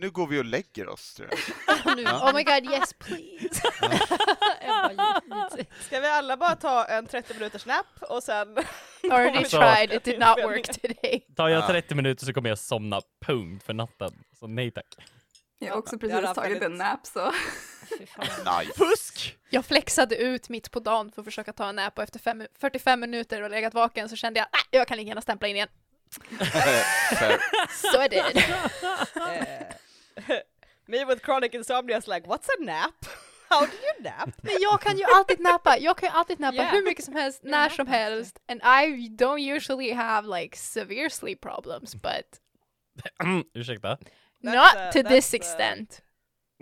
Nu går vi och lägger oss, tror jag. nu. Ja. Oh my god, yes please! Jag bara, givetvis. Ska vi alla bara ta en 30 minuters nap och sen... Already Så. tried, it did not work today. Tar jag Ja. 30 minuter så kommer jag somna punkt för natten. Så nej tack. Jag har också Jag har precis haft tagit väldigt- en nap så. Fy fan. Nice. Fusk! Jag flexade ut mitt på dagen för att försöka ta en nap och efter fem, 45 minuter och legat vaken så kände jag att jag kan lika gärna stämpla in igen. Fair. Så är det. Eh, Me with chronic insomnia is like, what's a nap? How do you nap? Men jag kan ju alltid nappa, jag kan ju alltid nappa Yeah. hur mycket som helst, Jag när nappar som också. helst. And I don't usually have like severe sleep problems but Ursäkta. That's, uh, not to that's, this uh, extent.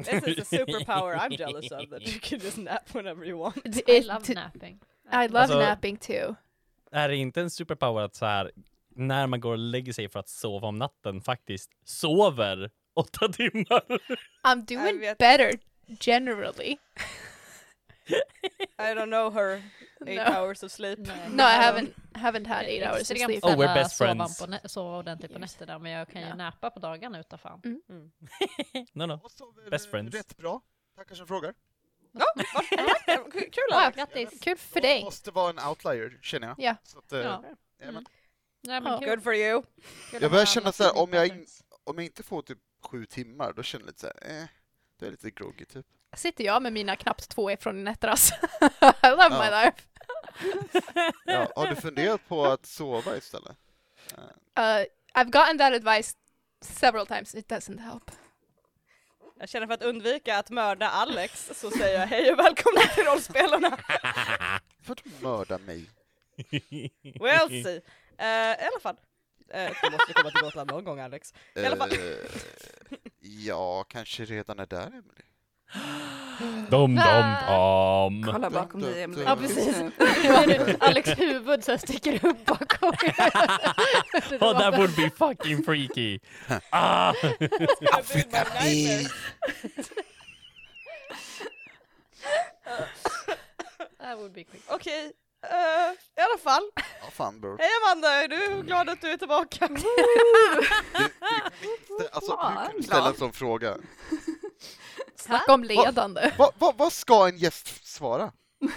This is a superpower I'm jealous of, that you can just nap whenever you want. I It- love napping. I love Alltså- napping too. Är det inte en superpower att så här när man går och lägger sig för att sova om natten faktiskt sover åtta timmar? I'm doing vet. better generally. I don't know her eight No. hours of sleep. Nej. No, I haven't haven't had eight hours of Visserligen sleep. Oh, we're sällan best sover friends. På nä- sova ordentligt på Yes. nätterna, men jag kan ju Ja. näpa på dagarna utan fan. No, no. Jag sover, Best eh, friends. Rätt bra. Tackar som frågar. Varsågod. Kul Wow, Alex! Grattis! Kul för Jag dig. måste vara en outlier, känner jag. Ja. Så att, eh, Ja. ja, men, Nej, Ja. men kul. Good for you! Kul Jag att börjar ha känna alla så här, tidiga om jag patterns. om jag inte får typ sju timmar, då känner jag lite så här, eh, då är jag lite groggy typ. Sitter jag med mina knappt två ifrån i nätteras. I love my Ja. life. Ja, har du funderat på att sova istället? Eh, Uh, I've gotten that advice several times. It doesn't help. Jag känner för att undvika att mörda Alex så säger jag hej och välkomna till rollspelarna! Får du mörda mig? We'll see! Eh, I alla fall. Eh, du måste komma till Gotland någon gång Alex. I alla fall. Eh, ja, kanske redan är där, Emily. Dom, dom, Ah. dom. Kolla bakom dig Emelie. Ja, precis. Nu. Alex huvud så här sticker upp bakom. Det Oh, var that would be fucking freaky. Ah! Africa please! That would be quick. Okej, eh, i alla fall. Ja, fan bror. Hej Amanda, är du glad att du är tillbaka? Det- Alltså, Ja, hur kan du glad. ställa en sån fråga? Snacka om ledande. Vad va, vad ska en gäst svara?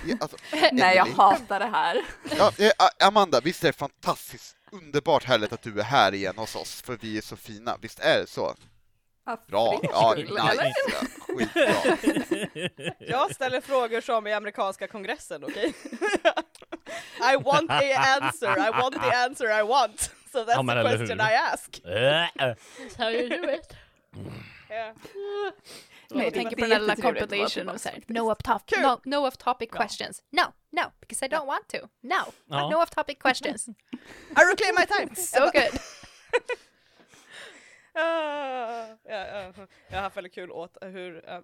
Ja, alltså, Nej, jag Emily. hatar det här. Ja, eh, A- Amanda, visst är det fantastiskt underbart härligt att du är här igen hos oss, för vi är så fina, visst är det så? Ja, Bra, fritt ja, skull, nice, eller? ja, skitbra. Jag ställer frågor som i amerikanska kongressen, okej? I want the answer, I want the answer I want. So that's Ja, men the eller question hur? I ask. Eh, That's how you do it. Yeah. Jag Nej, det tänker var på den här lilla jättetrevligt att vara compilation tillbaka om såhär, faktiskt. no off topic, Kul. no, no off topic questions. No, no, because I don't want to. No, Ja. no off topic questions. I reclaim my time! so good. Ah, ja, ja. Jag har haft väldigt kul åt hur ehm,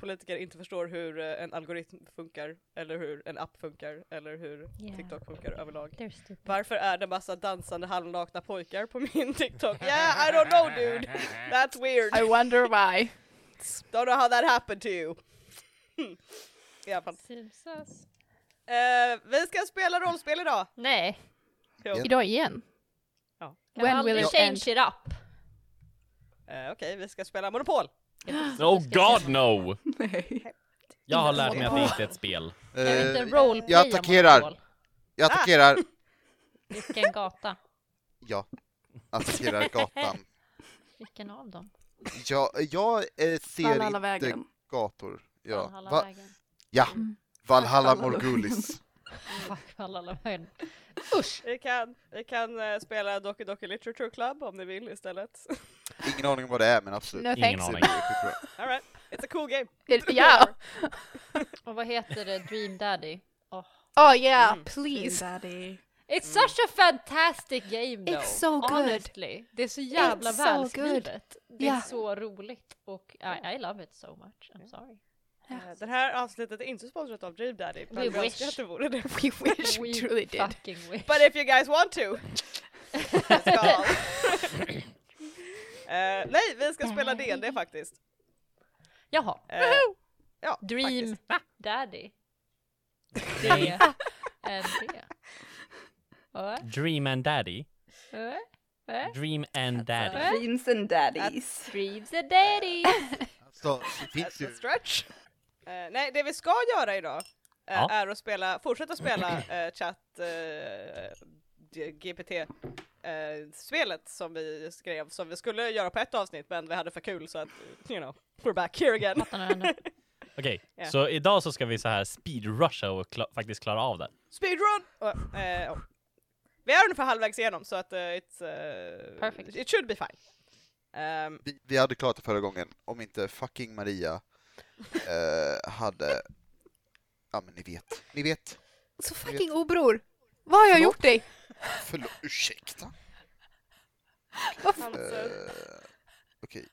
politiker inte förstår hur eh, en algoritm funkar, eller hur en app funkar, eller hur Yeah. TikTok funkar överlag. They're stupid. Varför är det massa dansande halvnakna pojkar på min TikTok? Yeah, I don't know dude! That's weird! I wonder why. Don't know how that happened to you. Hmm. I alla fall. Seems us. Eh, vi ska spela rollspel idag! Nej. Jo. Ja. Idag igen. Ja. When will it change end? it up? Eh, Okej, vi ska spela Monopol! Oh god no! Nej. Jag har lärt mig att det inte är ett spel. Kan vi inte Eh, roleplaya jag attackerar. Monopol? Jag Ah! attackerar, Vilken gata? ja, attackerar gatan. Vilken av dem? Jag, jag eh, ser Valhalla inte vägen. gator. Ja, Valhalla Va, vägen. ja. Valhalla Valhalla Morgulis. Fuck, Valhalla vägen. Usch! Vi kan, vi kan eh, spela Doki Doki Literature Club om ni vill istället. Ingen aning om vad det är, men absolut. No Ingen thanks. Det aning. är skitbra. Alright, it's a cool game! Eh, It- yeah. Och vad heter det? Dream Daddy? Oh. Oh yeah, please. Daddy. It's such a fantastic game though. Mm. It's so good. Honestly. Det är så jävla It's so välskrivet. Det är Yeah. så roligt och I, I love it so much. I'm sorry. Eh, Det här avsnittet är inte sponsrat av Dream Daddy, men We vi wish. önskar att det vore det. We wish we truly did. fucking wish. But if you guys want to! It's gone. Eh, nej, vi ska spela D&D faktiskt. Jaha. Eh, ja, Dream faktiskt. Daddy. Det är det. Dream and daddy. Ja. Eh? Dream and daddy. Dreams and daddies. Dreams and daddies. Så Alltså, det finns That's a ju... stretch. Eh, nej, det vi ska göra idag eh, Ja. är att spela, fortsätta spela eh, chatt eh, G- GPT eh, spelet som vi skrev, som vi skulle göra på ett avsnitt men vi hade för kul så att, you know, we're back here again. Okej, Ja. så idag så ska vi så här speedrusha och kla- faktiskt klara av det. Speedrun! Och, eh, och. Vi är ungefär halvvägs igenom så att eh, it's, eh, Perfect. it should be fine. Ehm, Vi, vi hade klarat det förra gången om inte fucking Maria eh, hade... Ja men ni vet, ni vet. Så fucking obror! Vad har jag Förlåt? gjort dig? Förlåt, ursäkta. Hans, Alltså. Eh, eh, Okej.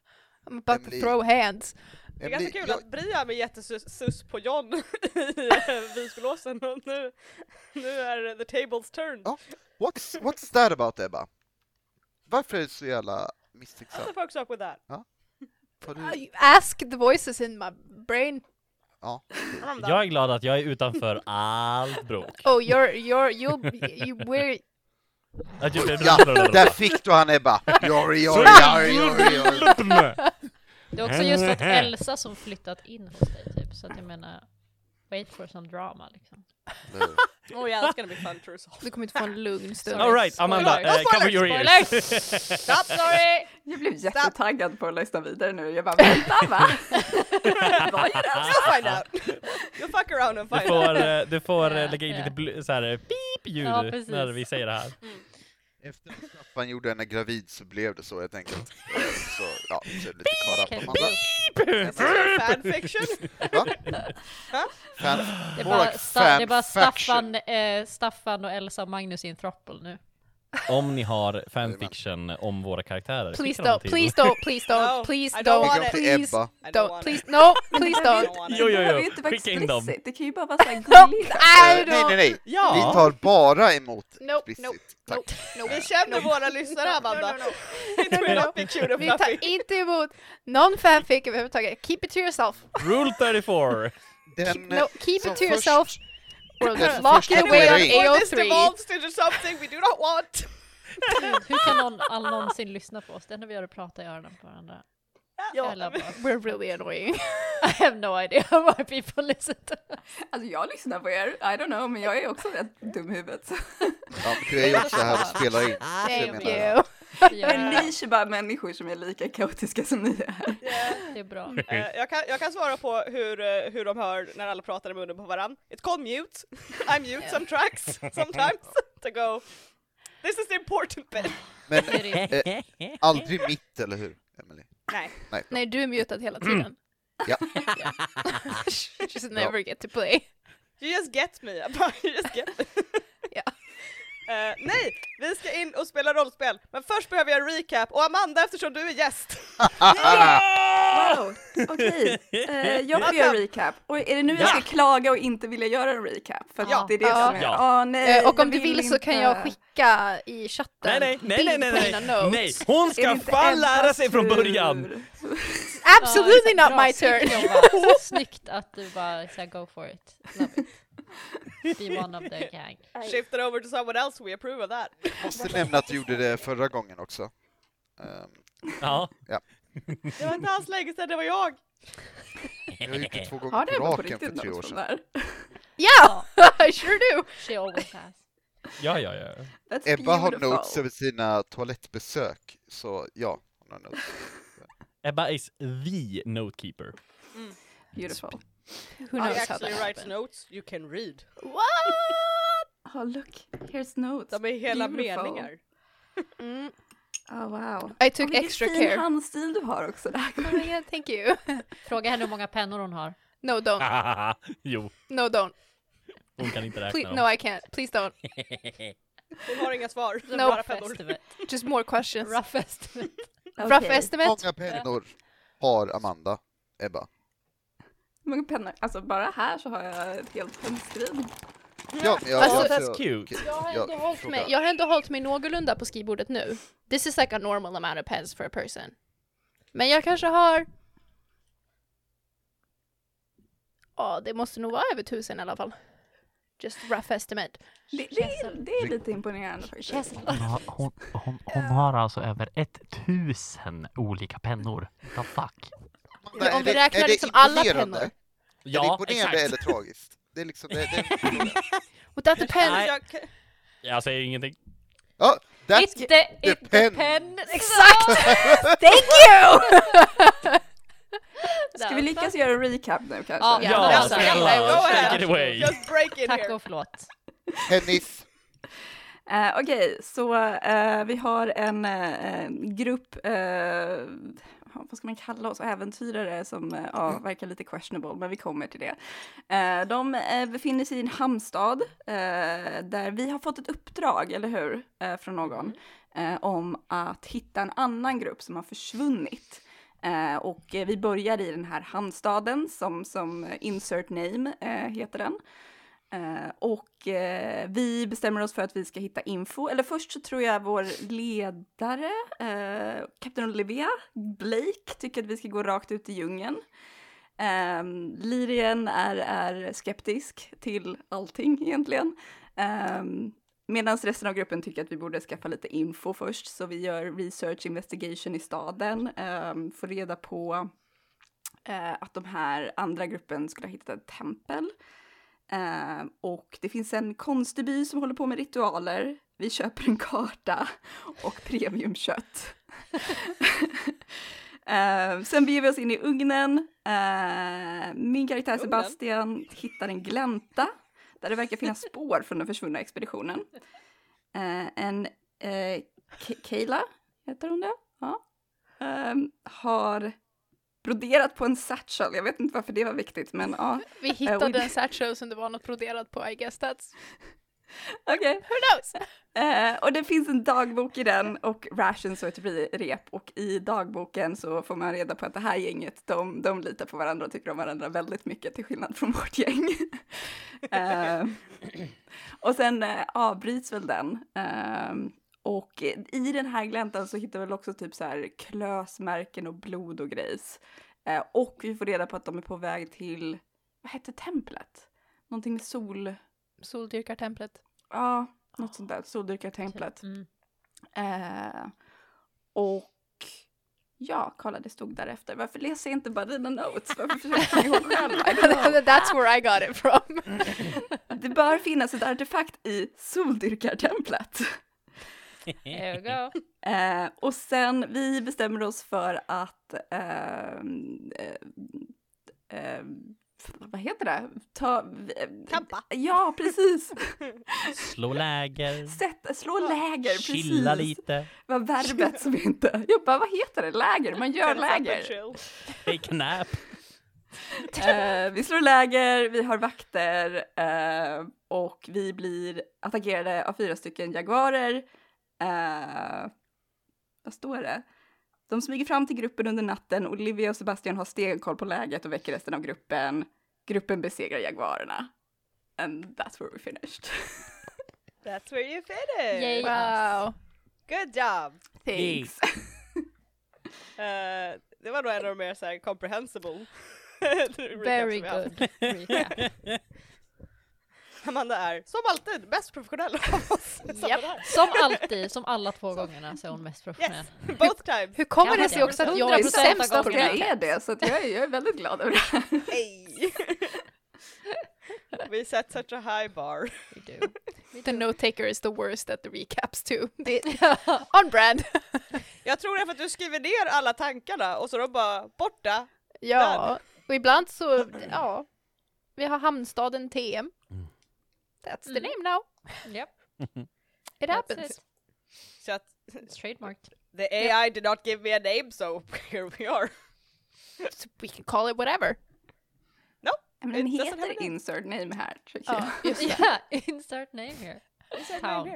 I'm about to Emily. throw hands. det är Emily, ganska kul jag- att Brian är jättesus på John i eh, Visbylåsen och nu, nu är det the tables turn. Ja. What's, what's that about Ebba? Varför är du så jävla misstänksam? What the fuck's up with that? Har du... I Uh, Ask the voices in my brain. Ja. From that. Jag är glad att jag är utanför allt bråk. Oh, you're, you're, you'll, you, we're... Att jag blev ja, där fick du han Ebba! Jori, jori, jori, jori, jori. Det är också just att Elsa som flyttat in hos dig typ, så att jag menar, wait for some drama liksom. Nu. Oh yeah, that's gonna be fun to resolve. Du kommer inte få en lugn stund. All right, Amanda, Spoiler, eh, cover your ears. Spoiler! Stop sorry! Jag blev jättetaggad på att lyssna vidare nu. Jag bara, vänta va? Vad är det? You'll find out. You'll fuck around and Du find out. får, eh, du får eh, Ja, lägga in ja. lite bl- så här, eh, pip-ljud Ja, precis. när vi säger det här. Efter att Staffan gjorde henne gravid så blev det så helt enkelt. Eh, Så, ja, så lite kvar på Okej. Amanda. Fanfiction? Va? Fan, Det more är bara, like sta- det är bara fanfiction. Staffan, eh, Staffan och Elsa och Magnus i en throppel nu. Om ni har fanfiction om vååra karaktärer, Please skicka dem don't, till- please don't, please don't, No, please I don't don't, want it. Skicka dem please till Ebba. I don't don't, want please it. no, please don't. Det Jo, jo, behöver jo. ju inte vara Skicka in dem. explicit. Det kan ju bara vara såhär gulligt. I Eh, Nej, nej, don't. nej! Vi Ja. tar bara emot Nope, nope, explicit. Tack. nope, nope. Vi känner våra lyssnare Amanda. No, no, no. It will not be cute Vi and tar fluffy. inte emot någon fanfic överhuvudtaget. Keep it to yourself. Rule 34! Den, eh, No, som keep it to först- yourself. We'll den som lock först it away twittrar on in. Or this AO3. devolves into something we do not want. Gud, hur kan någon all någonsin lyssna på oss? Det enda vi gör är att prata i öronen på varandra. Eller bara, We're really annoying. I have no idea why people listen to Alltså jag lyssnar på er, I don't know, men jag är också rätt dum i huvudet. Ja, men du är ju också här och spelar in. Jag Thank menar- you. Men det. ni är ju bara människor som är lika kaotiska som ni är. Det är bra. Eh, jag, kan, jag kan svara på hur, eh, hur de hör när alla pratar i munnen på varandra. It's called mute. I mute some tracks sometimes to go. This is the important bit. Men eh, Det är det. aldrig mitt, eller hur? Emelie? Nej. Nej. Nej, du är mutad hela tiden. Ja. She just never get to play. You just get me, Abba. you just get me. Ja. Eh, nej, vi ska in och spela rollspel, men först behöver jag en recap och Amanda eftersom du är gäst. Wow, okej. Eh, jag får göra en recap. Och är det nu jag ska klaga och inte vilja göra en recap? För att Ja. det är det Ja. som är... Ja. Ah, nej, Eh, och jag om du vill så kan inte. jag skicka i chatten Nej, nej, nej, nej, nej, bild på mina nej, notes. nej! Hon Är det ska inte fan Ebbas lära sig från tur? början! Absolutely Ja, not bra, my turn! Snyggt jobbat. Snyggt att du bara så här, go for it. Love it. Be one of the gang. Shift it over to someone else, we approve of that. Måste nämna att du gjorde det förra gången också. Ehm, Ja. Det var inte alls länge sedan det var jag. jag har gjort det två gånger Har det på ändå på raken för riktigt tre år något sånt sedan. där? Ja, I sure do! She always has. Ja, ja, ja. That's Ebba har beautiful. notes över sina toalettbesök, så ja, hon har notes. Ebba is the notekeeper. Beautiful. Who I knows how that actually write happened? notes you can read. What? Oh look, here's notes. De är hela Beautiful. meningar. Mm. Oh wow. I took Oh, vilken extra fin care. handstil du har också där. Oh my god, thank you. Fråga henne hur många pennor hon har. No, Ah. don't. jo, No, don't. hon kan inte räkna Please, dem. no, I can't. Please don't. Hon har inga svar. Så No. rough Bara pennor. estimate. Just more questions. Rough estimate. Rough Okej. estimate? Många pennor har Amanda, Ebba. Hur många pennor? Alltså bara här så har jag ett helt pennskrin. Ja, men jag, Alltså, jag, that's cute. okej, Jag har jag ändå hållit frågar. mig, jag har ändå hållit mig någorlunda på skrivbordet nu. This is like a normal amount of pens for a person. Men jag kanske har... Ja, det måste nog vara över tusen i alla fall. Just rough estimate. Det, det, är- det är lite imponerande faktiskt. Känsel. Hon har, hon, hon, hon har alltså över 1000 olika pennor. The fuck? Men om är vi det- räknar är det liksom alla imponerande? pennor. är det Ja, imponerande exakt. eller tragiskt? Det är liksom, det, det, Without the pen, Nej. Jag, Jag säger ingenting. ja, It's that's, the, the it's the pen. pen. Exakt! Thank you! Ska vi lyckas göra en recap nu Ja. kanske? Ja, alltså, snälla, jag- jag- take it away. Just break it Tack here. och förlåt. Hennis, Eh, Okej, så eh, vi har en eh, grupp, eh, vad ska man kalla oss, äventyrare som eh, ja, verkar lite questionable, men vi kommer till det. Eh, de eh, befinner sig i en hamnstad eh, där vi har fått ett uppdrag, eller hur, eh, från någon eh, om att hitta en annan grupp som har försvunnit. Eh, och eh, vi börjar i den här hamnstaden som, som eh, insert name eh, heter den. Eh, och eh, vi bestämmer oss för att vi ska hitta info. Eller först så tror jag vår ledare, eh, kapten Olivia Blake, tycker att vi ska gå rakt ut i djungeln. Eh, Lirien är, är skeptisk till allting egentligen. Eh, Medan resten av gruppen tycker att vi borde skaffa lite info först, så vi gör research investigation i staden, eh, får reda på eh, att de här andra gruppen skulle ha hittat ett tempel. Eh, och det finns en konstig by som håller på med ritualer. Vi köper en karta och premiumkött. eh, sen beger vi oss in i ugnen. Eh, min karaktär Ugnen? Sebastian hittar en glänta där det verkar finnas spår från den försvunna expeditionen. Eh, en eh, Ke- Keila, heter hon det? Ja. Ehm, har broderat på en satchel. Jag vet inte varför det var viktigt, men ja. vi hittade en satchel som det var något broderat på, I guess that's... Okej. Who knows? Eh, och det finns en dagbok i den och rations och ett re- rep och i dagboken så får man reda på att det här gänget, de, de litar på varandra och tycker om varandra väldigt mycket till skillnad från vårt gäng. Eh, och sen eh, avbryts väl den. Eh, och i den här gläntan så hittar vi väl också typ så här klösmärken och blod och grejs. Eh, och vi får reda på att de är på väg till, vad hette templet? Någonting med sol, Soldyrkartemplet. ja, något sånt där, soldyrkartemplet. Mm. Eh, och ja, kolla det stod därefter. Varför läser jag inte bara dina notes? Varför försöker jag ihåg själv? I don't know. that's where I got it from. Det bör finnas ett artefakt i soldyrkartemplet. There we go. Eh, och sen, vi bestämmer oss för att ehm, eh, eh, vad heter det? Ta, eh, Kampa. Ja, precis. Slå läger, Sätt, slå läger, precis. chilla lite, Vad verbet som inte... Jag bara, vad heter det? Läger? Man gör läger. Chill. take a nap. Eh, vi slår läger, vi har vakter eh, och vi blir attackerade av fyra stycken jaguarer. Eh, vad står det? De smyger fram till gruppen under natten. Olivia och Sebastian har stenkoll på läget och väcker resten av gruppen. Gruppen besegrar jaguarerna. And that's where we finished. That's where you finish! Yay. Wow. Good job! Thanks. Eh, det var nog en av de mer såhär comprehensible Very recaps vi har haft. good recap. Amanda är som alltid bäst professionell av oss. Samma Japp. där. Som alltid, som alla två gångerna så är hon mest professionell. Yes, both times! Hur kommer Jag det hade sig också att jag är 100% sämst på av Fast jag det? är det, så att jag, är, jag är väldigt glad över det. Hey. We set such a high bar. We do. The note taker is the worst at the recaps too. Ja, On brand. Jag tror det är för att du skriver ner alla tankarna och så de bara borta. Ja, och ibland så, ja. Vi har hamnstaden TM. That's the Mm. name now. Japp, It that's happens. it. Så att It's trademarked. the AI did not give me a name so here we are. So we can call it whatever. Men It den doesn't have a heter name. insert name här, tycker jag. Ja, just det. Yeah, insert name here. Town.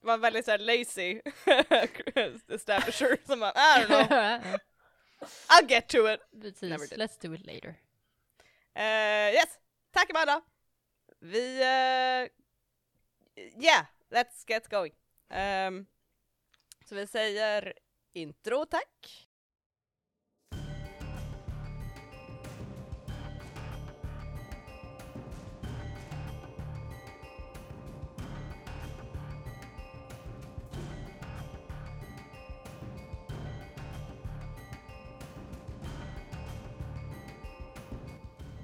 Det var en väldigt såhär lazy establisher som bara I don't know, I'll get to it. Never Precis, did. let's do it later. Eh, yes, tack Amanda! Vi... eh, yeah, let's get going. Ehm, så vi säger intro tack.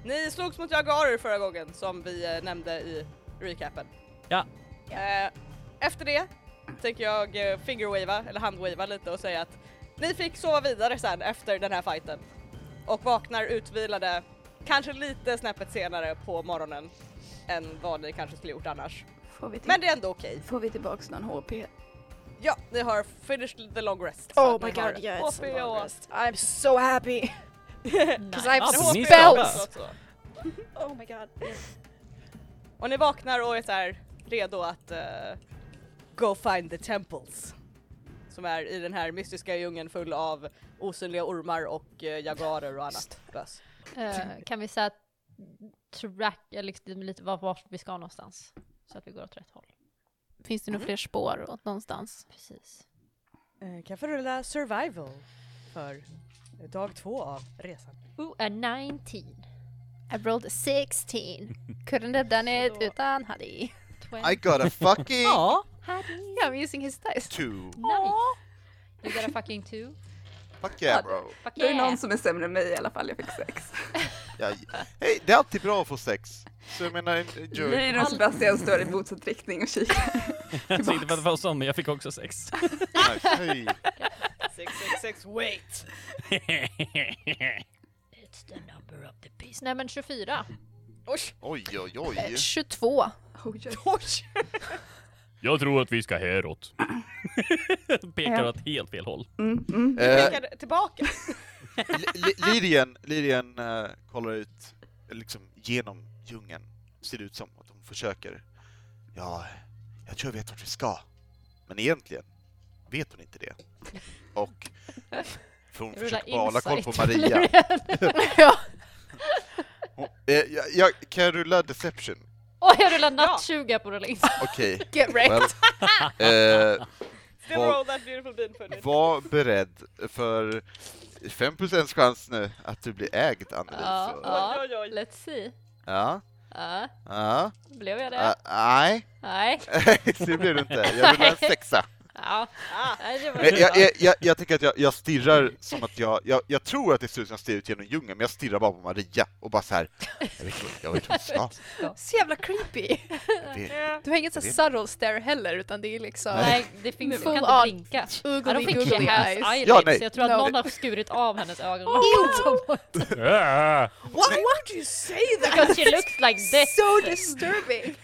Ni slogs mot Jagarer förra gången som vi eh, nämnde i recapen. Ja. Eh, efter det tänker jag eh, fingerwava eller handwava lite och säga att ni fick sova vidare sen efter den här fighten och vaknar utvilade kanske lite snäppet senare på morgonen än vad ni kanske skulle gjort annars. Får vi, till- Men det är ändå okej. får vi tillbaks någon HP? Ja, ni har finished the long rest. Så att Oh ni my har god, yeah, it's HP a long och- rest. I'm so happy! Because I have Nice. Alltså, Ah, Alltså, för ni spells! startar. Så- så. Oh my god. Och ni vaknar och är så här redo att eh, go find the temples. Som är i den här mystiska djungeln full av osynliga ormar och uh, jagarer och annat bös. Eh, kan vi säga att track, eller liksom lite vart var vi ska någonstans? Så att vi går åt rätt håll. Finns det nog fler spår åt någonstans? Precis. Eh, kan få rulla survival för dag två av resan. Ooh, a 19. I rolled a 16. Couldn't have done it utan Hadi. 20. I got a fucking Hadi. Yeah, I'm using his dice. two. Nice. You got a fucking two. Fuck yeah bro. Fuck Det är yeah. någon som är sämre än mig i alla fall, jag fick sex. Jag, hej, det är alltid bra att få sex. Så jag menar, Nu enjoy. är det Sebastian står i motsatt riktning och kikar. Så inte för att vara sån, men jag fick också sex. Nice. Hej. Six, six, six, wait! It's the number of the beast. Nej men 24. Oj, Oj, oj, Eh, oj. 22. Oj, oj. oj! Jag tror att vi ska häråt. Pekar Ja. åt helt fel håll. Mm, mm. Eh, Skickade tillbaka. Li- Li- Lirien, Lirien eh, kollar ut eh, liksom genom djungeln. Ser det ut som att hon försöker. Ja, jag tror jag vet vart vi ska. Men egentligen vet hon inte det. Och för hon Rulla försöker bara hålla koll på insight. Maria. ja. Hon, eh, jag, jag, kan jag rulla deception? Oj, jag rullar natt 20 på rulla in. Okej. Get right. Well, eh, Still Vad- roll that beautiful bean pudding. var beredd för 5% chans nu att du blir ägd, Anneli. Ja, så- ja. Oj, oj, oj. Let's see. Ja, Ja, ja, blev jag det? ja, nej. Nej. det blir det inte. Jag vill ha en sexa. Ja. Ah. Nej, det var Jag, jag, jag, jag, jag tänker att jag, jag stirrar som att jag, jag... Jag tror att det ser ut som jag stirrar ut genom djungeln, men jag stirrar bara på Maria och bara så här... Jag vet inte, jag vet inte vad jag ska. Så jävla creepy. Jag vet- Du har inget så Vet. subtle stare heller, utan det är liksom... Nej, det finns, vi kan Full inte on. blinka. Ja, de Ugly, fick googly ass eyes. eyelids, Ja, nej. så jag tror att No. någon har skurit av hennes ögon. Why would you say that? Because she looks like this! So disturbing!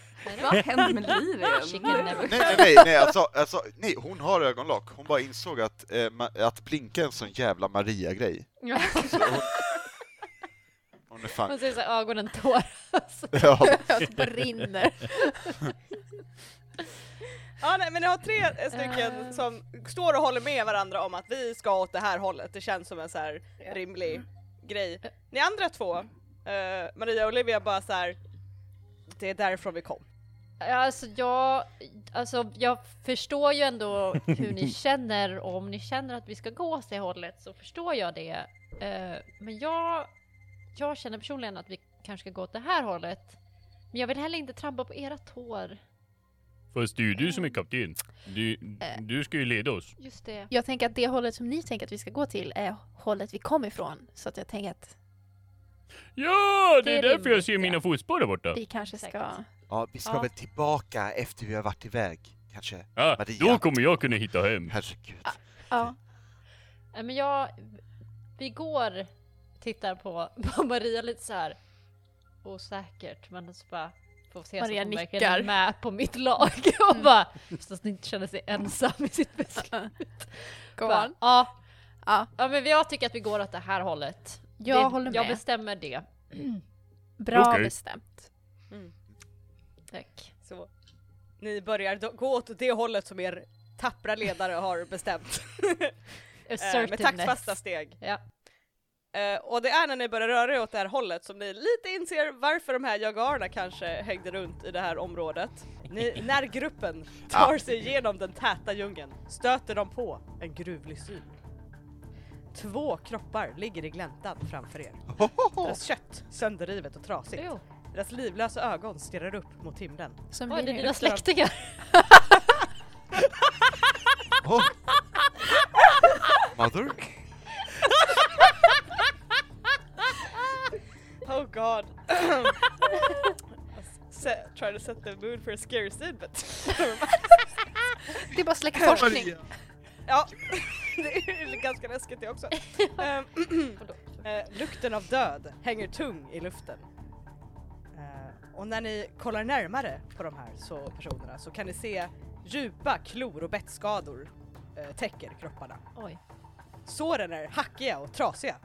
Vad hände med Lirien? Chicken never... Nej, nej, nej, nej, alltså, alltså, nej, hon har ögonlock. Hon bara insåg att, eh, ma- att blinka är en sån jävla Maria-grej. Så hon, hon är fan... Hon ser så här, ögonen tåras. Ja, Ögat brinner. Ja, nej, men ni har tre eh, stycken Eh. som står och håller med varandra om att vi ska åt det här hållet. Det känns som en så här rimlig grej. Ni andra två, eh, Maria och Olivia, bara så här. Det är därifrån vi kom. Alltså jag, alltså jag förstår ju ändå hur ni känner och om ni känner att vi ska gå åt det hållet så förstår jag det. Eh, Men jag, jag känner personligen att vi kanske ska gå åt det här hållet. Men jag vill heller inte trampa på era tår. Fast det är ju du Eh. som är kapten. Du, du ska ju leda oss. Just det. Jag tänker att det hållet som ni tänker att vi ska gå till är hållet vi kom ifrån. Så att jag tänker att Ja, Det är det är därför jag rimligt, ser mina ja. fotspår där borta. vi kanske ska... Säkert. ja vi ska Ja. väl tillbaka efter vi har varit iväg, kanske. Ah, Maria. då kommer jag kunna hitta hem. Herregud. Ja. Nej, Men jag, vi går, tittar på, på Maria lite så här osäkert men så bara får se Maria så att hon nickar. Mm. verkligen är med på mitt lag och bara så att hon inte känner sig ensam i sitt beslut. Go Bara, on. Ja. Ja. ja. men jag tycker att vi går åt det här hållet. Jag det, håller Jag med. bestämmer det. Bra Okej. bestämt. Tack. Så ni börjar då- gå åt det hållet som er tappra ledare har bestämt. Eh, med Assertiveness. taktfasta steg. Ja. Eh, och det är när ni börjar röra er åt det här hållet som ni lite inser varför de här jagarna kanske hängde runt i det här området. Ni, när gruppen tar sig igenom den täta djungeln stöter de på en gruvlig syn. Två kroppar ligger i gläntan framför er. Deras kött sönderrivet och Typ. trasigt. Jo. Deras livlösa ögon stirrar upp mot himlen. Som Oj, det vi är dina nu. släktingar. Oh. Mother? Oh god. to set the mood for a scary scene but... Det är bara släktforskning. ja, det är ganska läskigt det också. Ehm, eh, lukten av död hänger tung i luften. Eh, och när ni kollar närmare på de här så, personerna så kan ni se djupa klor och bettskador eh, täcker kropparna. Oj. Såren är hackiga och trasiga,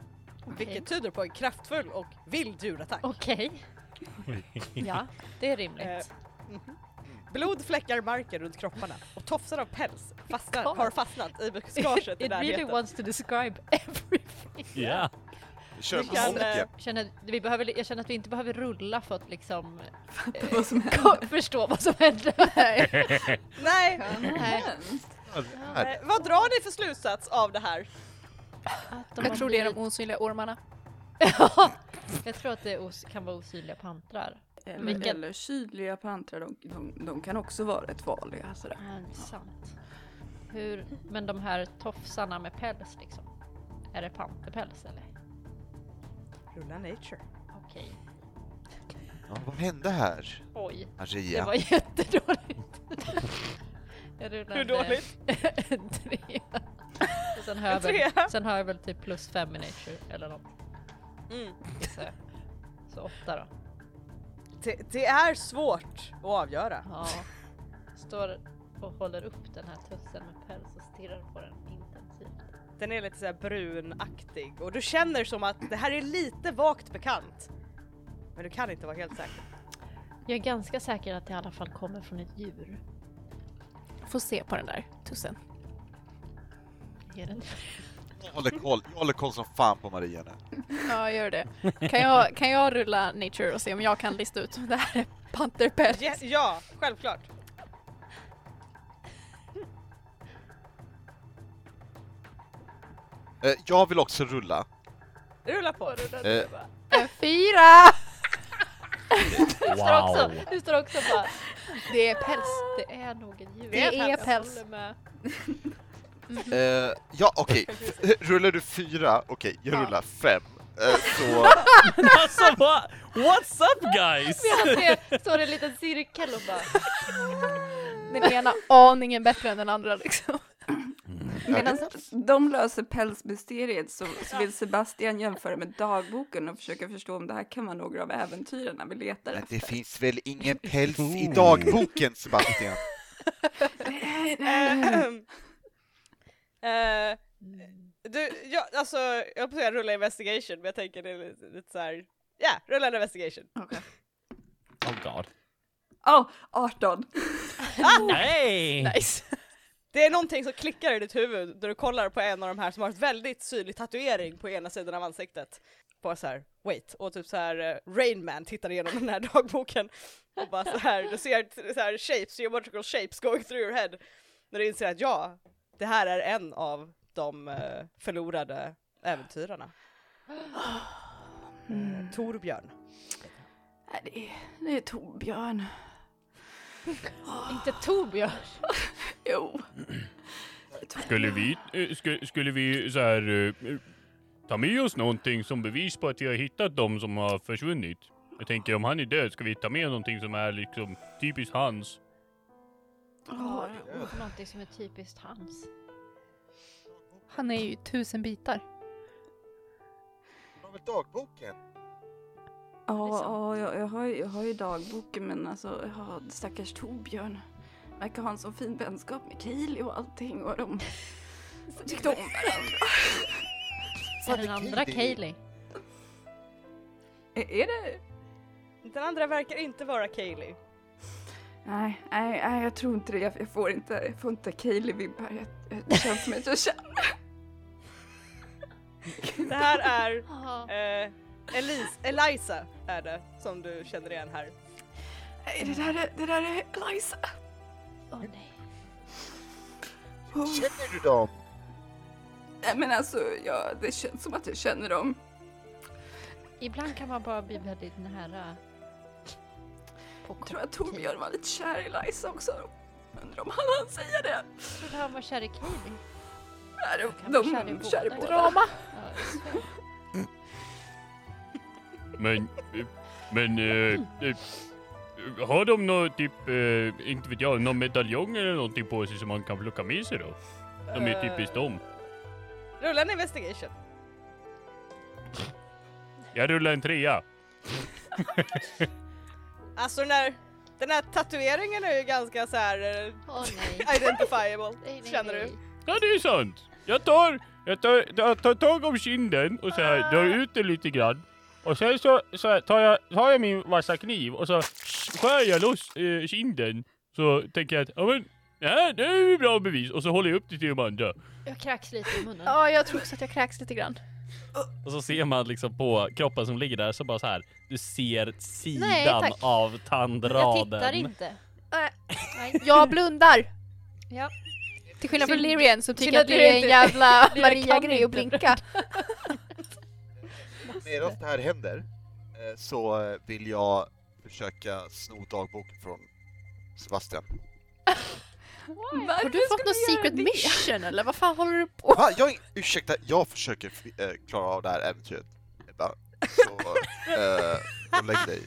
vilket Okej. tyder på en kraftfull och vild djurattack. Okej. Ja, det är rimligt. Eh, mhm. Blod fläckar marken runt kropparna och tofsar av päls fastnar, God. har fastnat i buskaget i It really närheten. wants to describe everything. Ja. Vi kör Vi på kan, Sonke. eh, Jag känner, vi behöver, jag känner att vi inte behöver rulla för att liksom eh, vad som ko- förstå vad som händer. Nej, Mm. Nej, Här. nej, vad drar ni för slutsats av det här? att de Jag har tror det är de blivit- osynliga ormarna. jag tror att det är os- kan vara osynliga pantrar. Eller, Vilken- Eh, eller kyliga pantrar, de, de, de kan också vara rätt farliga. Sådär. Ja, det är sant. Hur, men de här tofsarna med päls liksom? Är det panterpäls eller? Rulla nature. Okej. Ja, vad hände här, Oj, det Maria? var jättedåligt. jag rullade Hur dåligt? en trea. Och sen har, jag väl, Trea. sen har jag väl typ plus fem i nature eller något. Mm. gissar jag. Så åtta då. Det, det är svårt att avgöra. Ja. Står och håller upp den här tussen med päls och stirrar på den intensivt. Den är lite såhär brunaktig och du känner som att det här är lite vagt bekant. Men du kan inte vara helt säker. Jag är ganska säker att det i alla fall kommer från ett djur. Får se på den där tussen. Är det inte? Jag håller koll, jag håller koll som fan på Maria nu. Ja, gör det. Kan jag, kan jag rulla nature och se om jag kan lista ut om det här är panterpäls? Ja, ja självklart. Eh, Jag vill också rulla. Rulla på. Eh, En fyra! Du står också, du står också bara, Det är päls. det är nog ett djur. Det är Jag päls. håller med. eh, ja, okej. Rullar du fyra? Okej, jag rullar fem. Eh, Så... Alltså vad? What's up guys? Medan det står en liten cirkel och bara, Den ena aningen bättre än den andra liksom. Medan de löser pälsmysteriet så, så vill Sebastian jämföra med dagboken och försöka förstå om det här kan vara några av äventyren vi letar Men efter. det finns väl ingen päls i dagboken, Sebastian? Eh, du, jag, alltså, jag höll på att säga rulla investigation, men jag tänker det är lite, lite så här. Ja, rulla en investigation. Oh god. Åh, 18! Nej! Nice. Det är någonting som klickar i ditt huvud när du kollar på en av de här som har ett väldigt synlig tatuering på ena sidan av ansiktet. Bara så här, wait, och typ så här eh, Rain Man tittar igenom den här dagboken och bara så här, du ser t- så här shapes, geometrical shapes going through your head. När du inser att ja, det här är en av de eh, förlorade äventyrarna. Eh, Torbjörn. Nej, det är, det är Torbjörn. inte Torbjörn. Jo. Skulle vi, eh, skulle, skulle vi så här, eh, ta med oss någonting som bevis på att vi har hittat de som har försvunnit? Jag tänker om han är död, ska vi ta med någonting som är liksom typiskt hans? Ja, jo. Någonting som är typiskt hans. Han är ju i tusen bitar. Dagboken? Ja, Liksom. ja, jag, jag, har, ju- jag har ju dagboken men alltså, ja, stackars Torbjörn. Verkar ha en så fin vänskap med Kaeli och allting och de tyckte om varandra. Är den andra Kaeli? Är, är det? Den andra verkar inte vara Kaylee. Nej, nej, nej, jag tror inte det. Jag, jag får inte, jag får inte Kaeli-vibbar. Jag- jag- Det känns som att jag känner. Det här är Ja. Eh, Elise, Eliza är det som du känner igen här. Nej, det där är, det där är Eliza. Åh nej. Oh. Känner du dem? Nej, men alltså, jag, det känns som att jag känner dem. Ibland kan man bara bli väldigt nära. På Jag tror att Torbjörn var lite kär i Eliza också. Undrar om han hann säga det. Trodde han var kär i Kaeli. Nej, de- kan vara kär i de båda. kär i båda. Drama! Ja, just det. Men, eh, men, eh, eh, Har de någon typ, eh, inte vet jag, någon medaljong eller någonting på sig som man kan plocka med sig då? De är typiskt Eh, dem. Rulla en investigation. Jag rullar en trea. Alltså den här, den här tatueringen är ju ganska så här eh, Åh nej. identifiable, Nej, nej, känner nej. du? Ja, det är sant. Jag tar, jag tar, jag tar tag om kinden och så här drar ut det lite grann. Och sen så, så här, tar, jag, tar jag min vassa kniv och så skär jag loss eh, kinden. Så tänker jag att, ja men, det här det är ju bra bevis. Och så håller jag upp det till de andra. Jag kräks lite i munnen. Ja, jag tror också att jag kräks lite grann. Och så ser man liksom på kroppen som ligger där så bara så här. Du ser sidan Nej, tack. av Jag tandraden. tittar inte. Nej. Nej. Jag blundar! Ja. Till skillnad från Synd- Lirian som tycker synd att att det är en Lirian jävla Lirian kan Maria-grej att inte. blinka. Medan det här händer eh, så eh, vill jag försöka sno dagboken från Sebastian. Har du fått någon secret mission eller vad fan håller du på Va? Ah, Jag, ursäkta, jag försöker eh, klara av det här äventyret. Ebba. Så, eh, och lägg dig.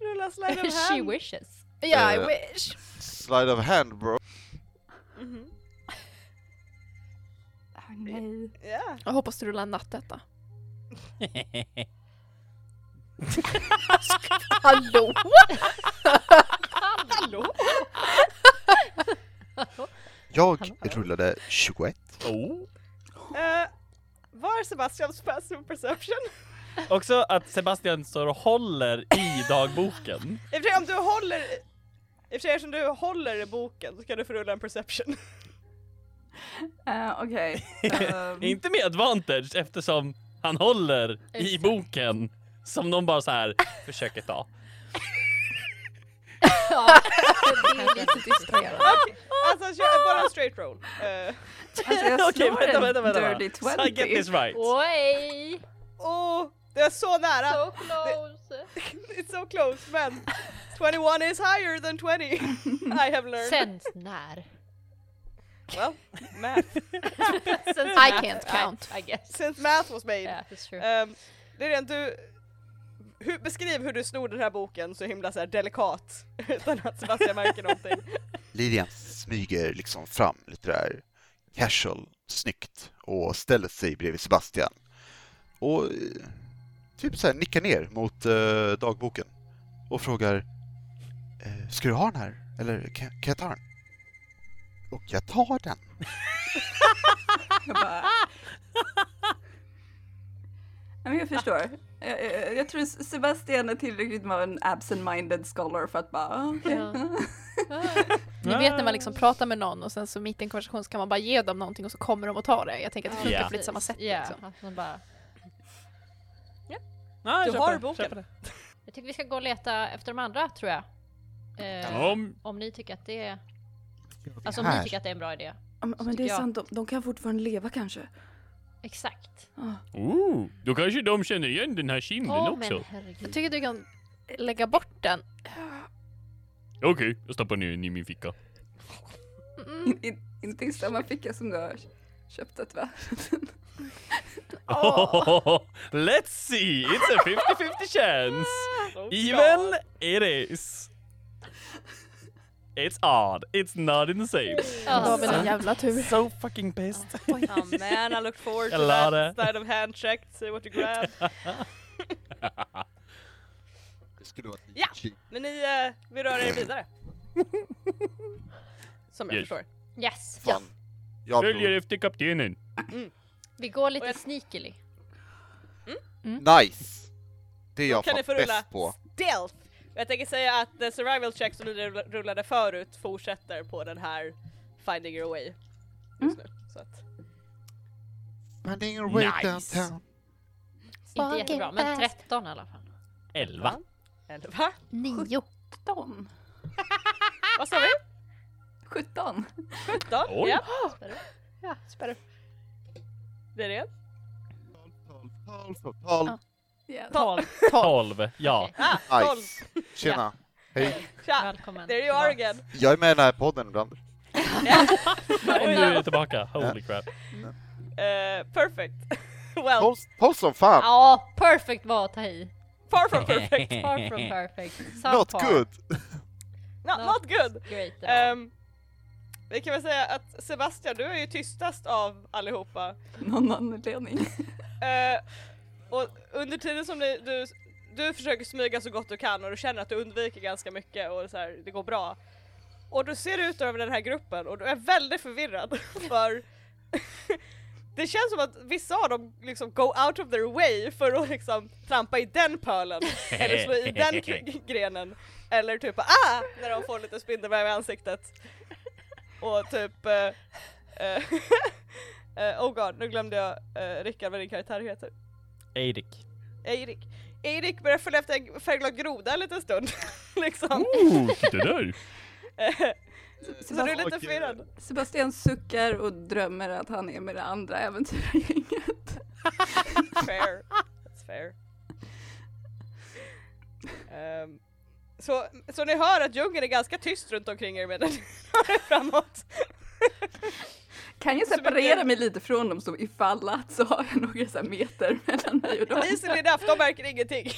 Rulla slide of She hand. wishes. Yeah, I Eh. wish. Slide of hand bro. Mhm. Ah, nej. Ja. Jag hoppas du rullar nattetta. Hallå! Hallå? Jag Hallå. rullade 21. Oh. Eh, var Sebastians passive perception? Också att Sebastian står och håller i dagboken. I och för sig om du håller, i och för sig eftersom du håller i boken så kan du få rulla en perception. Eh, Okej. Ehm, Inte med advantage eftersom han håller i Exakt. boken som de bara så här försöker ta. Ja. Det är lite distraherande. Alltså kör bara en straight roll. Eh, alltså jag slår Okej, vänta, en vänta, vänta. vänta. dirty So I get 20. this right. Oj! Åh, oh, det är så nära! So close! It's so close men 21 is higher than 20 I have learned. Sen när? Well, math. Sen I can't count. I, I guess. Since math was made. Yeah, that's true. Ehm, det är rent du... Hur, beskriv hur du snor den här boken så himla så här delikat utan att Sebastian märker någonting. Lilian smyger liksom fram lite där casual, snyggt och ställer sig bredvid Sebastian. Och eh, typ så här nickar ner mot eh, dagboken och frågar eh, Ska du ha den här? Eller kan, kan jag ta den? Och jag tar den. Jag bara... Ja, men jag förstår. Jag, jag, jag tror Sebastian är tillräckligt med en absent-minded scholar för att bara, ah, okej. Ja. Ni vet när man liksom Ah. pratar med någon och sen så mitt i en konversation så kan man bara ge dem någonting och så kommer de och tar det. Jag tänker att det funkar Ja. på lite samma sätt. Ah. Ja, Liksom. att man bara... Nej, Du jag köper har det, boken. köper det. Jag tycker vi ska gå och leta efter de andra tror jag. Eh, Om Om ni tycker att det är... Alltså om Här. ni tycker att det är en bra idé. Ja, men- ja, men det är Tycker jag. sant, de, de kan fortfarande leva kanske. Exakt. Ah. Ooh, oh, då kanske de känner igen den här kinden Åh men också. Jag herregud. tycker du kan lägga bort den. Okej, jag stoppar ner den i min ficka. Mm. In, in, inte i samma ficka som du har köpt det va? Let's see, it's a 50-50 chance. Oh Even it is. It's odd, it's not in the same. Då har Ja, vi en jävla tur. So fucking pissed. Oh man, I look forward to Jag la that. det. Side of hand checked, see what you grab. Det skulle vara Ja. Men ni, eh, vi rör er vidare. Som jag Yes. förstår. yes. Fan. Jag Följer efter kaptenen. Vi går Och lite jag- sneakily. Nice! Det är jag kan ni fan få rulla bäst på. stealth. Jag tänker säga att the survival check som ni rull- rullade förut fortsätter på den här finding your way just nu. Så att, Men det är ingen way Nice. downtown. Inte jättebra, men 13 i alla fall. 11. eller va? Nio. 17. Vad sa vi? 17. 17? Oj. Ja, Ah! Ja, spärr. det är det. 12, 12, 12. Yeah. Tolv. 12, ja. Ah, 12! Nice! Tjena! Hej! Tja! Välkommen. There you are again! Jag är med i den här podden ibland. Och nu är jag tillbaka, holy crap. Eh, perfect! well, Post, post som fan! Ja, perfect var att ta i. Far from perfect. Far from perfect. Some Not par. good! No, Not Um, not good. Great at all. Ehm, vi kan väl säga att Sebastian, du är ju tystast av allihopa. Någon anledning. Eh, och under tiden som ni, du, du försöker smyga så gott du kan och du känner att du undviker ganska mycket och så här, det går bra. Och du ser ut över den här gruppen och du är väldigt förvirrad för det känns som att vissa av dem liksom go out of their way för att liksom trampa i den pölen eller slå i den gr- grenen eller typ ah! när de får lite spindelväv i ansiktet. Och typ eh, eh, eh, oh god, nu glömde jag eh, Rickard vad din karaktär heter. Eirik. Erik. Erik börjar följa efter en färgglad groda en liten stund. liksom. Oh, titta där! Eh, så du är Sebast- lite Okej. förvirrad. Sebastian suckar och drömmer att han är med det andra äventyrargänget. Fair. That's fair. Ehm, så, så ni hör att djungeln är ganska tyst runt omkring er medan ni rör er framåt. Kan jag Så mycket- separera mig lite från dem så ifall att så har jag några så här meter mellan mig och dem. Isen är daff, de märker ingenting.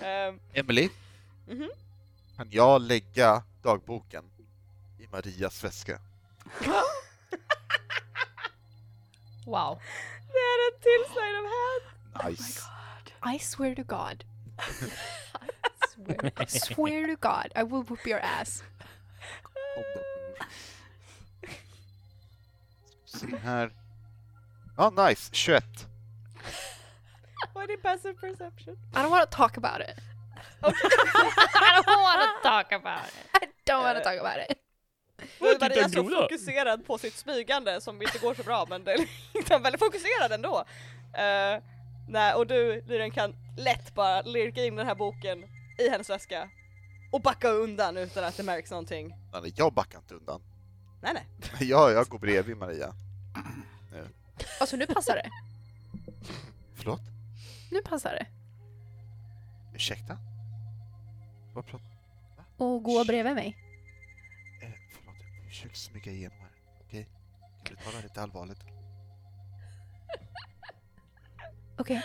Ehm, Emily, Mhm. kan jag lägga dagboken i Marias väska? Wow. det är en till slide of hand. Nice. I swear to God. Swear. I swear to God. I will whoop your ass. Kom då, bror. Ska vi Se här. Ja, nice. 21. Vad är din passive perception? I don't want to talk about it. I don't wanna talk about it. I don't want to talk about it. Nu typ är Maria titta, så groda. fokuserad på sitt smygande som inte går så bra men den är väldigt fokuserad ändå. Uh, nej, och du Lyren kan lätt bara lirka in den här boken i hennes väska och backa undan utan att det märks någonting. Nej, Jag backar inte undan. Nej nej. Jag, jag går bredvid Maria. Alltså nu passar det. Förlåt? Nu passar det. Ursäkta? Vad pratar Och gå bredvid mig. eh, Förlåt, jag försöker smyga igenom här. Okej? Kan du ta det här lite allvarligt? Okej.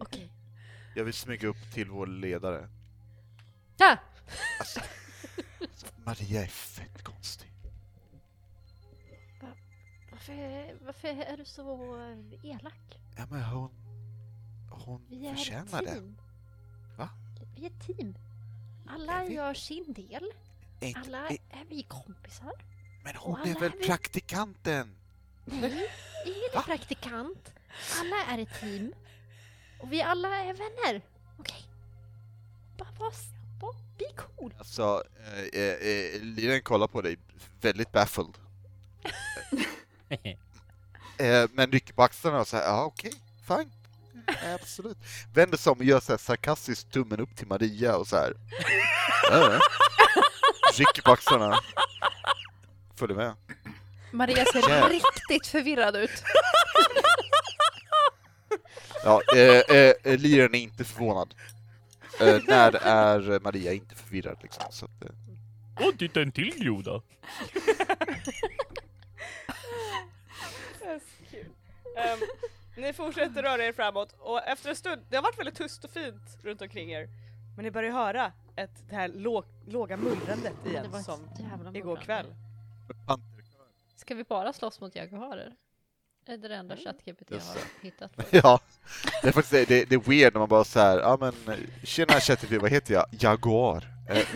Okej. Jag vill smyga upp till vår ledare. Ah, Alltså, alltså, Maria är fett konstig. varför, är- varför är du så eh, elak? Ja, men hon... Hon Vi är förtjänar ett det. team. Va? Vi är ett team. Alla Är vi? gör sin del. Är inte- Alla är- är vi kompisar. Men hon alla är väl är vi- praktikanten? Nej, ingen är Va? praktikant. Alla är ett team. Och vi alla är vänner. Okej? Bara var, var, be cool. Alltså, eh, eh, eh, Liren kollar på dig väldigt baffled. Eh, men rycker på axlarna och säger ja okej, fine. Eh, Absolut. Vänder sig om och gör så här sarkastiskt tummen upp till Maria och så här. Ja, ja. Rycker på axlarna. Följer med. Maria Yeah. ser riktigt förvirrad ut. Ja, eh, eh, eh, Liren är inte förvånad. Eh, när är Maria inte förvirrad liksom? Så att, eh, Åh, titta en till groda! Det är så kul. Ehm, ni fortsätter röra er framåt och efter en stund, det har varit väldigt tyst och fint runt omkring er. Men ni börjar höra ett, det här låg, låga mullrandet Det igen var som ett jävla igår mullrande. kväll. Ska vi bara slåss mot jaguarer? Det är det enda ChatGPT Just har hittat. Ja, det är faktiskt det, det, det är weird när man bara så här, ja ah, men tjena ChatGPT, vad heter jag? Jaguar. Eh,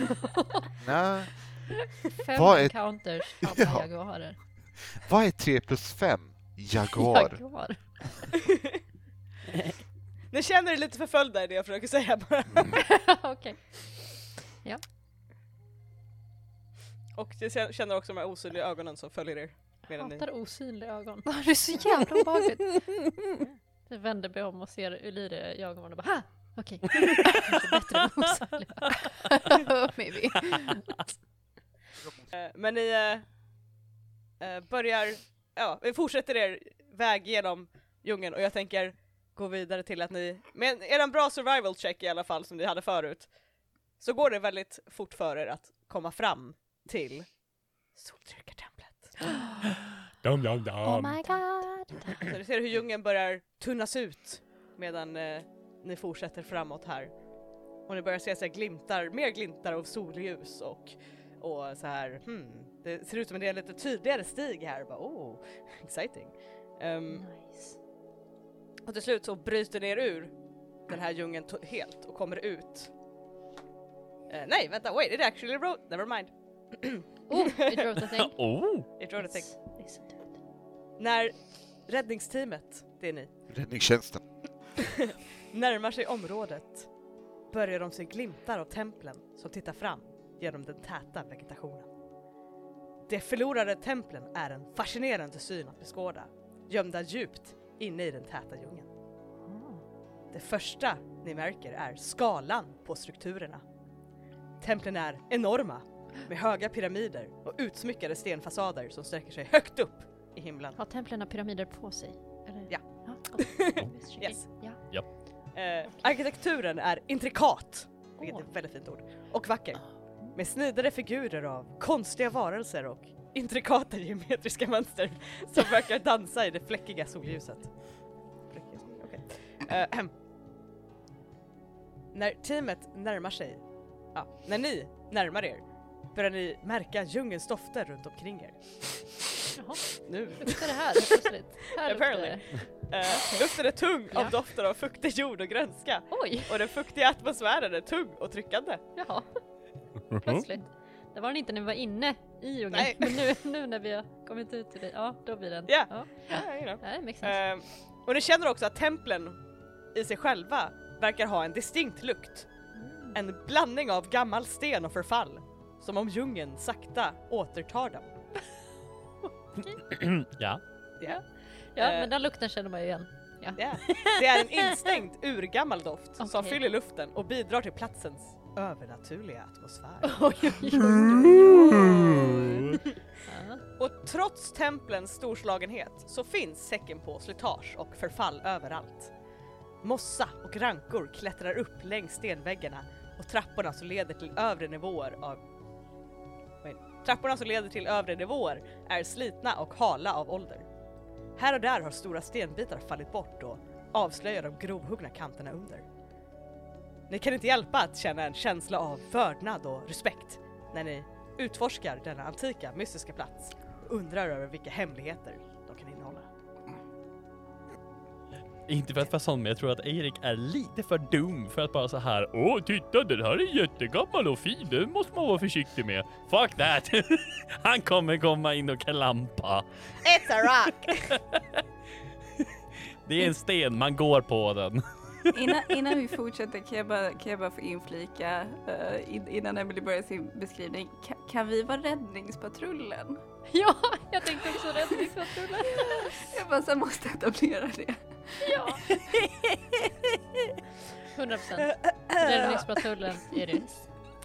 nej, Fem Vad är- encounters av Ja. jaguarer. vad är 3 plus 5? Jaguar. Jaguar. Ni känner er lite förföljda i det jag försöker säga bara. Okej. Och ni kän- känner också de här osynliga ögonen som följer er. Medan ni... Hatar osynliga ögon. Det är så jävla obehagligt. Jag vänder mig om och ser Ulyre i ögonen och bara ha! Okej. Kanske bättre än osynliga. Maybe. Eh, Men ni eh, eh, börjar, ja, vi fortsätter er väg genom djungeln och jag tänker gå vidare till att ni, med eran bra survival check i alla fall som ni hade förut, så går det väldigt fort för er att komma fram till Soltryckartemplet. Dam, dam, dam. Oh my god! Så du ser hur djungeln börjar tunnas ut medan eh, ni fortsätter framåt här. Och ni börjar se så här glimtar, mer glimtar av solljus och, och så här hmm, det ser ut som en del lite tydligare stig här. Bara, oh, exciting. Ehm, Nice. och till slut så bryter ni er ur den här djungeln to- helt och kommer ut. Eh, nej, vänta, wait, it actually wrote, never mind. Oh, it wrote a thing. Oh! It wrote a thing. Listen to it. När räddningsteamet, det är ni, Räddningstjänsten. närmar sig området börjar de se glimtar av templen som tittar fram genom den täta vegetationen. De förlorade templen är en fascinerande syn att beskåda, gömda djupt inne i den täta djungeln. Det första ni märker är skalan på strukturerna. Templen är enorma med höga pyramider och utsmyckade stenfasader som sträcker sig högt upp i himlen. Har templen pyramider på sig? Eller? Ja. gott. Yes. Ja. Eh, arkitekturen är intrikat, vilket är Åh. Ah. ett väldigt fint ord, och vacker. Med snidade figurer av konstiga varelser och intrikata geometriska mönster som verkar dansa i det fläckiga solljuset. Fläckigt, okej. Eh, ehm. när teamet närmar sig, ja, när ni närmar er börjar ni märka djungelns dofter runt omkring er. Jaha, Nu luktar det här helt plötsligt? Här luktar Apparently. det. eh, luften är tung Ja. av dofter av fuktig jord och grönska Oj, och den fuktiga atmosfären är tung och tryckande. jaha, plötsligt. Det var den inte när vi var inne i djungeln, Nej. men nu, nu när vi har kommit ut till dig, ja då blir den. Ja. Ja. Eh, Ja, you know. Nej, makes sense. Ehm, och ni känner också att templen i sig själva verkar ha en distinkt lukt. Mm. En blandning av gammal sten och förfall. Som om djungeln sakta återtar dem. ja. ja, eh. men den lukten känner man ju igen. Ja. Det är en instängd urgammal doft som Okej. fyller luften och bidrar till platsens övernaturliga atmosfär. Oj, oj, oj, oj, oj. Ja. Och trots templens storslagenhet så finns säcken på slitage och förfall överallt. Mossa och rankor klättrar upp längs stenväggarna och trapporna som leder till övre nivåer av... Wait. Trapporna som leder till övre nivåer är slitna och hala av ålder. Här och där har stora stenbitar fallit bort och avslöjar de grovhuggna kanterna under. Ni kan inte hjälpa att känna en känsla av vördnad och respekt när ni utforskar denna antika mystiska plats och undrar över vilka hemligheter de kan innehålla. Inte för att vara sån, men jag tror att Erik är lite för dum för att bara så här. Åh, titta den här är jättegammal och fin, den måste man vara försiktig med. Fuck that! Han kommer komma in och klampa. It's a rock! Det är en sten, man går på den. Innan, innan vi fortsätter kan jag bara, kan jag bara få inflika, eh, in, innan Emily börjar sin beskrivning, Ka, kan vi vara räddningspatrullen? ja, jag tänkte också räddningspatrullen. Jag bara, så här måste jag etablera det. ja. 100 procent. Räddningspatrullen är det. Eh,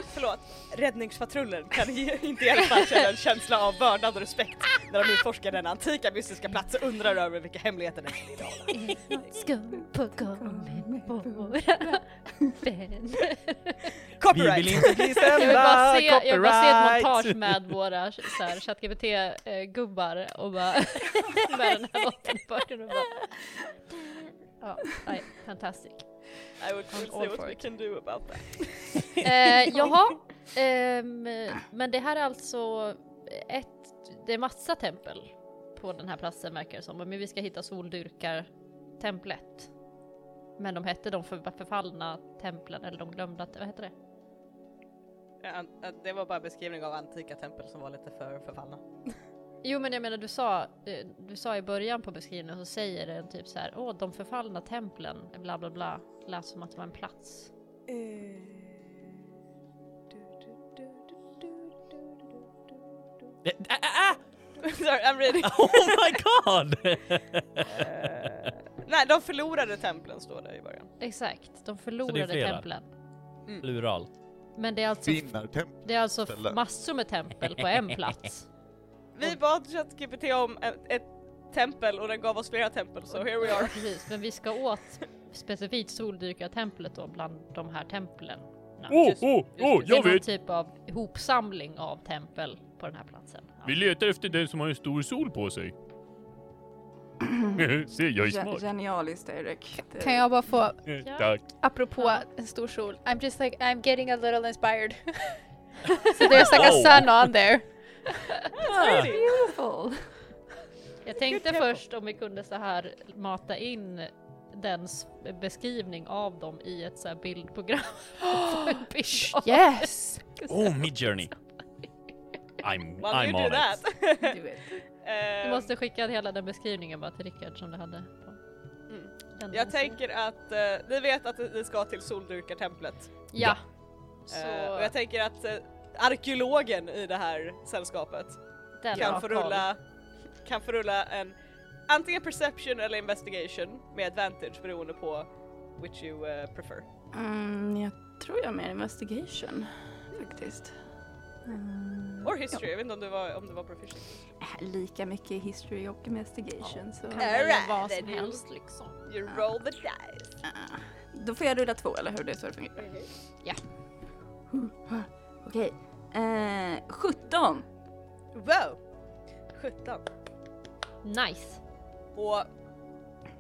Förlåt, räddningspatrullen kan ge- inte hjälpa att känna en känsla av vördnad och respekt när de utforskar denna antika mystiska plats och undrar över vilka hemligheter den kan innehålla. Är något skum på gång med våra vänner? Vi vill Copyright! inte bli Jag vill bara se, jag vill bara se ett copyright. montage med våra så här, ChatGPT-gubbar och bara med den här låten i bakgrunden och bara... Ja, nej, fantastic. I would I'm all for it. can do about that. Eh, jaha, ehm, men det här är alltså ett, det är massa tempel på den här platsen verkar det som, men vi ska hitta soldyrkar-templet. Men de hette de för, förfallna templen, eller de glömda, vad heter det? det var bara en beskrivning av antika tempel som var lite för förfallna. Jo men jag menar du sa, eh, du sa i början på beskrivningen så säger den typ så här, åh de förfallna templen, bla bla bla, lät som att det var en plats. Eh. Ä- ä- ä- ä! Sorry, I'm reading. Oh my god! Eh, nej, de förlorade templen står det i början. Exakt, de förlorade flera? templen. Plural. Men det är alltså, Vinnartemp. det är alltså f- ställe. massor med tempel på en plats. Vi bad ChatGPT om ett, ett tempel och den gav oss flera tempel, så here we Ja, are. precis, men vi ska åt specifikt soldyrkartemplet då bland de här templen. Åh, Just- åh, åh, det är jag någon vet! typ av hopsamling av tempel på den här platsen. Ja. Vi letar efter den som har en stor sol på sig. Se, jag är Gen- smart. Genialiskt Erik. Det- Kan jag bara få, Eh, Tack. apropå Ja. en stor sol, I'm just like, I'm getting a little inspired. so there's like a sun on there. Beautiful. Jag tänkte tempo. först om vi kunde så här mata in den s- beskrivning av dem i ett så här bildprogram. Få en bild av- Yes! Oh, mid journey. I'm, While I'm you do on that. it. Do it. Du Ehm, måste skicka hela den beskrivningen bara till Rickard som du hade. På. Mm. den hemsidan. jag tänker att eh, ni vet att ni ska till soldurkartemplet. Ja. Så Eh, och jag tänker att eh, arkeologen i det här sällskapet den kan har få, koll. rulla, kan få rulla en antingen perception eller investigation med advantage beroende på which you eh, prefer. Mm, jag tror jag har mer investigation faktiskt. Mm, Or history, jag vet inte om det var, om det var proficient. äh, Lika mycket i history och investigation så... Äh, Kan välja Alright, vad then som you- helst liksom. You roll the dice. Ah, Då får jag rulla två eller hur det är så det fungerar? Ja. Huh, Okej. Eh, 17! Wow! 17. Nice. Och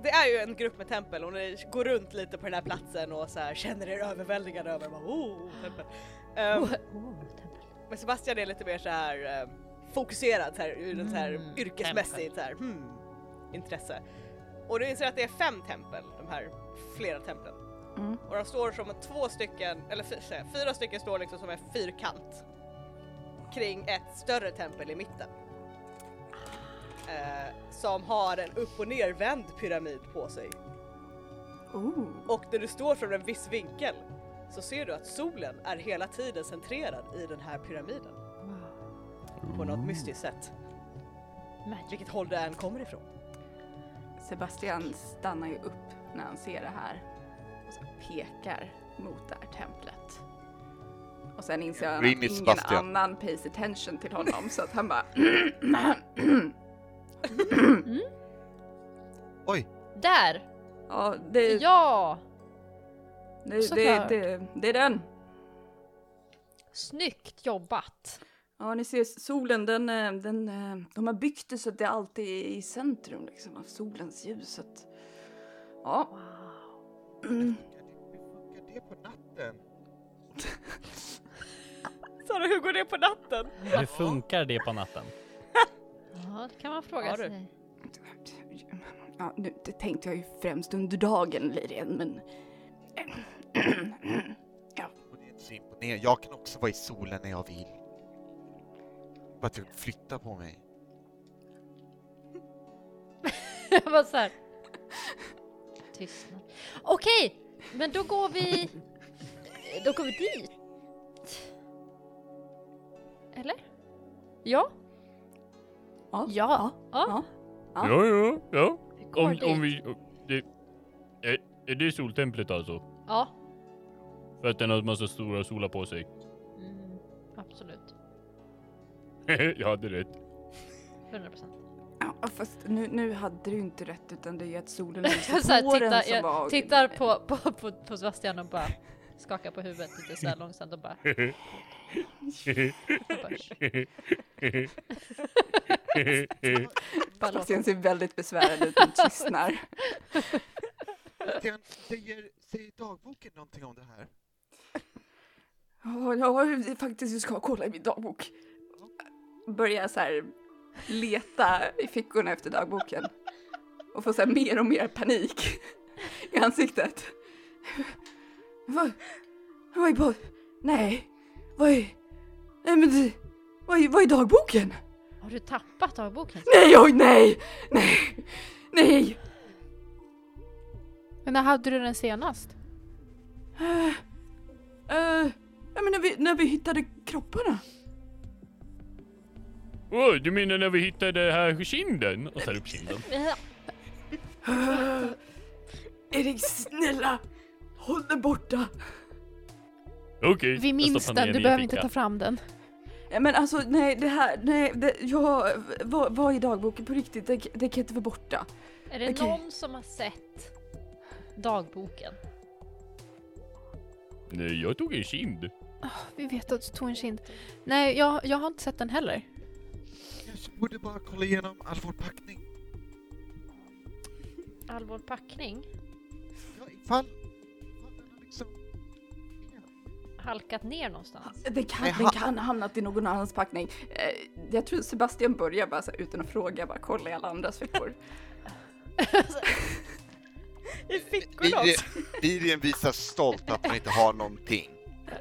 det är ju en grupp med tempel och ni går runt lite på den här platsen och så här känner er överväldigade över bara, oh, tempel. Ehm, Oh, tempel. Men Sebastian är lite mer så här eh, fokuserad så här, ur ett så här Mm, yrkesmässigt så här, hmm, intresse. Och du inser att det är fem tempel, de här flera templen. Mm. Och de står som två stycken, eller fy- så här, fyra stycken står liksom som en fyrkant kring ett större tempel i mitten. Eh, som har en upp och nervänd pyramid på sig. Oh. Och när du står från en viss vinkel så ser du att solen är hela tiden centrerad i den här pyramiden på något mystiskt sätt. Magic. Vilket håll det än kommer ifrån. Sebastian stannar ju upp när han ser det här och så pekar mot det här templet. Och sen inser han att Green is ingen Sebastian. annan pays attention till honom så att han bara... Där! ja, det, Ja! det, det, såklart. det, det är den. Snyggt jobbat! Ja, ni ser solen, den, eh, den, eh, de har byggt det så att det alltid är i centrum liksom, av solens ljus. Så att, ja. Mm. funkar det på natten? Sara, hur går det på natten? Hur funkar det på natten? Ja, det kan man fråga Ja, du. sig. Ja, nu det tänkte jag ju främst under dagen, Lirian, men... Och det är inte så imponerande. Jag kan också vara i solen när jag vill. Bara att jag flyttar på mig. Jag var såhär... Tystnad. Okej, men då går vi... Då går vi dit. Eller? Ja, Ja. Ja. ja. Ja. Ja, ja, ja. Vi går Om, dit. om vi... Det, är, är det soltemplet alltså? Ja. För att den har en massa stora solar på sig. Mm, absolut. jag hade rätt. 100 procent. Ja, fast nu, nu hade du inte rätt utan det är ju att solen lyser på den som var... Jag tittar på, på, på, på Sebastian och bara skakar på huvudet lite såhär långsamt och bara... Och bara, bara låter- Sebastian ser väldigt besvärad ut och tystnar. Den säger, säger dagboken någonting om det här? Ja, jag har faktiskt, jag ska kolla i min dagbok. Börjar så här leta i fickorna efter dagboken. Och får så här mer och mer panik i ansiktet. Vad? Vad är på? Nej. Vad är? Nej men det, vad är, vad är dagboken? Har du tappat dagboken? Nej, oj, nej, nej, nej. Men när hade du den senast? Uh, uh, jag menar vi, när vi hittade kropparna. Åh, du menar när vi hittade här kinden? Och tar upp kinden. Ah, Erik, snälla! Håll den borta! Okej. Vi jag minns stoppar den, ner du i behöver inte fickan. ta fram den. Ja, men alltså nej, det här, nej, det, jag, vad, vad är dagboken på riktigt? Det, det kan inte vara borta. Är det Okej. någon som har sett dagboken? Nej, jag tog en kind. Vi vet att du tog en kind. Nej, jag, jag har inte sett den heller. Kanske borde bara kolla igenom all vår packning. allvår packning Ja, ifall... ifall den har liksom... halkat ner någonstans? Alltså, Den kan, den kan ha hamnat i någon annans packning. Eh, jag tror Sebastian börjar bara så här, utan att fråga, bara kolla i alla andras fickor. I fickorna Lirien, också. Lirien visar stolt att hon inte har någonting.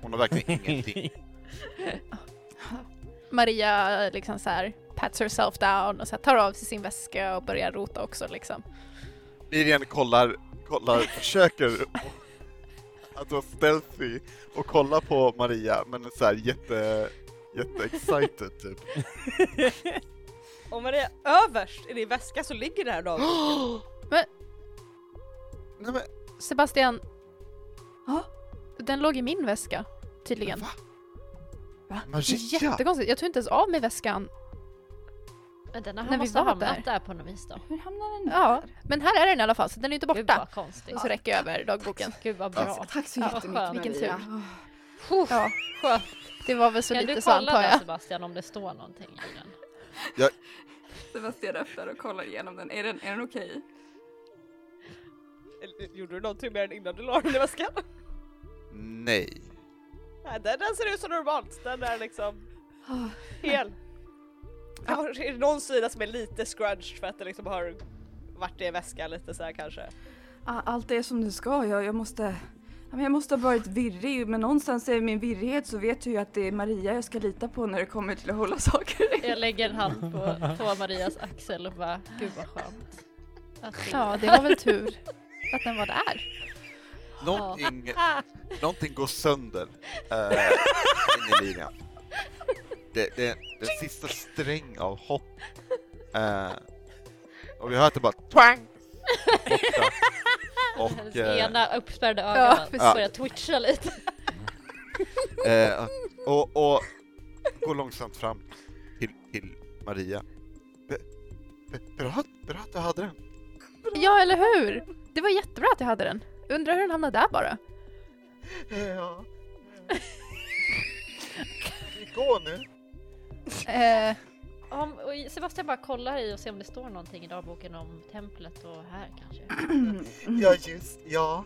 Hon har verkligen ingenting. Maria liksom så här pats herself down och så här tar av sig sin väska och börjar rota också liksom. Lirien kollar, kollar, försöker att vara stealthy och kolla på Maria men är såhär jätte, jätte-excited typ. Om man är överst i din väska så ligger det här dagboken. Nej men Sebastian, Ja? den låg i min väska tydligen. va? Va? Maria! Jättekonstigt, jag tog inte ens av mig väskan. Men den har När vi måste ha var hamnat där. där. på något vis då. Hur hamnar den där? Ja, men här är den i alla fall så den är inte Gud borta. Alltså, vad konstigt. Och så räcker jag över dagboken. Gud vad bra. Tack så Ja, skönt. jättemycket Maria. Vilken tur. Åh. Ja, Skönt. det var väl så Kan du lite så kolla antar där jag. Sebastian om det står någonting i den? Sebastian öppnar och kollar igenom den. Är den, är den okej? Eller, Gjorde du någonting med den innan du la den i väskan? Nej. Nej, den, den ser ut som normalt. Den är liksom Ah. hel. Ja, är det någon sida som är lite scrunched för att det liksom har varit i en väska lite så här kanske? Ah, Allt är som det ska. Jag, jag måste... ja, men Jag måste ha varit virrig, men någonstans i min virrighet så vet jag ju att det är Maria jag ska lita på när det kommer till att hålla saker. Jag lägger en hand på, på Marias axel och bara, gud vad skönt. Alltså, Att du- Ja, det var väl tur att den var där. Någonting, någonting går sönder eh, in i ligan. Det, det, den sista sträng av hopp. Eh, och vi hör att det bara twang! Borta. Hennes Och, eh, ena uppspärrade Ja, ögonen precis. börjar twitcha lite. Eh, och, och går långsamt fram till, till Maria. Be, be, bra, bra att du hade den. Ja, eller hur? Det var jättebra att jag hade den. Undrar hur den hamnade där bara. Ja. Vi går nu. Eh, Om, och Sebastian bara kollar i och ser om det står någonting i dagboken om templet och här kanske. Ja, just ja.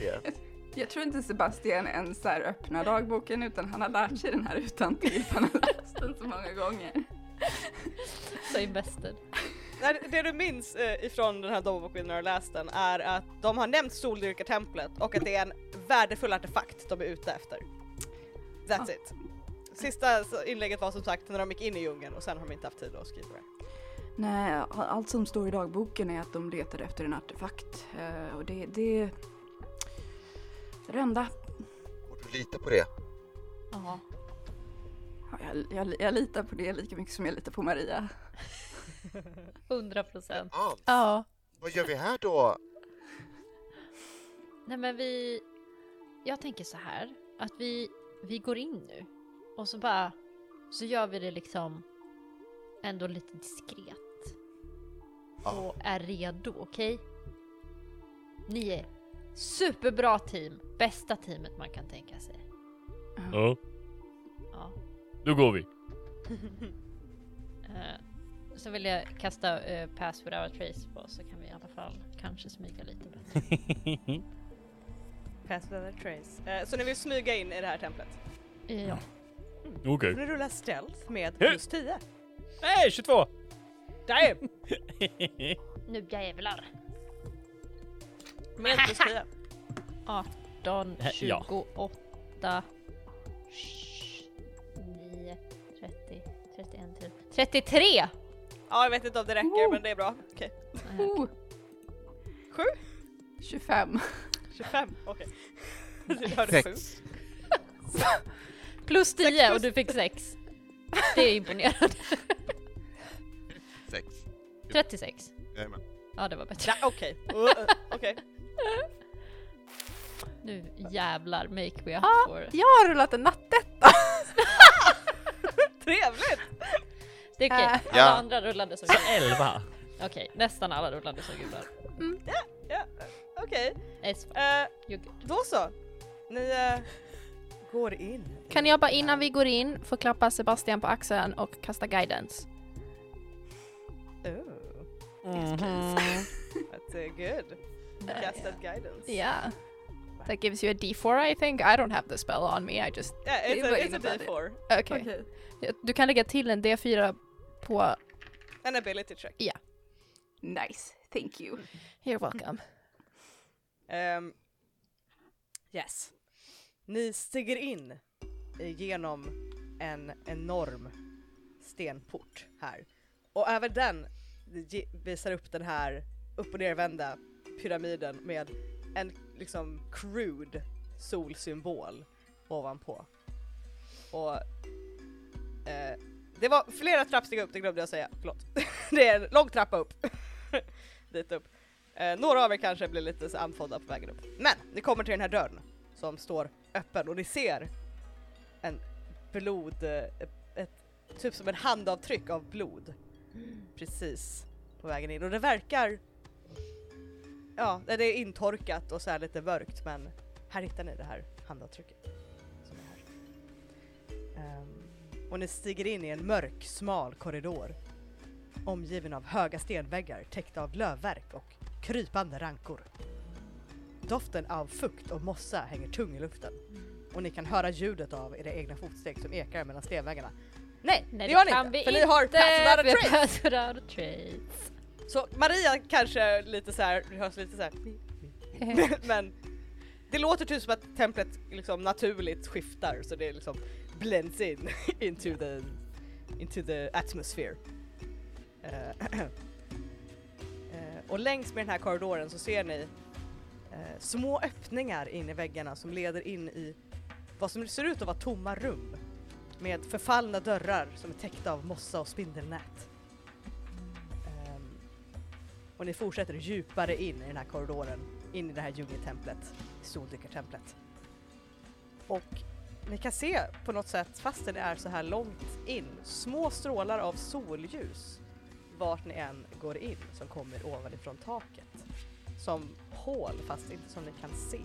Gör det. Jag tror inte Sebastian ens så här öppnar dagboken utan han har lärt sig den här utan till. Han har läst den så många gånger. Så invested. Nej, det- det du minns eh, ifrån den här dagboken när du läst den är att de har nämnt Soldyrkartemplet och att det är en värdefull artefakt de är ute efter. That's it. Sista eh, så- inlägget var som sagt när de gick in i djungeln och sen har de inte haft tid att skriva det. Nej, a- allt som står i dagboken är att de letar efter en artefakt. eh, Och det... det... det enda. Och du litar på det? Ja. Ja, Jag, jag, jag litar på det lika mycket som jag litar på Maria. 100 procent. Allt. ja, Vad gör vi här då? Nej men vi... Jag tänker så här. Att vi, vi går in nu. Och så bara... Så gör vi det liksom ändå lite diskret. Och är redo, okej? Ni är superbra team. Bästa teamet man kan tänka sig. Ja, Ja. då går vi. Eh, så vill jag kasta eh, pass without a trace på så kan vi i alla fall kanske smyga lite bättre. Pass without trace. Eh, så ni vill smyga in i det här templet. Ja. Okej. Får ni rulla stealth med Hur? plus 10. Nej, 22! Damn! Nu jävlar! Med plus 10. 18, Eh, ja. 28, 9, 30, 31 till. 33! Ja, jag vet inte om det räcker men det är bra. Okej. Oh, Sju? 25. 25? Okej. Du hörde sju. Sex. Plus 10 plus- och du fick 6. Det är imponerande. Sex. 36. Jajamän. Ja det var bättre. Nej, Okej. Uh, uh, Okej. Nu jävlar make we up for. jag har rullat en nattetta. Trevligt! Det är okej, Äh. alla Ja. andra rullade som gubbar. 11! Okej, nästan alla rullade som gubbar. Okej. It's fine. Eh, You're good. Då så! Ni eh, går in. Kan jag bara innan vi går in få klappa Sebastian på axeln och kasta guidance? Oh, Mhm. Mm, let's uh, good. Cast that guidance. Yeah. That gives you a D4 I think. I don't have the spell on me. I just... Yeah, it's, Det var a, it's a innebär det. D4. Okej. Ja, Du kan lägga till en D4 på... An ability check. Nice, thank you. You're welcome. Ehm, yes. Ni stiger in genom en enorm stenport här. Och även den ge- visar upp den här upp och nervända pyramiden med en liksom crude solsymbol ovanpå. Och eh, det var flera trappsteg upp, det glömde jag säga, förlåt. det är en lång trappa upp. Dit upp. Eh, några av er kanske blir lite så andfådda på vägen upp. Men ni kommer till den här dörren som står öppen och ni ser en blod, eh, ett, typ som en handavtryck av blod precis på vägen in och det verkar, ja det är intorkat och så här lite mörkt men här hittar ni det här handavtrycket. Som är här. Ehm, och ni stiger in i en mörk, smal korridor omgiven av höga stenväggar täckta av lövverk och krypande rankor. Doften av fukt och mossa hänger tung i luften och ni kan höra ljudet av era egna fotsteg som ekar mellan stenväggarna. Nej, Nej, det gör ni kan inte! vi För ni har inte, Pass Without a för vi har Trace. Pass without a trace. Så Maria kanske lite så här, det hörs lite så här. men det låter typ som att templet liksom naturligt skiftar så det liksom blends in into the, into the atmosphere. Eh, eh, och längs med den här korridoren så ser ni eh, små öppningar in i väggarna som leder in i vad som ser ut att vara tomma rum med förfallna dörrar som är täckta av mossa och spindelnät. Ehm, och ni fortsätter djupare in i den här korridoren, in i det här djungeltemplet, Soldykartemplet. Och ni kan se på något sätt, fast det är så här långt in, små strålar av solljus vart ni än går in som kommer ovanifrån taket. Som hål fast inte som ni kan se.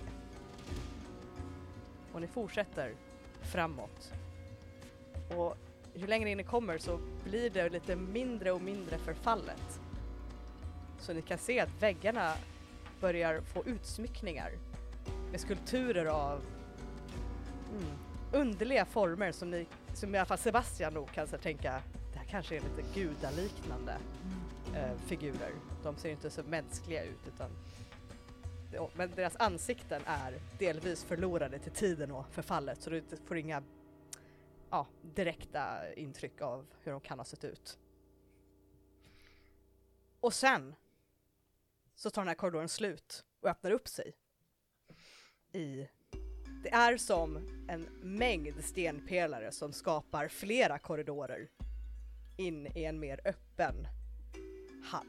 Och ni fortsätter framåt. Och ju längre in ni kommer så blir det lite mindre och mindre förfallet. Så ni kan se att väggarna börjar få utsmyckningar med skulpturer av mm, underliga former som, ni, som i alla fall Sebastian nog kan så här tänka, det här kanske är lite gudaliknande eh, figurer. De ser ju inte så mänskliga ut utan Ja, men deras ansikten är delvis förlorade till tiden och förfallet så du inte får inga ja, direkta intryck av hur de kan ha sett ut. Och sen så tar den här korridoren slut och öppnar upp sig. I... Det är som en mängd stenpelare som skapar flera korridorer in i en mer öppen hall.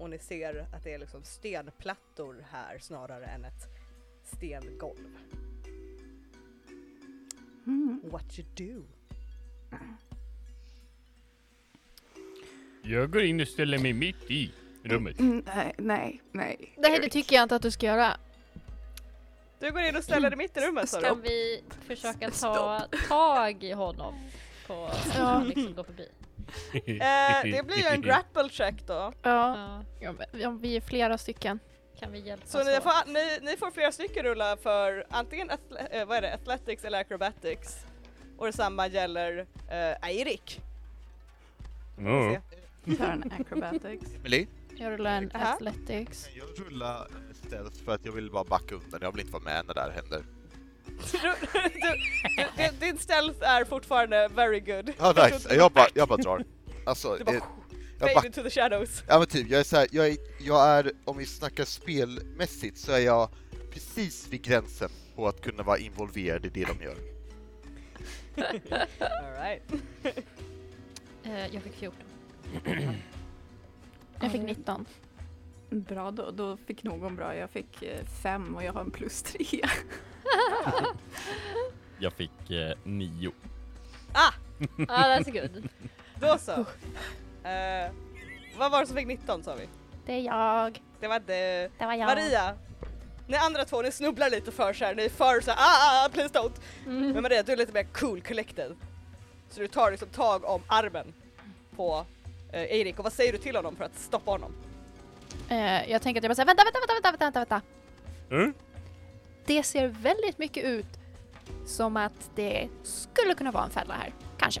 Och ni ser att det är liksom stenplattor här snarare än ett stengolv. Mm. What you do? Jag går in och ställer mig mitt i rummet. Mm, nej, nej, nej. Nej, det tycker jag inte att du ska göra. Du går in och ställer dig mitt i rummet sa du? Kan vi försöka ta tag i honom? På, Ja. liksom gå förbi. Eh, det blir ju en grapple check då. Ja. Ja. ja. Vi är flera stycken. Kan vi hjälpas Så ni åt? får, ni, ni får flera stycken rulla för antingen atl- eh, vad är det, athletics eller acrobatics. Och detsamma gäller eh, Eirik. Ja. Tar en acrobatics. Emily? Jag rullar en Aha. athletics. Kan jag rulla stealth för att jag vill bara backa undan? Jag vill inte vara med när det här händer. Du, du, din, din stealth är fortfarande very good. Ja, nice. Jag bara, jag bara drar. Alltså, Du bara eh, jag Fade backar. into the shadows. Ja men typ, jag är så här, jag är, jag är, om vi snackar spelmässigt så är jag precis vid gränsen på att kunna vara involverad i det de gör. All right. Eh, jag fick 14. Jag fick 19. Bra då, då fick någon bra. Jag fick eh, fem och jag har en plus tre. Jag fick eh, nio. Ah, that's good. Då så. Eh, vad var det som fick 19 sa vi? Det är jag. Det var det. Det var jag. Maria. Ni andra två, ni snubblar lite för så här, ni är för så här, ah, ah, please don't. Mm. Men Maria, du är lite mer cool collected. Så du tar liksom tag om armen på eh, Eirik och vad säger du till honom för att stoppa honom? Eh, jag tänker att jag bara säger vänta, vänta, vänta, vänta, vänta, vänta. Mm. Det ser väldigt mycket ut som att det skulle kunna vara en fälla här. Kanske.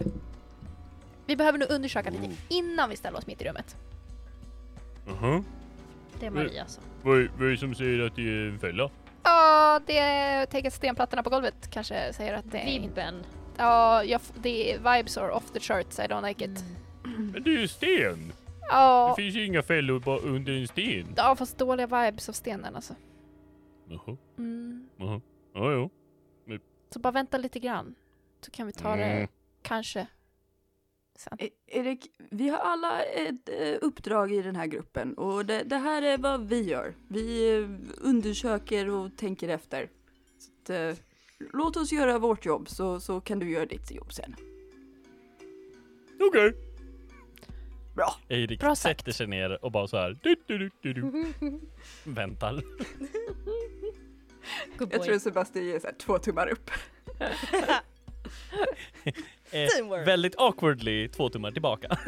Vi behöver nog undersöka Mm. lite innan vi ställer oss mitt i rummet. Aha. Det är Mm. Maria som... Vad, är- vad är det som säger att det är en fälla? Ja, det... Tänk att stenplattorna på golvet kanske säger att det är... inte- Vibben. Ja, jag f- det är vibes are off the charts, I don't like Mm. it. Men det är ju sten! Ja, Det finns ju inga fällor bara under en sten. ja, fast dåliga vibes av stenen alltså. Jaha, Mm. jaha. Ja, ja. Så bara vänta lite grann. Så kan vi ta det, Mm. kanske. Sen. E- Erik, vi har alla ett eh, uppdrag i den här gruppen och det, det här är vad vi gör. Vi eh, undersöker och tänker efter. Så att, eh, låt oss göra vårt jobb så, så kan du göra ditt jobb sen. Okej. Erik Bra sagt. sätter sig ner och bara så här. Du, du, du, du, du. Väntar. Good boy. Jag tror Sebastian ger så här, två tummar upp. Eh, Teamwork. väldigt awkwardly två tummar tillbaka.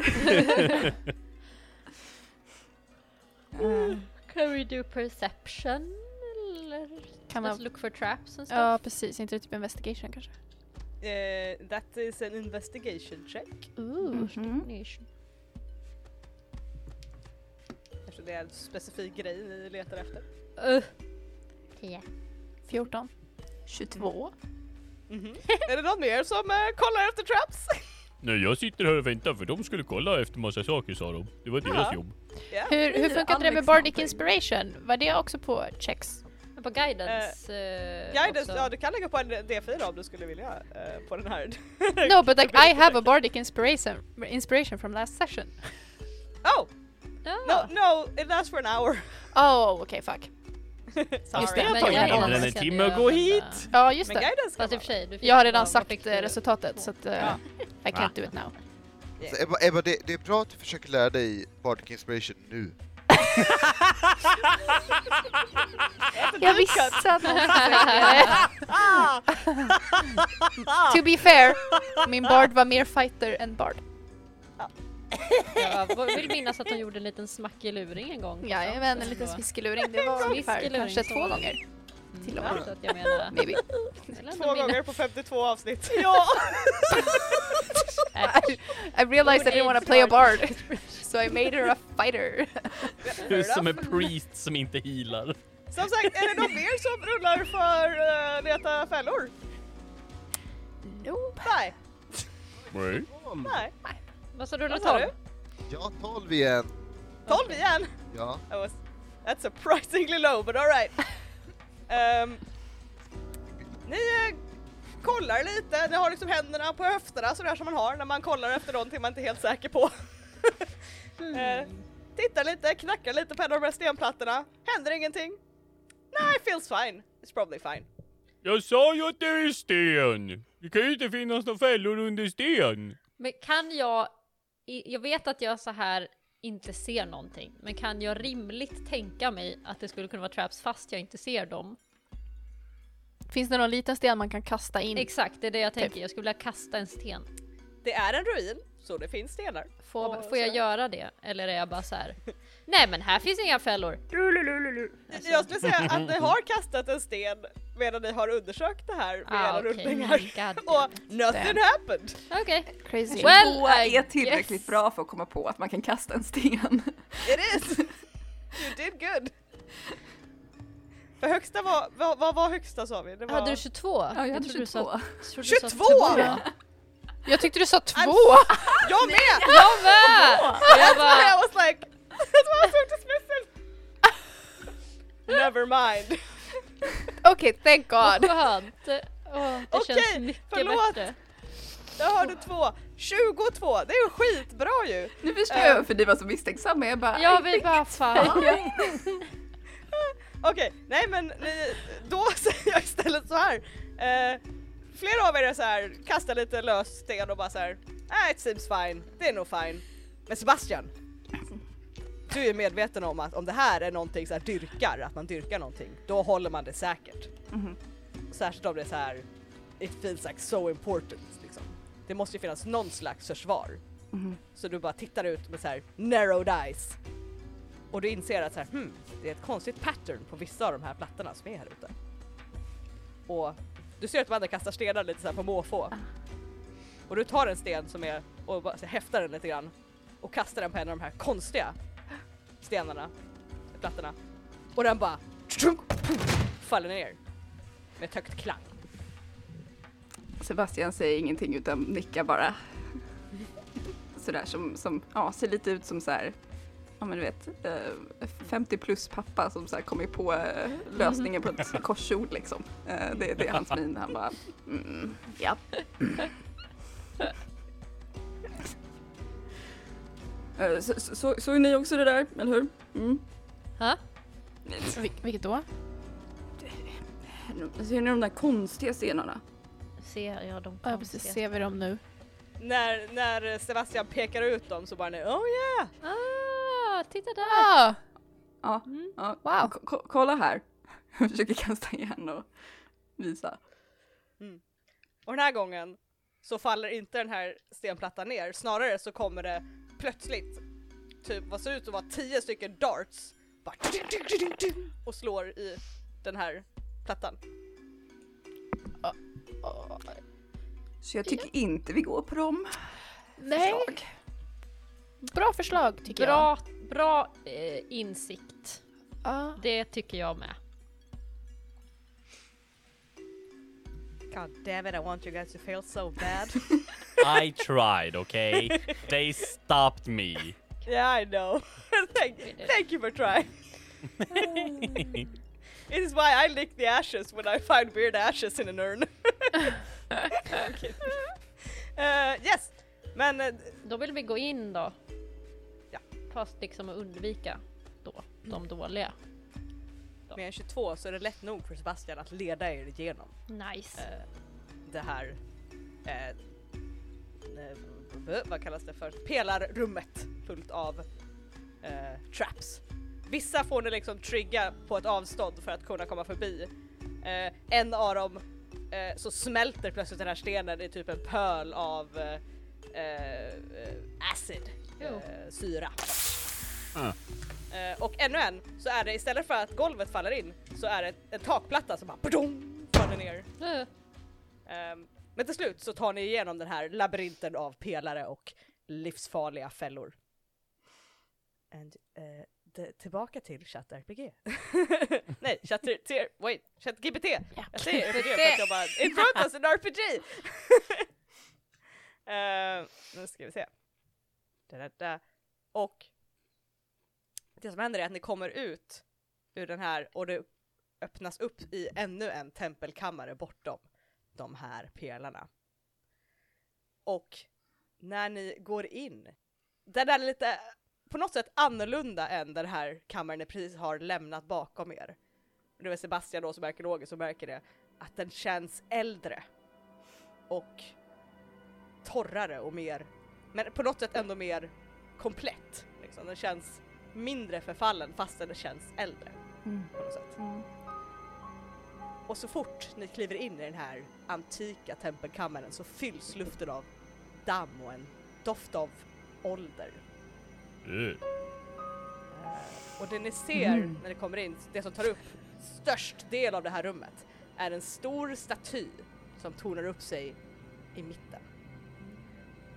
Mm. Can we do perception? Eller? Kan Let's man... look for traps and stuff? Ja, precis. Inte det typ investigation kanske? Eh, that is an investigation check. Ooh, Mhm. Mm-hmm. niche. Eftersom det är en specifik grej ni letar efter. Uh. Tio. 14? 22? Mhm. är det någon mer som eh, kollar efter traps? Nej, jag sitter här och väntar för de skulle kolla efter massa saker sa de. Det var deras Ja. jobb. Ja. Hur, hur Blir funkade det med Bardic Alex någonting? Inspiration? Var det också på checks? Men På guidance. eh, Guidance, också. ja du kan lägga på en D4 om du skulle vilja eh, på den här. No, but like I have a Bardic Inspiration, inspiration from last session. Oh! Ja. No, no, it lasts for an hour. Oh, okej, fuck. Sorry. Just det, jag Det Men jag har tagit mindre kan än en inte timme att gå använda- hit. Ja, just Men det. guidance kan Fast i och man. för sig, du fick- Jag har ja, redan vad sagt fick eh, du? resultatet så att eh, Ja. I can't do it now. Yeah. Så Ebba, Ebba det, det är bra att du försöker lära dig Bardic Inspiration nu. Jag visste att någon skulle säga det. To be fair, min bard var mer fighter än bard. Jag var- vill minnas att de gjorde en liten smackeluring en gång. Alltså, Jajamän, Så- en liten sviskeluring. Det var ungefär Sviskeluring kanske som- två gånger. Till och Ja, med. så att jag menar... Ah. Maybe. Eller ändå Två minnas- gånger på 52 avsnitt. ja! I, I realized I didn't want to play a bard, so I made her a fighter. Du som en priest som inte healar. Som sagt, är det någon mer som rullar för eh, leta fällor? Nope. Nej, Nej. nej. Vad sa du? Vad sa Lotta? du? Ja, 12 igen. 12 igen! Ja. That was, that's surprisingly low, but alright. um, ni eh, kollar lite, ni har liksom händerna på höfterna sådär som man har när man kollar efter någonting man inte är helt säker på. Hmm. Eh, tittar lite, knackar lite på en av de här stenplattorna, händer ingenting. Nej, feels fine. It's probably fine. Jag sa ju att det är sten! Det kan ju inte finnas några fällor under sten. Men kan jag... i- Jag vet att jag så här inte ser någonting, men kan jag rimligt tänka mig att det skulle kunna vara traps fast jag inte ser dem? Finns det någon liten sten man kan kasta in? Exakt, det är det jag tänker. Jag skulle vilja kasta en sten. Det är en ruin, så det finns stenar. Får, Och får jag så- göra det? Eller är jag bara så här? Nej men här finns inga fällor! Jag skulle säga att ni har kastat en sten medan ni har undersökt det här med era Ah, okej. rullningar. God Och damn. nothing happened! Okej. Crazy. Well, Två I är tillräckligt guess. bra för att komma på att man kan kasta en sten. It is! You did good! För högsta var, vad vad var högsta sa vi? Det var... Hade du 22? Ja, jag hade trodde du 22. sa- trodde du sa 22! två. Jag tyckte du sa två! Alltså, Jag med! Jag med! Och Jag I bara, was like, that's why I was so dismissive! Never mind. Okej, thank vad god. skönt! Åh, det Okej, känns mycket förlåt. bättre. Jag hörde två. 22, det är ju skitbra ju! Nu förstår jag varför ni var så misstänksamma. Jag bara, Jag vill bara fan. Okej, nej men ni, då säger jag istället så här. Eh, flera av er är så här, kastar lite lös sten och bara så här. Ah, it seems fine, det är nog fine. Men Sebastian, du är medveten om att om det här är någonting så här dyrkar, att man dyrkar någonting, då håller man det säkert. Särskilt om det är så här, it feels like so important liksom. Det måste ju finnas någon slags försvar. Mhm. Så du bara tittar ut med så här narrowed eyes. Och du inser att så här, hmm, det är ett konstigt pattern på vissa av de här plattorna som är här ute. Och du ser att de andra kastar stenar lite så här på måfå. Och du tar en sten som är och bara så här, häftar den lite grann och kastar den på en av de här konstiga stenarna, plattorna. Och den bara faller ner med ett högt klang. Sebastian säger ingenting utan nickar bara. Sådär som, som ja, ser lite ut som så här, ja men du vet, eh, 50 plus pappa som så här kommit på eh, lösningen på ett korsord liksom. Eh, det, det är hans min, han bara, mm, ja. Eh, så, så, så- såg ni också det där, eller hur? Mm. Ha? Vil- vilket då? Ser ni de där konstiga scenerna? Ser jag de Ja, precis. konstiga- Ser vi dem nu? När, när Sebastian pekar ut dem så bara ni oh yeah! Ah, titta där! Ah, Ja, Mm. ja. Wow. Ko- ko- kolla här. Jag försöker kasta igen och visa. Och den här gången så faller inte den här stenplattan ner, snarare så kommer det plötsligt typ vad ser ut som vara tio stycken darts bara och slår i den här plattan. Så jag tycker inte vi går på dem. nej. förslag. Bra förslag tycker Bra, jag. bra eh, insikt. Ja. Det tycker jag med. God damn it I want you guys to feel so bad. I tried, okay? They stopped me. yeah I know. thank, thank you for trying. It is why I lick the ashes when I find weird ashes in an urn. Okay. Eh, yes! Men eh, Då vill vi gå in då. Ja. Fast liksom att undvika då, de dåliga. med en 22 så är det lätt nog för Sebastian att leda er igenom Nice. eh, det här... eh, eh, b- b- vad kallas det för? Pelarrummet fullt av eh, traps. Vissa får ni liksom trigga på ett avstånd för att kunna komma förbi. Eh, en av dem eh, så smälter plötsligt den här stenen i typ en pöl av eh, eh, acid, eh, syra. Ah. Eh, och ännu en så är det istället för att golvet faller in så är det en takplatta som bara badong, faller ner. Eh, Ehm, men till slut så tar ni igenom den här labyrinten av pelare och livsfarliga fällor. And, eh, d- tillbaka till ChatRPG. Nej, ChatGPT. Wait, ChatGPT. Jag säger RPG för att jag bara, it wrote us an RPG! Ehm, nu ska vi se. Da, da, da. Och det som händer är att ni kommer ut ur den här och det öppnas upp i ännu en tempelkammare bortom de här pelarna. Och när ni går in, den är lite på något sätt annorlunda än den här kammaren ni precis har lämnat bakom er. Det var Sebastian då som är arkeologen som märker det, att den känns äldre och torrare och mer, men på något sätt ändå mer komplett. Liksom. Den känns mindre förfallen fastän den känns äldre på något sätt. Och så fort ni kliver in i den här antika tempelkammaren så fylls luften av damm och en doft av ålder. Eh, Eh, Och det ni ser när ni kommer in, det som tar upp störst del av det här rummet, är en stor staty som tornar upp sig i mitten.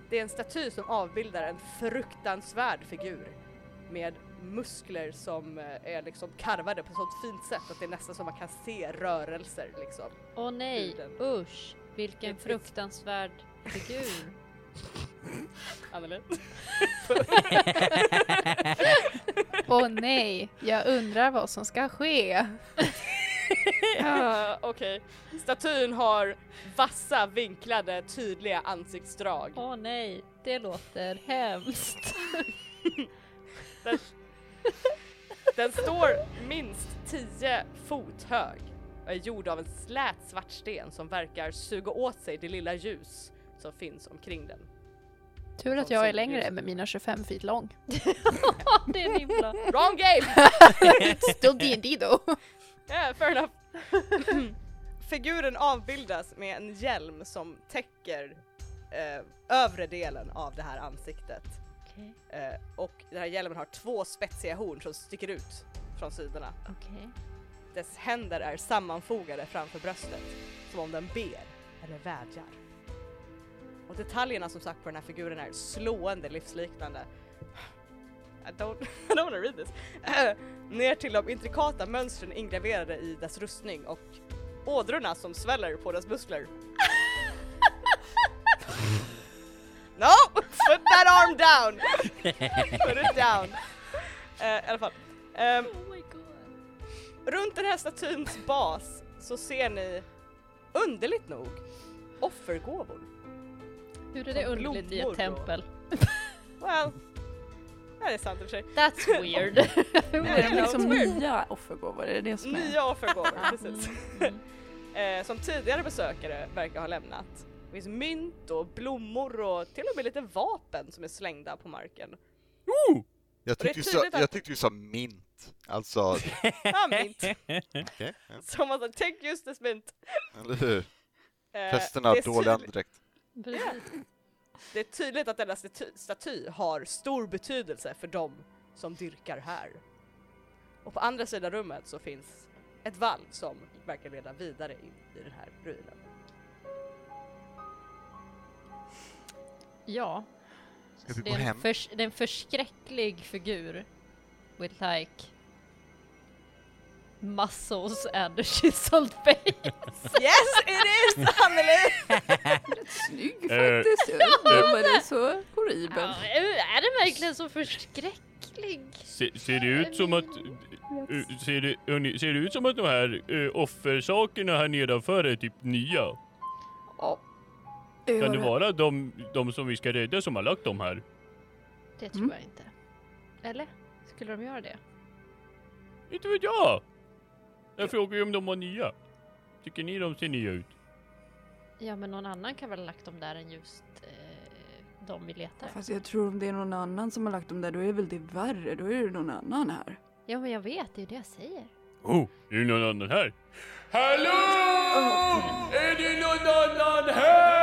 Det är en staty som avbildar en fruktansvärd figur med muskler som eh, är liksom karvade på ett sånt fint sätt att det är nästan som man kan se rörelser liksom. Åh nej, Huden. usch. Vilken It's- it's- fruktansvärd figur. Anneli? Åh nej, jag undrar vad som ska ske. Ja, Okej. Statyn har vassa, vinklade, tydliga ansiktsdrag. Åh nej, det låter hemskt. Den, den står minst 10 fot hög och är gjord av en slät svart sten som verkar suga åt sig det lilla ljus som finns omkring den. Tur att Som- jag är som längre ljus. med mina 25 feet lång. det är himla... Wrong game! Still D&D though. Yeah, fair enough. Figuren avbildas med en hjälm som täcker eh, övre delen av det här ansiktet. Okej, Eh, och den här hjälmen har två spetsiga horn som sticker ut från sidorna. okej. Dess händer är sammanfogade framför bröstet, som om den ber eller vädjar. Och detaljerna som sagt på den här figuren är slående livsliknande. I don't, I don't wanna read this. Eh, Ner till de intrikata mönstren ingraverade i dess rustning och ådrorna som sväller på dess muskler. no! Put that arm down! Put it down! Eh, I alla fall. Ehm, Oh my god. Runt den här statyns bas så ser ni, underligt nog, offergåvor. Hur är det Och underligt i blommor ett då? tempel? Well, ja, det är sant i och för sig. That's weird. Är det Mm. Ja, liksom weird. nya offergåvor? Är det det som är? Nya offergåvor, precis. Mm. Eh, som tidigare besökare verkar ha lämnat. Det finns mynt och blommor och till och med lite vapen som är slängda på marken. Jag Och det är tyckte du sa, tydligt att- jag tyckte du sa mint. Alltså, Ah, mynt! okej. ja, Som man sa, tänk just det mynt! Eller hur? Eh, Festerna det är har dålig tydligt- andedräkt. Precis. Det är tydligt att denna staty, staty har stor betydelse för dem som dyrkar här. Och på andra sidan rummet så finns ett valv som verkar leda vidare in i den här ruinen. Ja. Ska vi det, gå är en hem? förs- det är en förskräcklig figur. With like muscles and a chiseled face. Yes it is Anneli! Snygg Eh, faktiskt. Jag undrar om den är så horribel. Ja, är den verkligen så förskräcklig? Se, ser det ut som att... eh, Ser det, hörni, ser det ut som att de här eh, offersakerna här nedanför är typ nya? Ja. Kan det vara de, de som vi ska rädda som har lagt dem här? Det tror Mm. jag inte. Eller? Skulle de göra det? Inte vet jag! Jag frågar ju om de var nya. Tycker ni de ser nya ut? Ja, men någon annan kan väl ha lagt dem där än just eh, de vi letar. Fast jag tror om det är någon annan som har lagt dem där, då är väl det värre. Då är det någon annan här. Ja, men jag vet, det är ju det jag säger. Oh, är det någon annan här? Hallå! Är det någon annan här?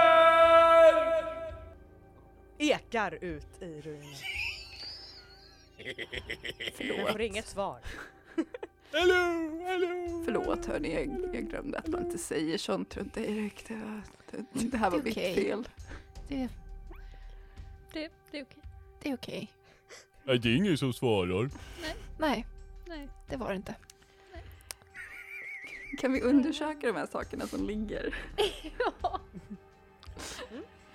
Ekar ut i ruinen. Men får inget svar. Hallå, hallå! Förlåt hörni, jag, jag glömde att man inte säger sånt runt direkt. Det, var, det, det här var Det är mitt okej. fel. Det, Det, det är okej. det är okej. Nej, det är ingen som svarar. Nej, Nej. det var det inte. Kan vi undersöka de här sakerna som ligger? Ja.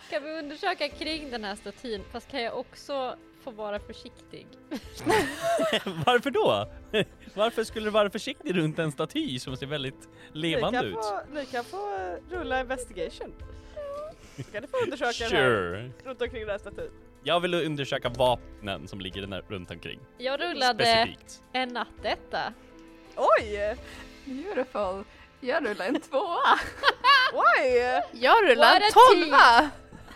Kan vi undersöka kring den här statyn? Fast kan jag också få vara försiktig? Varför då? Varför skulle du vara försiktig runt en staty som ser väldigt levande ni, ut? kan få, ni kan få eh, rulla investigation. Så kan ni få undersöka den här, Sure. runt omkring den här statyn. Jag vill undersöka vapnen som ligger där runt omkring. Jag rullade Specifikt. en nattetta. Oj! Beautiful. Jag rullar en tvåa. Oj! Jag rullar What en a tolva!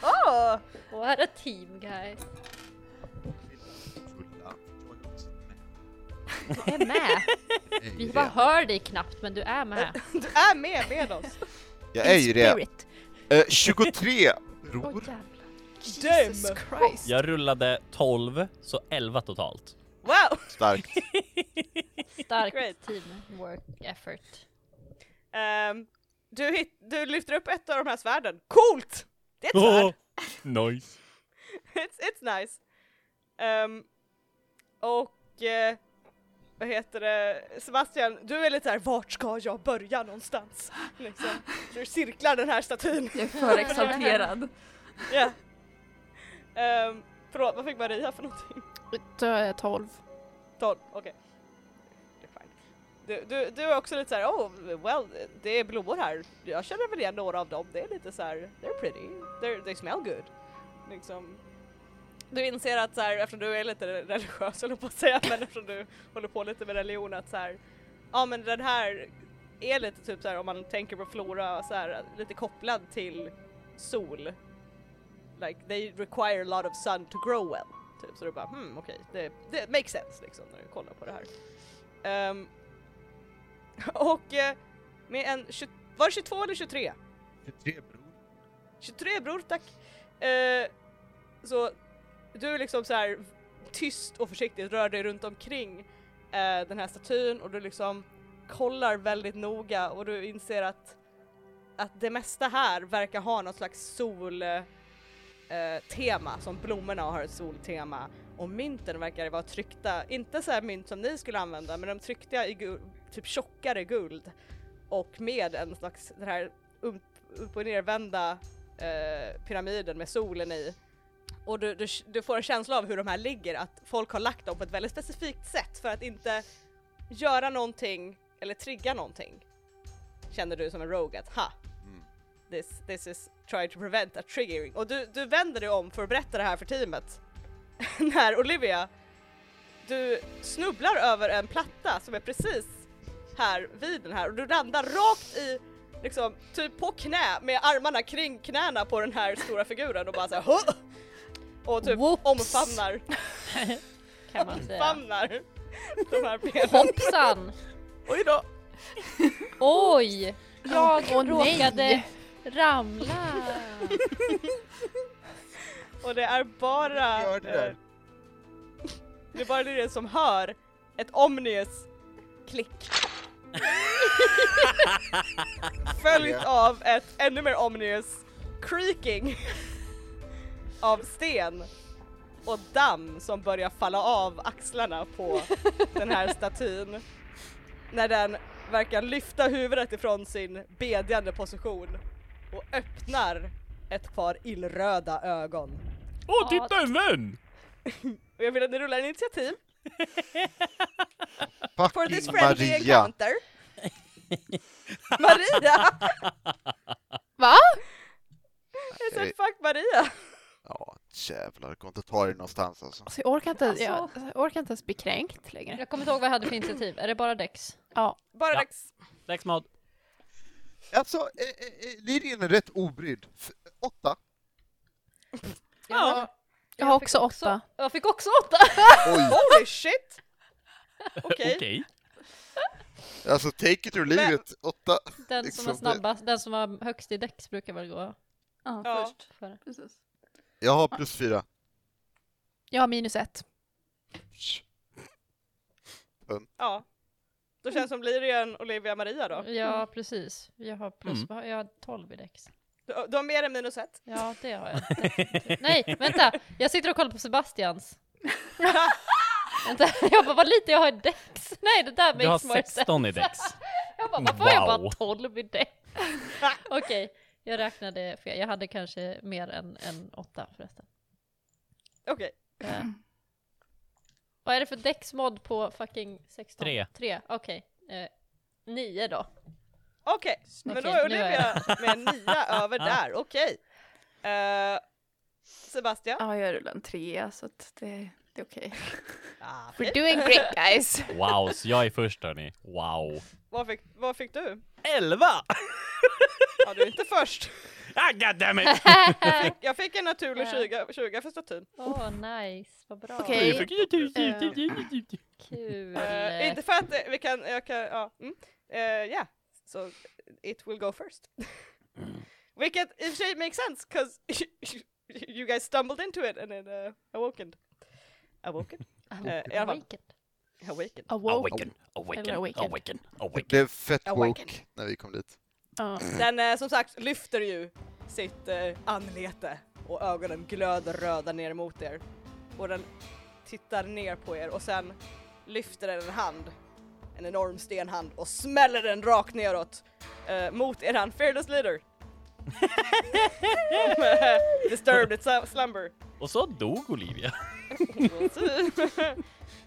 Åh! What a team guy. Fulla. Du är med. Vi bara hör dig knappt men du är med. Du är Äh, med med oss! Jag är ju det. Spirit. Eh, 23! Åh Bror. jävlar. Damn. Jesus Christ. Jag rullade 12, så 11 totalt. Wow! Starkt. Starkt Great. teamwork effort. Ehm, du, hit, du lyfter upp ett av de här svärden. Coolt! Det är ett svärd! nice. It's, it's nice! Ehm, och eh, vad heter det, Sebastian, du är lite såhär vart ska jag börja någonstans? Liksom. Du cirklar den här statyn. Jag är för exalterad. Ja. Ehm, förlåt, vad fick Maria för någonting? Då är jag tolv. 12, okej. Det är fine. Du, du, du är också lite såhär, oh well, det är blommor här. Jag känner väl igen några av dem. Det är lite såhär, they're pretty, they're, they smell good. Liksom. Du inser att såhär, eftersom du är lite religiös håller jag på att säga, men eftersom du håller på lite med religion att såhär, ja men den här är lite typ såhär om man tänker på flora såhär, lite kopplad till sol. Like they require a lot of sun to grow well. Typ. Så du bara hmm okej, det, det makes sense liksom när du kollar på det här. Ehm, och eh, med en, tju- var det 22 eller 23? 23 bror. 23 bror tack! Eh, så du liksom så här tyst och försiktigt rör dig runt omkring eh, den här statyn och du liksom kollar väldigt noga och du inser att, att det mesta här verkar ha något slags soltema, eh, tema, som blommorna har ett soltema och mynten verkar vara tryckta, inte så här mynt som ni skulle använda men de tryckta i gul, typ tjockare guld och med en slags den här upp, upp och nervända eh, pyramiden med solen i. Och du, du, du får en känsla av hur de här ligger, att folk har lagt dem på ett väldigt specifikt sätt för att inte göra någonting eller trigga någonting. Känner du som en rogue att ha, Mm. this, this is trying to prevent a triggering. Och du, du vänder dig om för att berätta det här för teamet. När Olivia, du snubblar över en platta som är precis här vid den här och du landar rakt i liksom typ på knä med armarna kring knäna på den här stora figuren och bara såhär Hå! Och typ Whoops. omfamnar, kan man säga. omfamnar de här benen. Hoppsan! Oj då! Oj! Jag råkade nej. ramla. Och det är bara... Gör det där. eh, det är bara Lydia som hör ett omnius klick. Följt av ett ännu mer omnius creaking av sten och damm som börjar falla av axlarna på den här statyn. När den verkar lyfta huvudet ifrån sin bedjande position och öppnar ett par illröda ögon. Åh, Ja. titta en vän! Och jag vill att ni rullar initiativ. For this Fucking friendly Maria! encounter. Maria! Va? Jag sa fuck Maria! Ja, jävlar. Jag kommer inte ta dig någonstans alltså. Alltså, jag, orkar inte, jag, jag orkar inte ens bli kränkt längre. Jag kommer inte ihåg vad jag hade för initiativ. Är det bara Dex? Bara Ja. dags. Lex mod. Alltså, eh, eh, eh, Lirien är rätt obrydd. F- åtta. Ja. Jag har också åtta. Jag fick också åtta! Oj! Holy shit! Okej. Okej. Alltså, take it or leave Men- it. Åtta. Den som Liksom var det- snabbast, den som var högst i Dex brukar väl gå Ja, Ja. först. före. Precis. Jag har plus fyra. Jag har minus ett. Ja. Då känns det som Lirian, Olivia, Maria då. Ja, precis. Jag har plus, Mm. vad har jag har 12 i Dex. Du, du har mer än minus ett. Ja, det har jag. definitivt. Nej, vänta! Jag sitter och kollar på Sebastians. vänta, jag bara, vad lite jag har i Dex. Nej, det där Du har makes more sense. 16 i Dex. Jag bara, varför har jag bara Wow. 12 i Dex? Okej, jag räknade fel. Jag hade kanske mer än, än 8 förresten. Okej. Eh, Vad är det för Dex-mod på fucking 16? Tre. 3, okej. Eh, 9 då. Okej, men då Okej, är nu är Olivia med en nia över där, okej. Eh, Sebastian? Ja, jag rullade en trea så att det, det är okej. Ah, We're fint. doing great guys! Wow, så jag är först hörni. Wow. vad, fick, vad fick du? 11! Ja, du är inte först. Ah, God damn it! Jag fick en naturlig Ja. 20, 20 för statyn. Åh, nice, vad bra. Okej. Jag typ- fick- Kul. Eh, inte för att eh, vi kan, jag kan, ja. Mm. Eh, yeah, so it will go first. Vilket i och för sig makes sense, cause you guys stumbled into it and then uh, awoken. Awoken? eh, i alla fall. Ah, Wicked. Awakened. Awoken. Eller awakened. Det blev fett Awaken. woke när vi kom dit. Ja. Den eh, som sagt lyfter ju sitt eh, anlete och ögonen glöder röda ner mot er. Och den tittar ner på er och sen lyfter den en hand, en enorm stenhand och smäller den rakt neråt eh, mot eran fearless leader. Som, eh, Disturbed its slumber. Och så dog Olivia.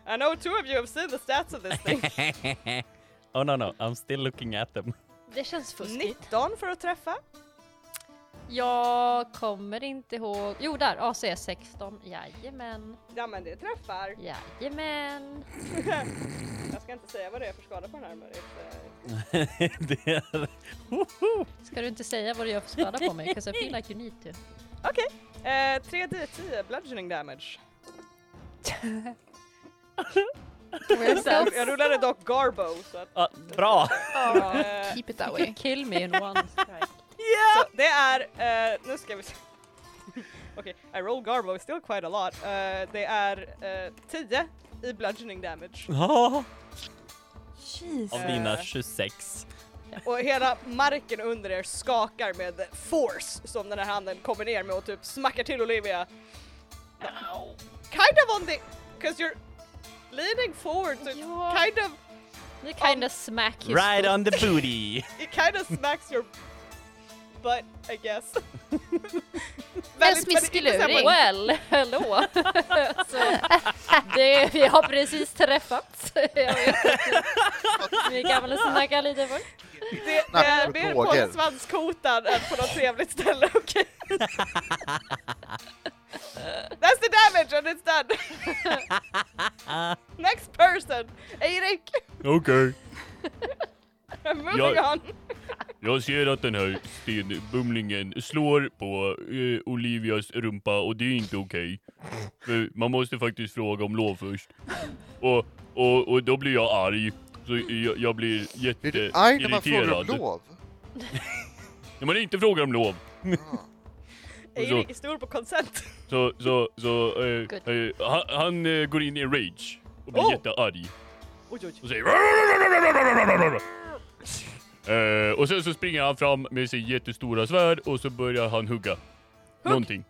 I know two of you have seen the stats of this thing. oh no no, I'm still looking at them. Det känns fuskigt. 19 för att träffa. Jag kommer inte ihåg. Jo, där. AC 16. Jajamän. Ja men det träffar. Jajamän. Jag ska inte säga vad det är för skada på den här men det är ett, eh, det är... Woho! Ska du inte säga vad du gör för skada på mig? 'Cause I feel like you need to. Okej, eh, 3D10 bludgeoning damage. Jag, jag rullade dock Garbo så att... Ah, bra! eh, Keep it that way. Kill me in one strike. så det är, eh, nu ska vi se. Okej, I roll garbo still quite a lot. Eh, det är eh, 10 i bludgeoning damage. Ja, Jesus. av dina 26. Och hela marken under er skakar med force som den här handen kommer ner med och typ smackar till Olivia. Kind of on the... Cause you're leaning forward so it's Ja. kind of... Det kind of smack you Right on the booty! It kind of smacks your butt I guess. Men men inte så här smiskeluring. på- Well, hallå! så, det, vi har precis träffats. Jag vet inte. vi kan väl snacka lite först. Det, det Snackar är och mer droger. på svanskotan än på något trevligt ställe, okej? That's the damage and it's done! Next person! Erik! Okej. I'm moving Jag- on! Jag ser att den här stenbumlingen slår på eh, Olivias rumpa och det är inte okej. För man måste faktiskt fråga om lov först. Och, och, och då blir jag arg. Så jag, jag blir Blir du arg när man jätteirriterad. frågar om lov? När man inte frågar om lov. Ja. Erik är stor på konsent. Så, så, så eh, Good. eh, han, han eh, går in i en rage och blir Oh! jättearg. Oj, oj, Och säger... Eh, och sen så springer han fram med sitt jättestora svärd och så börjar han hugga. Någonting.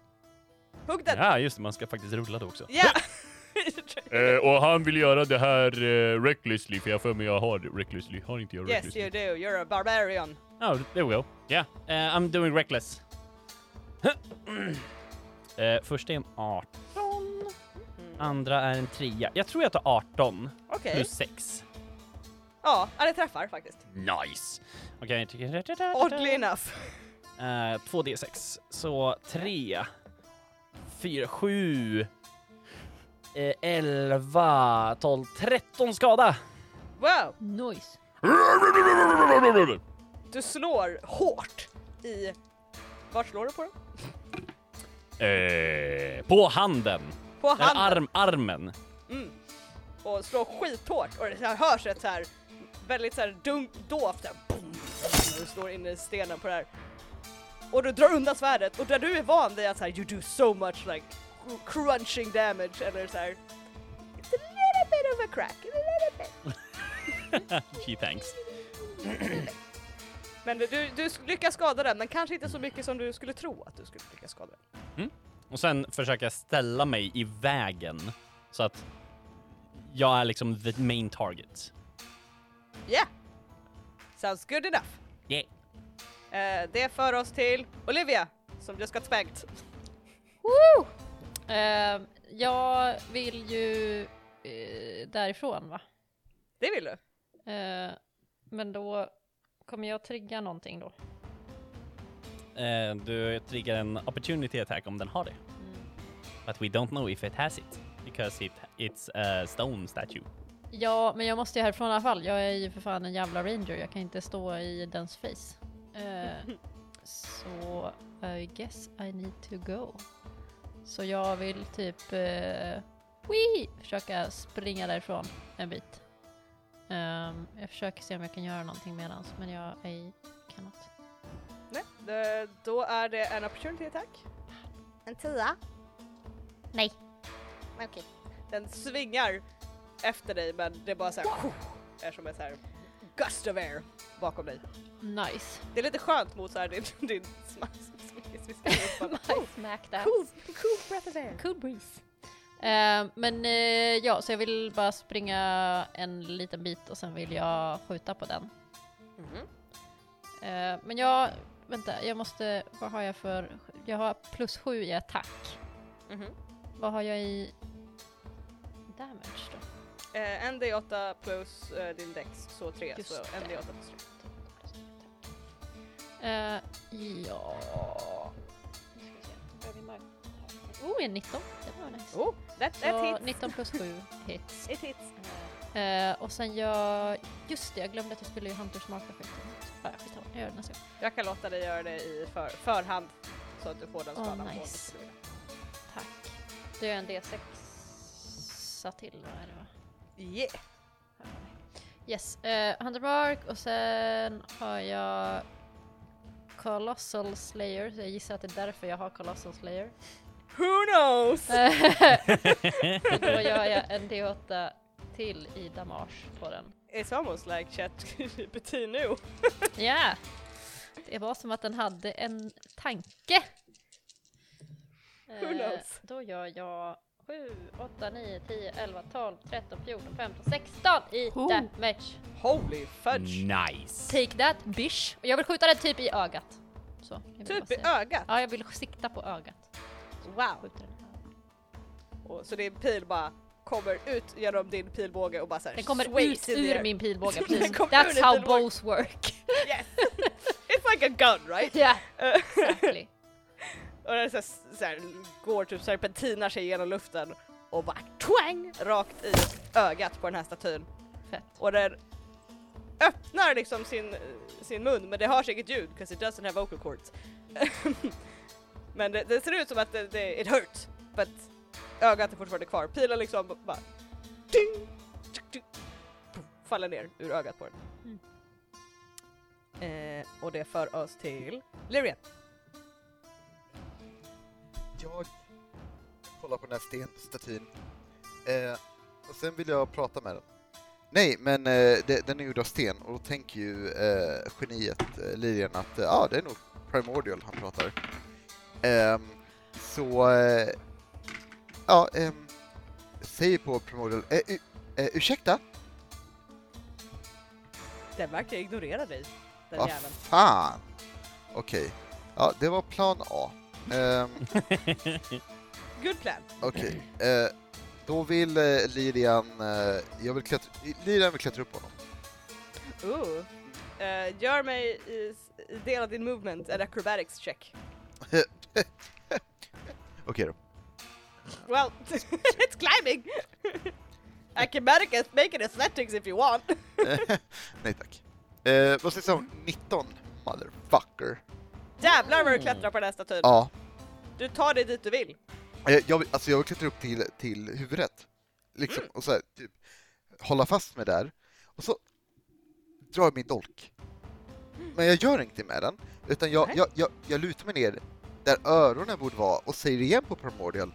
hugg den! Ja, just det, man ska faktiskt rulla det också. Ja! Eh, och han vill göra det här eh, recklessly, för jag för mig jag har recklessly. Har inte jag yes recklessly? you do, you're a barbarian. Oh, there we go. Yeah, uh, I'm doing reckless. uh, första är en 18, andra är en 3. Jag tror jag tar 18 Okej. plus 6. Ja, ja, det träffar faktiskt. Nice! Okej, jag tycker... Oddly enough. Eh, 2d6. Så 3, 4, 7, eh, 11, 12, 13 skada! Wow! Nice. Du slår hårt i... Vart slår du på den? Eh, på handen! På Eller handen. arm, armen. Mm. Och slår skithårt och det så här hörs ett så här väldigt så här dunk, dovt där, boom, när du slår in i stenen på det här. Och du drar undan svärdet och där du är van vid att så här you do so much like cr- crunching damage eller så här it's a little bit of a crack, a little bit. Gee thanks. Men du, du lyckas skada den men kanske inte så mycket som du skulle tro att du skulle lyckas skada den. Och sen försöker jag ställa mig i vägen så att jag är liksom the main target. Yeah! Sounds good enough. Yeah. Eh, det för oss till Olivia som just got spanked. Woo! Ehm, jag vill ju eh, därifrån va? Det vill du? Eh, men då kommer jag trigga någonting då. Eh, du triggar en opportunity attack om den har det. Mm. But we don't know if it has it because it, it's a stone statue. Ja, men jag måste ju härifrån i alla fall. Jag är ju för fan en jävla ranger. Jag kan inte stå i dens face. Eh, så I guess I need to go. Så jag vill typ eh, wee, försöka springa därifrån en bit. Ehm, jag försöker se om jag kan göra någonting medans, men jag ej cannot. Nej, det, då är det en opportunity attack. En tia. Nej. Okej. Den svingar efter dig men det är bara så här, är som en så här gust of air bakom dig. Nice. Det är lite skönt mot så här din, din smack. smack- smack- smack- I smacked that. Cool, cool breath of air. Cool breeze. Eh, men eh, ja, så jag vill bara springa en liten bit och sen vill jag skjuta på den. Mm-hmm, Eh, men jag, vänta, jag måste, vad har jag för, jag har plus sju i attack. Mhm. Vad har jag i damage då? Eh, en D8 plus eh, din dex så 3 Just så en det. D8 plus 3. Eh, ja... Nu ska vi se, vad är min mark- Oh, en 19. Det var nice. Oh, that, that Så hits. 19 plus 7 hits. It hits. Eh, och sen jag... Just det, jag glömde att jag skulle göra Hunters Marker först. Ja, skitsamma, jag gör det nästa gång. Jag kan låta dig göra det i för, förhand så att du får den Åh, skadan på nice. dig. Tack. Då gör jag en D6 till då, är det va? Yeah. Yes, uh, Hunter Mark och sen har jag Colossal Slayer, så jag gissar att det är därför jag har Colossal Slayer. Who knows? Då gör jag en D8 till i damage på den. It's almost like ChatGPT nu. Ja! Det var som att den hade en tanke. Eh, Who knows? då gör jag 7, 8, 9, 10, 11, 12, 13, 14, 15, 16 i Oh. damage. Holy Mm. fudge! Nice. Take that bish. Och jag vill skjuta den typ i ögat. Så, jag vill bara Typ i säga. ögat. Ja, jag vill sikta på ögat. Wow! Skjuter den. i ögat. Och, så din pil bara kommer ut genom din pilbåge och bara såhär Den kommer sways ut in the ur air. min pilbåge, Den precis. kommer ur That's din how pilbåge. bows work. Yes! It's like a gun right? Ja, Eh, exactly. och den så så går typ serpentinar sig genom luften och bara twang rakt i ögat på den här statyn. Fett. Och den öppnar liksom sin, sin mun men det hörs inget ljud 'cause it doesn't have vocal cords. men det, det ser ut som att det, det, it hurts but ögat är fortfarande kvar. Pilen liksom b- bara ding, tsk, tsk, pum, faller ner ur ögat på den. Eh, och det för oss till Lyrian. Jag kollar på den här stenstatyn. Eh, och sen vill jag prata med den. Nej, men eh, det, den är gjord av sten och då tänker ju eh, geniet eh, Lirian att eh, ah, det är nog Primordial han pratar. Ehm, så... Eh, ja, ehm, säger på Primordial... Eh, u- eh, ursäkta? Den verkar ignorera dig, den Vad jäveln. fan! Okej. Ja, det var plan A. Ehm, Good plan. Okej, eh, då vill eh, Lirian... Eh, jag vill klättra, Lirian vill klättra upp honom. Ooh. Eh, gör mig i, i del av din movement en acrobatics check. Okej då. Well, it's climbing! Acrobatics, make it athletics if you want! Nej tack. Eh, vad sägs om 19? Motherfucker. Jävlar vad du klättrar på den här statyn. Ja. Du tar dig dit du vill. Eh, jag, vill- alltså jag vill klättra upp till, till huvudet. Liksom, och så här, typ hålla fast mig där. Och så drar jag min dolk. Men jag gör ingenting med den, utan jag, Nej. jag, jag, jag lutar mig ner där öronen borde vara och säger igen på Primordial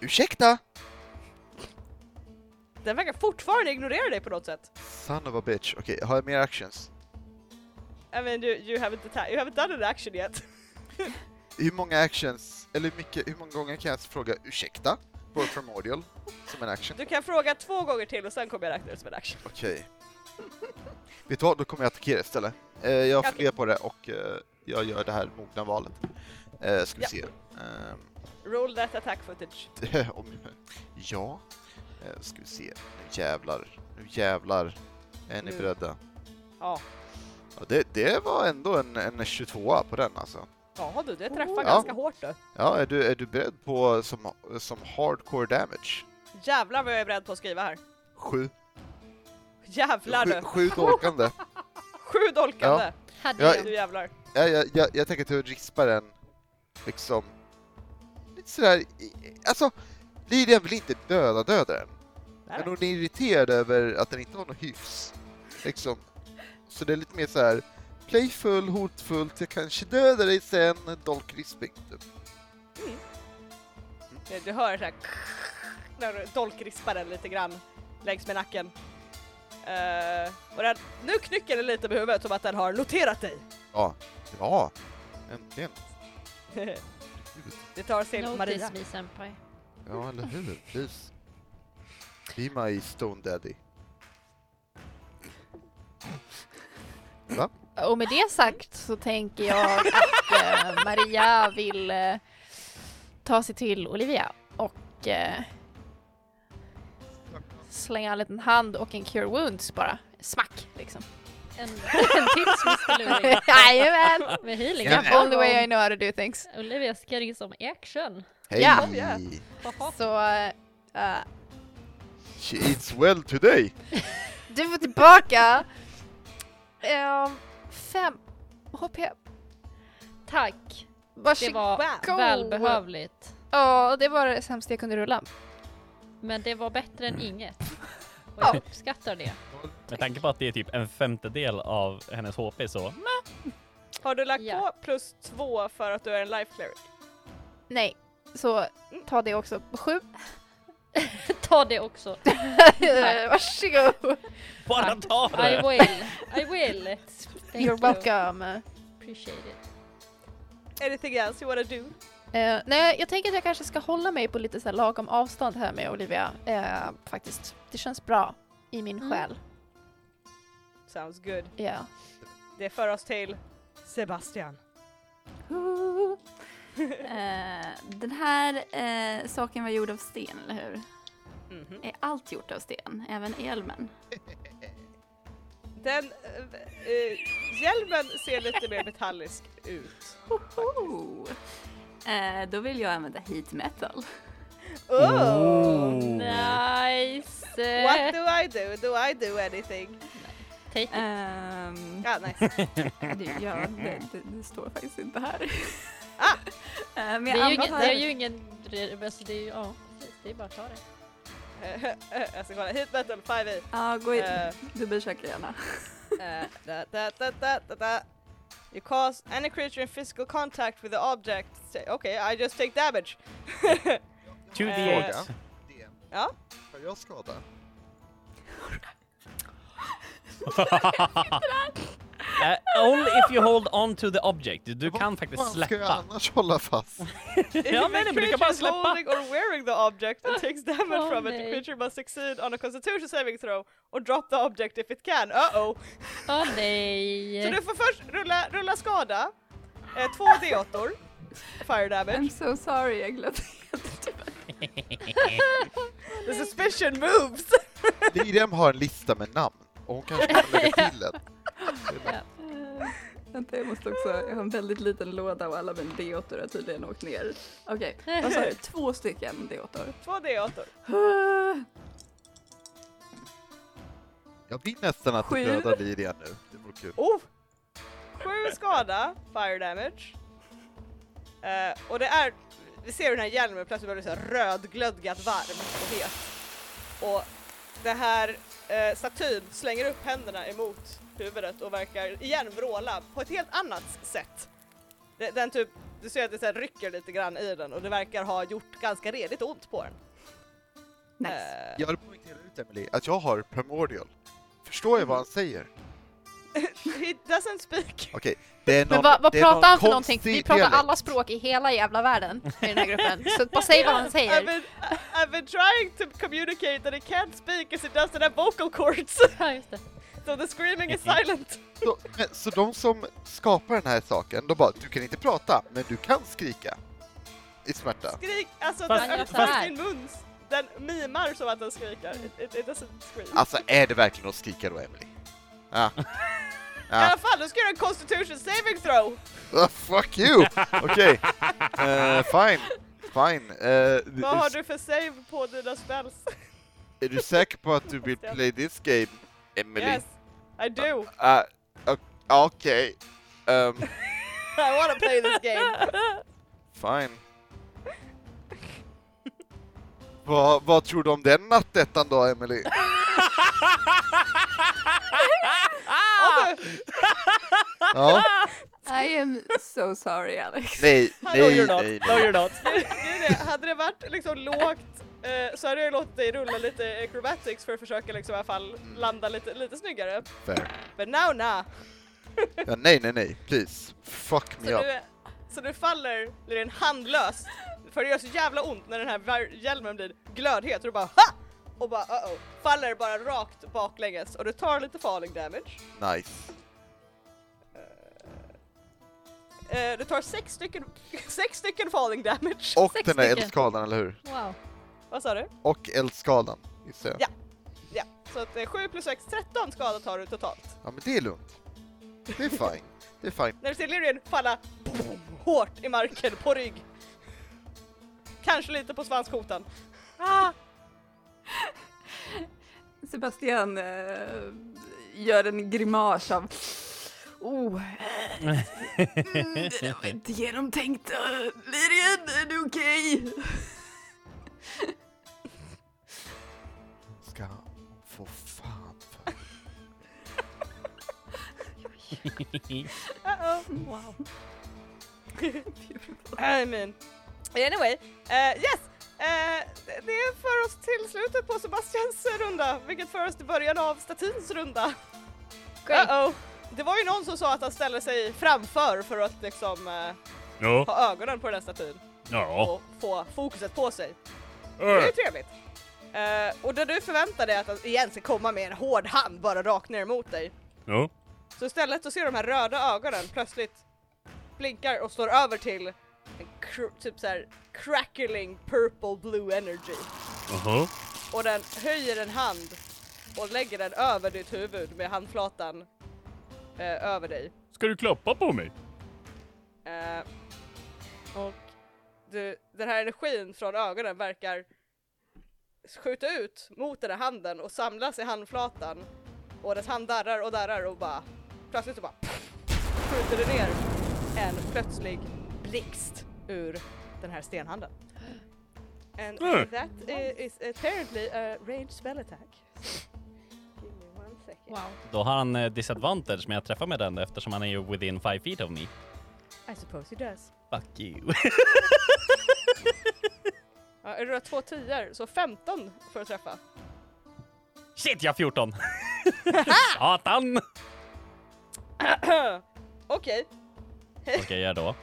Ursäkta! Den verkar fortfarande ignorera dig på något sätt. Son of a bitch. Okej, har jag mer actions? I mean, you, you, haven't, atta- you haven't done an action yet. Hur många actions, eller hur, mycket, hur många gånger kan jag fråga ursäkta på Primordial som en action? Du kan fråga två gånger till och sen kommer jag räkna det som en action. Okej. Vet du vad, då kommer jag attackera istället. Eh, jag Okej. funderar på det och eh, jag gör det här mogna valet. Eh, ska vi Ja. se. Roll that attack footage. Ehm, om, ja, eh, ska vi se. Nu jävlar, nu jävlar. Är ni Nu. beredda? Ja. Ja, det, det var ändå en, en 22 på den alltså. Ja du, det träffar Ja. ganska hårt då. Ja, är du, är du beredd på som, som hardcore damage? Jävlar vad jag är beredd på att skriva här. Sju. Jävlar Sju, du. sju dolkande. Sju dolkande. Hade Ja, jag. Du jävlar. jag, jag, jag, jag tänker att jag rispar den liksom lite sådär, i- alltså Lilian vill inte döda döda den, men hon är irriterad över att den inte har någon hyfs. Liksom. Så det är lite mer så här playful, hotfullt, jag kanske dödar dig sen, dolk risping. Typ. Du, Mm. du hör såhär när du dolkrispar den lite grann längs med nacken. Eh, och den, nu knycker den lite med huvudet som att den har noterat dig. Bra! Äntligen! det tar sig Maria. Notice me senpai. Ja, eller hur? Please. Be my stone daddy. Och med det sagt så tänker jag att eh, Maria vill eh, ta sig till Olivia och eh, slänga en liten hand och en cure wounds bara. Smack liksom. En, en till smiskluring Jajamän! med healing. All the way I know how to do things. Olivia Skering som action. Hej! Ja. Haha. Så eh, She eats well today! du får tillbaka ehm, fem HP. Tack! Det Varsågod! var Wow. välbehövligt. Ja, det var det sämsta jag kunde rulla. Men det var bättre än inget. Och jag uppskattar det. Med tanke på att det är typ en femtedel av hennes HP så... Har du lagt Ja. på plus två för att du är en life cleric? Nej, Så ta det också. Sju. Ta det också. Varsågod. Bara ta I det! will. I will. Thank You're welcome. You. Appreciate it. Anything else you wanna do? Eh, nej, jag tänker att jag kanske ska hålla mig på lite så här lagom avstånd här med Olivia. Eh, faktiskt. Det känns bra i min Mm. själ. Sounds good. Ja. Det för oss till Sebastian. Ooh. Eh, den här eh, saken var gjord av sten, eller hur? Mhm. Är allt gjort av sten? Även elmen? Den eh, eh, hjälmen ser lite mer metallisk ut. Hoho! Eh, då vill jag använda heat metal. Oh. Nice. What do I do? Do I do anything? Take it. Ehm, Ah, nice. det, ja, det, det, det står faktiskt inte här. Ah! Eh, men Det jag är, ju ingen, antar- det är ju ingen... Alltså det är ju, ja, precis. Det är bara att ta det. jag ska kolla. Heat metal 5e. Ja, gå in. Eh, Dubbelchecka gärna. Uh, da, da, da, da, da, da. You cause any creature in physical contact with the object. Say, okay, I just take damage. To the Eh, eight. Det. Ja. Har jag skada? Eh, only if you hold on to the object. Du kan Vad faktiskt fan ska jag släppa. annars hålla fast? Ja, men du kan bara släppa. holding or wearing the object and takes damage Åh, from it, the nej. creature must succeed on a constitution saving throw or drop the object if it can. Uh-oh. Åh nej. Så du får först rulla, rulla skada. Eh, två D8-or. Fire I'm damage. so sorry, jag glömde helt. The suspicion moves! Liriam har en lista med namn och hon kanske kan lägga till en. Eh, Vänta, jag måste också, jag har en väldigt liten låda och alla mina D8 har tydligen åkt ner. Okej, vad sa du? Två stycken D8? Två D8-or. Jag vill nästan att Sju. du dödar Liriam nu. Det vore kul. Oh! Sju skada, fire damage. Eh, och det är, vi ser hur den här hjälmen plötsligt börjar bli så här rödglödgat varm och het. Och det här uh, statyn slänger upp händerna emot huvudet och verkar igen vråla på ett helt annat sätt. Det, den typ, du ser att det så här rycker lite grann i den och det verkar ha gjort ganska redigt ont på den. Nice. Jag vill poängtera ut, Emily, att jag har primordial. Förstår jag vad han säger? Eh, he doesn't speak. Okej, det är någon, Men vad, vad det är någon pratar han för någonting? konstig Vi pratar dialekt. alla språk i hela jävla världen i den här gruppen. Så bara säg vad han I've säger. been, I've been trying to communicate that it can't speak as it doesn't have vocal cords. Ja, just det. So the screaming is Mm-hmm. silent. Så, men, så de som skapar den här saken, de bara du kan inte prata, men du kan skrika. I smärta. Skrik, alltså Fast- den Man gör så öppnar här. sin mun. Den mimar som att den skriker. It, it, it doesn't scream. Alltså är det verkligen att skrika då, Emily? Ja. I Ja. alla fall, du ska göra en constitution saving throw! Ah, fuck you! Okej. Eh, fine. Fine. Eh, Vad har är, du för save på dina spells? är du säker på att du vill play this game, Emily? Yes, I do! Ah, ok- Okej. Ehm, I wanna play this game! fine. Vad, vad tror du om den nattettan då, Emily? Ah! Ja. I am so sorry, Alex. Nej, No nej, you're nej, not. No nej. you're not. Det är det. Hade det varit liksom lågt eh, så hade jag låtit dig rulla lite acrobatics för att försöka liksom i alla fall Mm. landa lite, lite snyggare. Fair. But now nah! Ja, nej, nej, nej, please. Fuck Så, me up. du, så du faller blir en handlös för det gör så jävla ont när den här vär- hjälmen blir glödhet och du bara ha! Och bara uh-oh, faller bara rakt baklänges och du tar lite falling damage. Nice. Eh, du tar sex stycken, sex stycken falling damage. Och Sex den där stycken. eldskadan, eller hur? Wow. Vad sa du? Och eldskadan, gissar jag. Ja. Ja, så att eh, 7 plus 6, 13 skada tar du totalt. Ja, men det är lugnt. Det är fine. Det är fine. När du ser Lyrian falla boom, hårt i marken på rygg. Kanske lite på svanskotan. Ah, Sebastian eh, gör en grimas av Oh, mm, det där var inte genomtänkt. Eh, Lirien, är du okej? Ska hon få fan för. uh-oh. Wow. I mean. Anyway, eh, yes! Eh, det- det för oss till slutet på Sebastians runda, vilket för oss till början av statins runda. Great. Uh-oh. Det var ju någon som sa att han ställde sig framför för att liksom eh, Ja. ha ögonen på den här statyn Ja. och få fokuset på sig. Det är Äh. ju trevligt. Eh, och det du förväntar dig att han igen ska komma med en hård hand bara rakt ner emot dig. Ja. Så istället så ser du de här röda ögonen plötsligt blinkar och slår över till en cr- typ så här crackling purple blue energy. Jaha. Och den höjer en hand och lägger den över ditt huvud med handflatan eh, över dig. Ska du klappa på mig? Eh, och du, den här energin från ögonen verkar skjuta ut mot den här handen och samlas i handflatan. Och dess hand darrar och darrar och bara plötsligt så bara skjuter det ner en plötslig blixt ur den här stenhanden. And Mm. that i- is apparently a ranged spell attack. Give me one second. Wow. Då har han eh, disadvantage med att träffa med den eftersom han är ju within five feet of me. I suppose he does. Fuck you. Ja, är det två tior så 15 för att träffa. Shit, jag har 14! Satan! Okej, Vad ska jag göra då?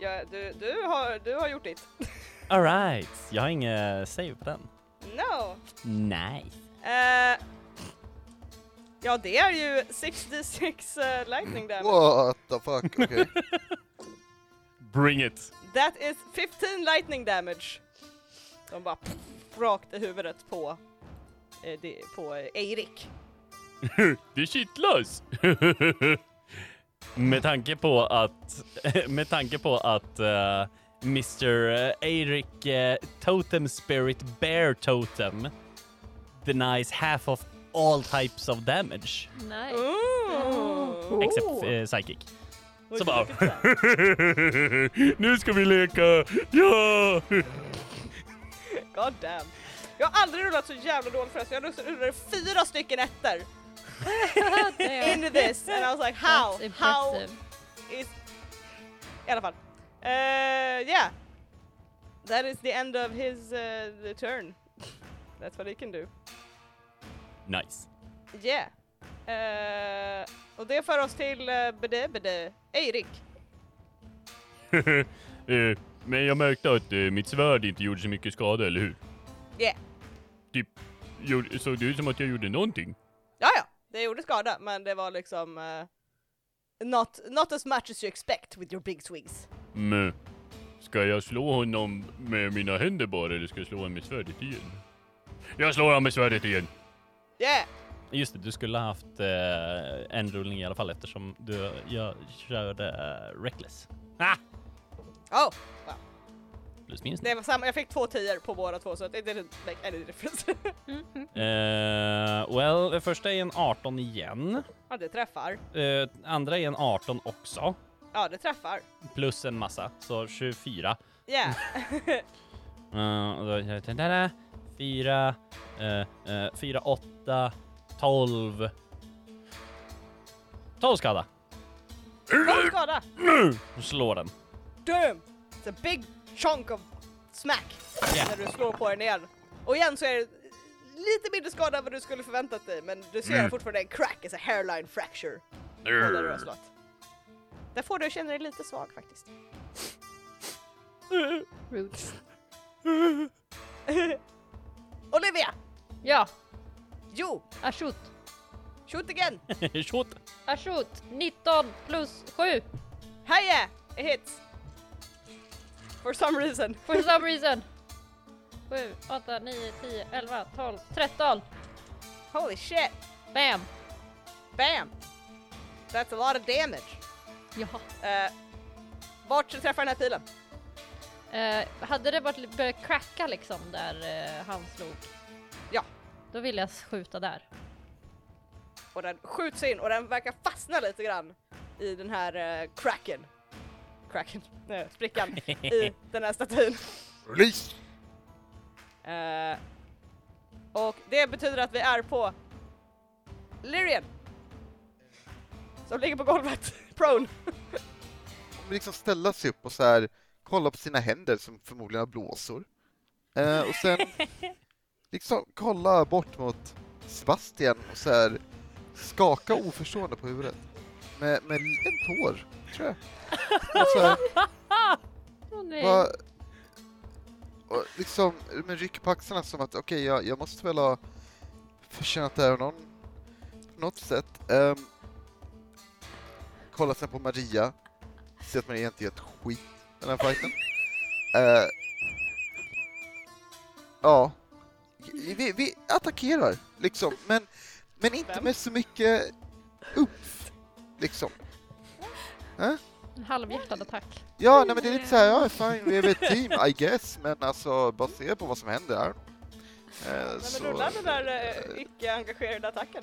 ja, du, du, har, du har gjort ditt. Alright, jag har inget save på den. No! Nej. Eh, ja, det är ju 6d6 eh, lightning damage. What the fuck, okej. Bring it. That is 15 lightning damage. De bara pff, rakt i huvudet på, eh, det, på eh, Eirik. Det kittlas. Med tanke på att, med tanke på att eh, Mr. Eric eh, Totem Spirit Bear Totem denies half of all types of damage. Mm. Nice. Ooh. Except eh, psychic. Så bara... nu ska vi leka. Ja! God damn. Jag har aldrig rullat så jävla dåligt förresten. Jag rullade fyra stycken ettor Damn. in this and I was like That's how? How impressive. is... I alla fall. Eh, yeah. That is the end of his uh, the turn. That's what he can do. Nice. Yeah. Eh, och det för oss till uh, Bede Bede. Eirik. Eh, Men jag märkte att eh, mitt svärd inte gjorde så mycket skada, eller hur? Yeah. Typ, gjorde- såg det ut som att jag gjorde någonting? Ja, ja. Det gjorde skada men det var liksom eh, not, not as much as you expect with your big swings. Mm. Ska jag slå honom med mina händer bara, eller ska jag slå honom med svärdet igen? Jag slår honom med svärdet igen! Yeah. Just det, du skulle ha haft eh, en rullning i alla fall eftersom du jag körde eh, Reckless. Oh. Plus minus. Det var samma. Jag fick två tior på båda två så att it didn't make any difference. Eh, well, första är en 18 igen. ja, det träffar. Eh, andra är en 18 också. Ja, det träffar. Plus en massa, så 24. Yeah. Eh, och då, da, da, da, fyra, eh, eh, fyra, åtta, tolv. Tolv skada. Bra skada. Slår den. Damn! It's a big chunk of smack Yeah. när du slår på den igen. Och igen så är det lite mindre skada än vad du skulle förväntat dig men du ser Mm. fortfarande en crack, alltså hairline fracture. på Där du har slått. Där får du känna dig lite svag faktiskt. Rude. Olivia! Ja, Jo! Ashut. Shoot again! Shot. Ashut. 19 plus 7. Heja! It hits! For some reason. For some reason. 7, 8, 9, 10, 11, 12, 13. Holy shit! Bam. Bam! That's a lot of damage. Jaha. Eh, vart träffar den här pilen? Eh, hade det varit börjat cracka liksom där eh, han slog? Ja. Då vill jag skjuta där. Och den skjuts in och den verkar fastna lite grann i den här eh, cracken. Cracken? Nej, sprickan i den här statyn. Release! Eh, och det betyder att vi är på Lyrian. Som ligger på golvet, prone. Kommer liksom ställa sig upp och så här kollar på sina händer som förmodligen har blåsor. Eh, och sen liksom kolla bort mot Sebastian och så här skaka oförstående på huvudet. Med, med en tår, tror jag. Och så här, Åh, nej. Va, och liksom, men rycker på axlarna som att okej, jag, jag måste väl ha förtjänat det här av någon, på något sätt. Um, kollar sen på Maria, ser att man egentligen gett skit i den här fighten. Eh, ja, vi, vi attackerar liksom, men, men inte Vem? med så mycket uppf, liksom. En halvhjärtad attack. Ja, nej men det är lite såhär, ja fine, vi är ett team, I guess, men alltså baserat på vad som händer här. Eh, Nej, så, men rulla den där eh, icke-engagerade attacken.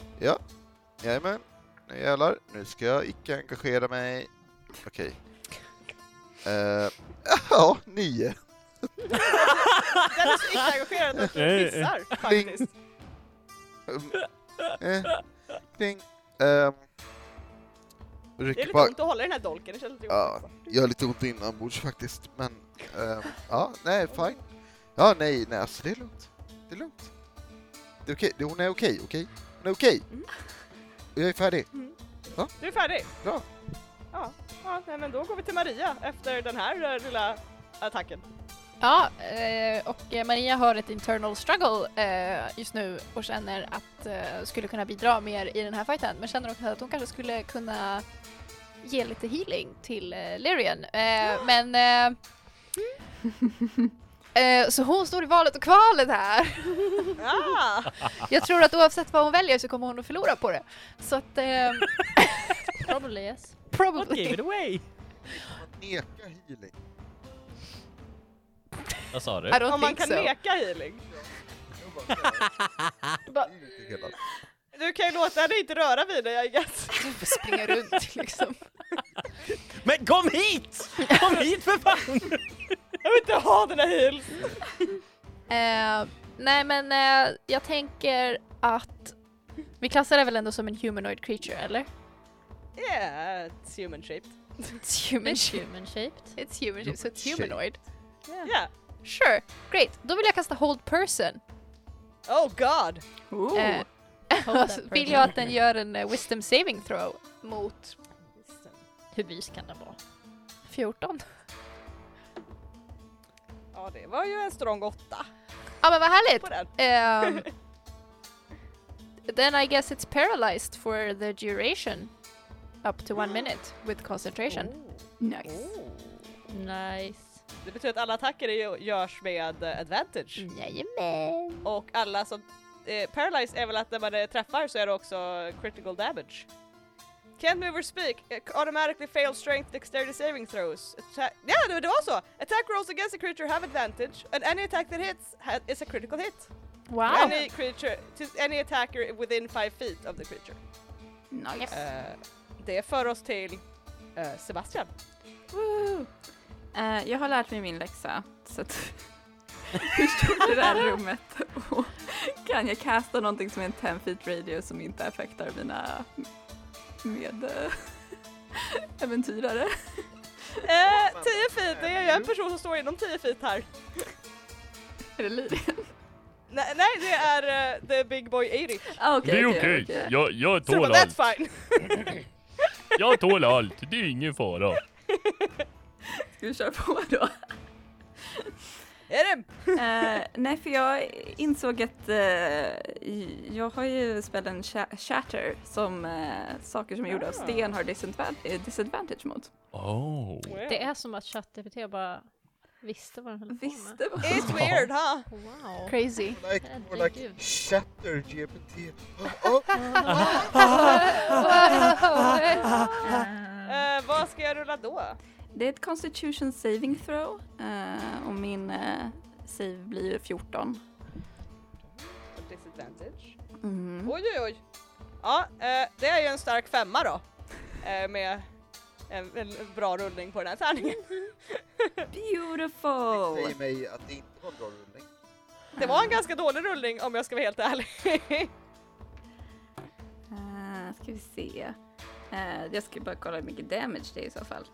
jajamän, nu jävlar, nu ska jag icke engagera mig. Okej. Eh, ja, nio. Den är så icke-engagerad att den pissar faktiskt. Um, eh, ding. Ehm, Det är rycker lite på, ont att hålla i den här dolken, det känns lite Ja, jobbigt. jag har lite ont inombords faktiskt, men ehm, ja, nej, fine. Ja, nej, nej, alltså det är lugnt. Det är lugnt. Det är okej, det- hon är okej, okej? Hon är okej! Och Jag är färdig. Du är färdig? Bra. Ja, ja nej, men då går vi till Maria efter den här eh, lilla attacken. Ja, eh, och eh, Maria har ett internal struggle eh, just nu och känner att eh, skulle kunna bidra mer i den här fighten men känner också att hon kanske skulle kunna ge lite healing till eh, Lyrian. Eh, men... Eh, eh, så hon står i valet och kvalet här. Ah! Jag tror att oavsett vad hon väljer så kommer hon att förlora på det. Så att... Eh, Probably yes. What probably. gave it away? Neka healing. Vad sa du? I don't Om man think kan so. neka healing. Inte Du kan ju låta henne inte röra vid dig I guess. Springa runt liksom. Men kom hit! Kom hit för fan! Jag vill inte ha dina heals! Eh, nej men eh, jag tänker att vi klassar det väl ändå som en humanoid creature eller? Yeah, it's human shaped. It's human It's shape. human shaped. It's human shape, so it's Shape. humanoid. Yeah. Sure, great. Då vill jag kasta hold person. Oh god! Oh. Eh, Hold så that vill person. jag att den gör en eh, wisdom saving throw mot Hur bys kan den vara? 14. Ja det var ju en strong åtta Ja men vad härligt! på den. Ehm, then I guess it's paralyzed for the duration. Up to one minute with concentration. Oh. Nice. Nice. Det betyder att alla attacker är- görs med eh, advantage. Jajamän! Och alla som... Eh, paralyzed är väl att när man eh, träffar så är det också critical damage. Can't move or speak, eh, automatically fail strength dexterity saving throws. Atta- ja, det, det var så! Attack rolls against a creature have advantage, and any attack that hits ha- is a critical hit. Wow! Any creature, to any attacker within five feet of the creature. Nice. Eh, det för oss till eh, Sebastian. Woo. Eh, jag har lärt mig min läxa, så att hur stort är det här rummet? Och kan jag casta någonting som är en 10 feet radio som inte affektar mina med eh, äventyrare? Eh, 10 feet, det är ju en person som står inom 10 feet här. Är det Lyrian? Nej, nej det är eh, the big boy Eirik. Ah, Det är okej, okej. okej. Jag, jag Så tål allt. that's fine. Jag tål allt. Det är ingen fara. Ska vi köra på då? Är det Eh, nej, för jag insåg att eh, jag har ju spelen Sha- Shatter som eh, saker som är gjorda av sten har disadvantage, eh, disadvantage mot. Oh. Det är som att ChatGPT bara visste vad den höll på Visst, med. det var It's weird huh? Wow. Crazy. Like, more like Herregud. shatter GPT. Eh, vad ska jag rulla då? Det är ett constitution saving throw eh, och min eh, save blir ju 14. Disadvantage. Mm. Oj oj oj. Ja, eh, det är ju en stark femma då. Eh, med en, en bra rullning på den här tärningen. Beautiful! Säg mig att det inte var en bra rullning. Det var en ganska dålig rullning om jag ska vara helt ärlig. Eh, ska vi se. Eh, jag ska bara kolla hur mycket damage det är i så fall.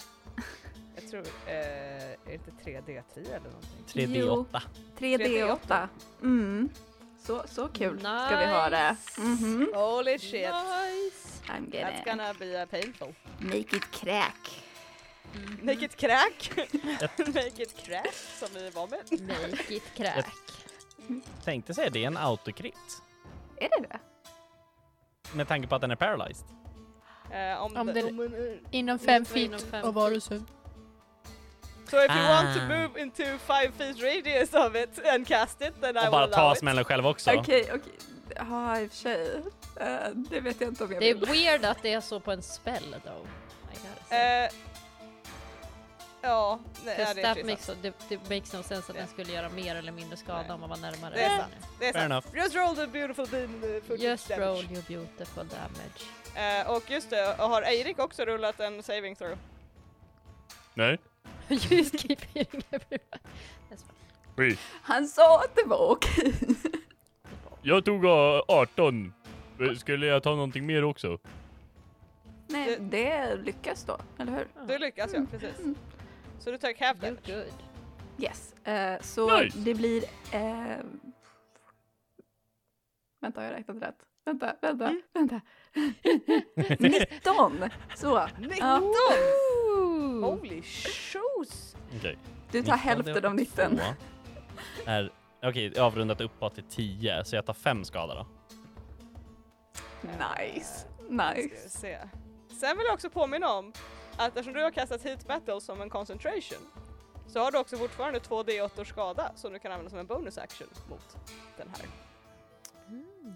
jag tror, eh, är det inte 3D10 eller någonting? 3D8. 3D8. Mm. Så, så kul ska vi ha det. Mhm. Holy shit! Nice! I'm That's gonna gonna be a painful. make it crack. Make it crack! Make it crack som vi var med. Make it crack. Tänkte säga det är en autocrit. Är det det? Med tanke på att den är paralyzed. Eh, om Om det- den- om en- Inom fem Måste vara feet inom fem av feet. varelsen. so if you want to Ah. move into five feet radius of it and cast it then I Och will bara allow ta it. smällen själv också. Okej, okej. Ja, i och för sig. Eh, det vet jag inte om jag Det är vill. weird att det är så på en spell though. I gotta say. Eh, ja, nej, ja, 'Cause det är that precis makes, sant. det, det makes no sense att Ja. den skulle göra mer eller mindre skada Nej. om man var närmare. Det är sant. Det är Fair sant. enough. Just roll the beautiful beam uh, for Just damage. roll your beautiful damage. Eh, och just det, och har Eirik också rullat en saving throw? Nej. Just keep hitting everyone. That's fine. Skit. Han sa att det var okej. Jag tog eh, 18. Eh, Skulle jag ta någonting mer också? Nej, det lyckas då, eller hur? Ah. Du lyckas ja, precis. Mm. Så du tar half You're damage. good. Yes. Eh, så Nice. det blir... eh, Vänta, har jag räknat rätt? Vänta, vänta, vänta. 19! Så. 19! Oh. Holy shoes! Okej. Du tar 19, hälften det av 19. var två. Är, okej, avrundat uppåt till 10, så jag tar 5 skada då. Nice. Ska vi Nice. se. Sen vill jag också påminna om att eftersom du har kastat hit battle som en concentration så har du också fortfarande 2D8 skada som du kan använda som en bonus action mot den här.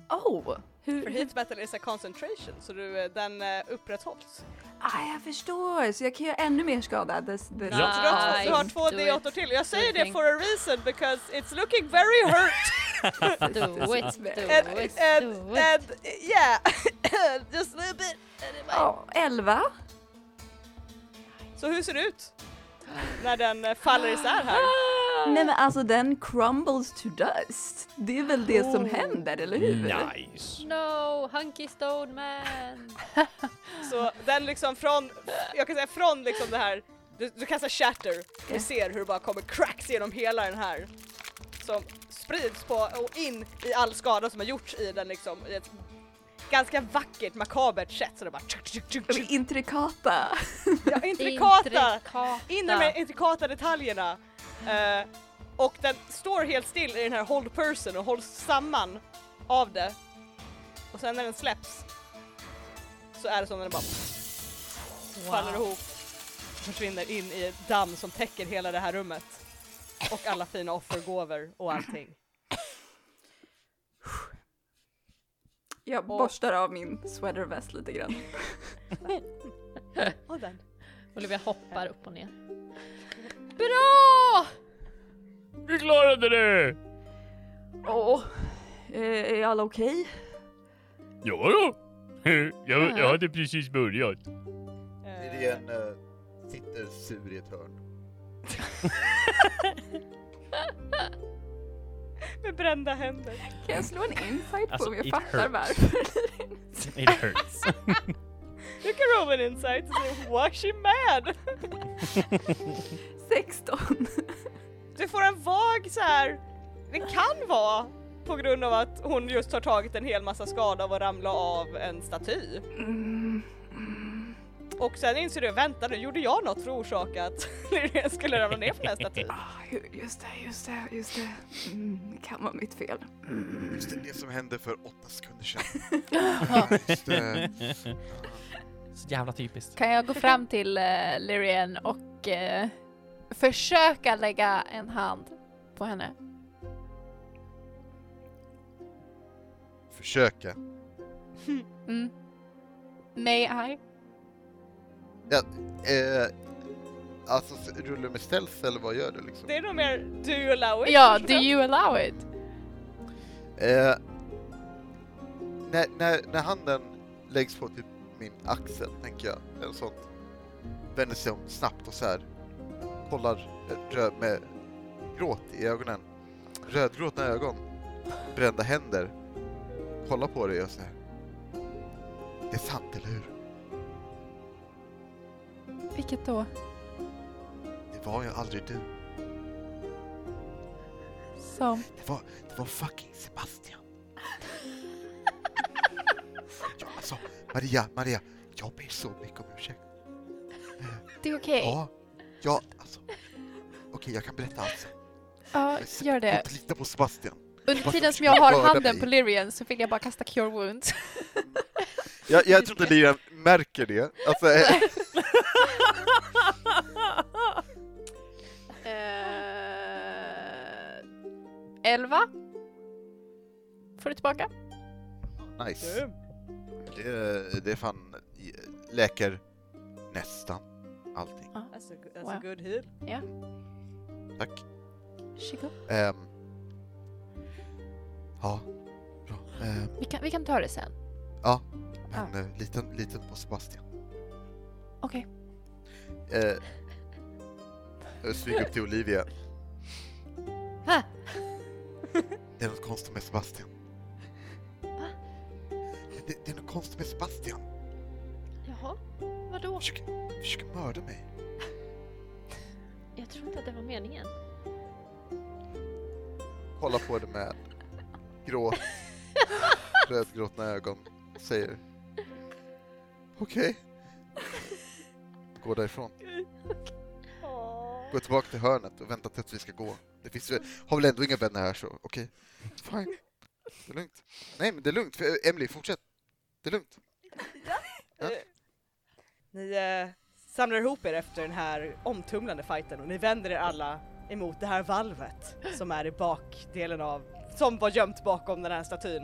Oh! För Hur, hur, heat battle is a concentration så du, eh, den eh, upprätthålls. ah, jag förstår, så jag kan göra ännu mer skada. This, this. Så du har, Nice. du har två Do D8 it. till. Jag säger Do det it. for a reason because it's looking very hurt Do it, do and, it, and, do it. and yeah, just a little bit. Ja, 11. Så hur ser det ut när den eh, faller isär här? Nej men alltså den crumbles to dust. Det är väl det som händer, eller hur? Nice! No, hunky stone man! Så den liksom från, jag kan säga från liksom det här, du, du kastar shatter och ser hur det bara kommer cracks genom hela den här. Som sprids på och in i all skada som har gjorts i den liksom. I ett ganska vackert makabert sätt så det bara tjuk, tjuk, tjuk, De är tjuk. intrikata. Ja, intrikata! In i de här Intrikata. intrikata detaljerna. Eh, och den står helt still i den här hold person och hålls samman av det. Och sen när den släpps så är det som när den bara faller ihop och försvinner in i ett damm som täcker hela det här rummet. Och alla fina offergåvor och allting. Jag borstar av min sweater vest lite grann. Och den. Olivia hoppar upp och ner. Bra! Vi klarade det! Åh, eh, är alla okej? Ja då. Jag, jag hade precis börjat. Lilian eh, sitter sur i ett hörn. Med brända händer. Kan jag slå en insight på Alltså, om jag it fattar hurts. varför? It hurts. You can roll an insight och se why she mad? 16. Du får en vag så här. det kan vara på grund av att hon just har tagit en hel massa skada av att ramla av en staty. Och sen inser du, vänta nu, gjorde jag något för att orsaka att Lilian skulle ramla ner från den här statyn? Ah, ju- just det, just det, just det. Mm, det kan vara mitt fel. Just det, det som hände för åtta sekunder sedan. Just det. Så jävla typiskt. Kan jag gå fram till uh, Lyrian och eh, försöka lägga en hand på henne? Försöka. Mm. May I? Eh, alltså, s- rullar du med ställs eller vad gör du liksom? Det är nog mer do you allow it? Ja, förstås. do you allow it? Eh, när, när, när handen läggs på typ min axel, tänker jag, eller sånt, vänder sig om snabbt och så här kollar eh, röd med gråt i ögonen, rödgråtna ögon, brända händer, kollar på dig och så här. Det är sant, eller hur? Vilket då? var jag aldrig du. Som. Det var, det var fucking Sebastian. ja, alltså, Maria, Maria, jag ber så mycket om ursäkt. Det är okej. Ja, ja, alltså. Okej, jag kan berätta allt sen. Ja, Men se- gör det. Inte lita på Sebastian. Under Varför tiden ska som jag du har mörda handen mig? på Lyrian så vill jag bara kasta Cure Wounds. Jag, jag tror inte Lyra märker det. Alltså, eh, Eh, Elva. Får du tillbaka. nice. Det, det är fan eh, läker nästan allting. That's a, that's a Wow. alltså, good heal. Tack. Chico. Ehm. Ja, bra. Ehm, Vi kan, vi kan ta det sen. men eh, liten, liten på Sebastian. Okej. Eh, jag smyger upp till Olivia. Ha. Det är något konstigt med Sebastian. Det, det är något konstigt med Sebastian. Jaha, vadå? Han försöker, försöker mörda mig. Jag tror inte att det var meningen. Kolla på det med gråt, rödgråtna ögon. Säger okej. Går därifrån. Går tillbaka till hörnet och väntar tills vi ska gå. Det finns väl, har väl ändå inga vänner här så okej. Fine. Det är lugnt. Nej men det är lugnt. För- Emily, fortsätt. Det är lugnt. Ni eh, samlar ihop er efter den här omtumlande fighten och ni vänder er alla emot det här valvet som är i bakdelen av, som var gömt bakom den här statyn.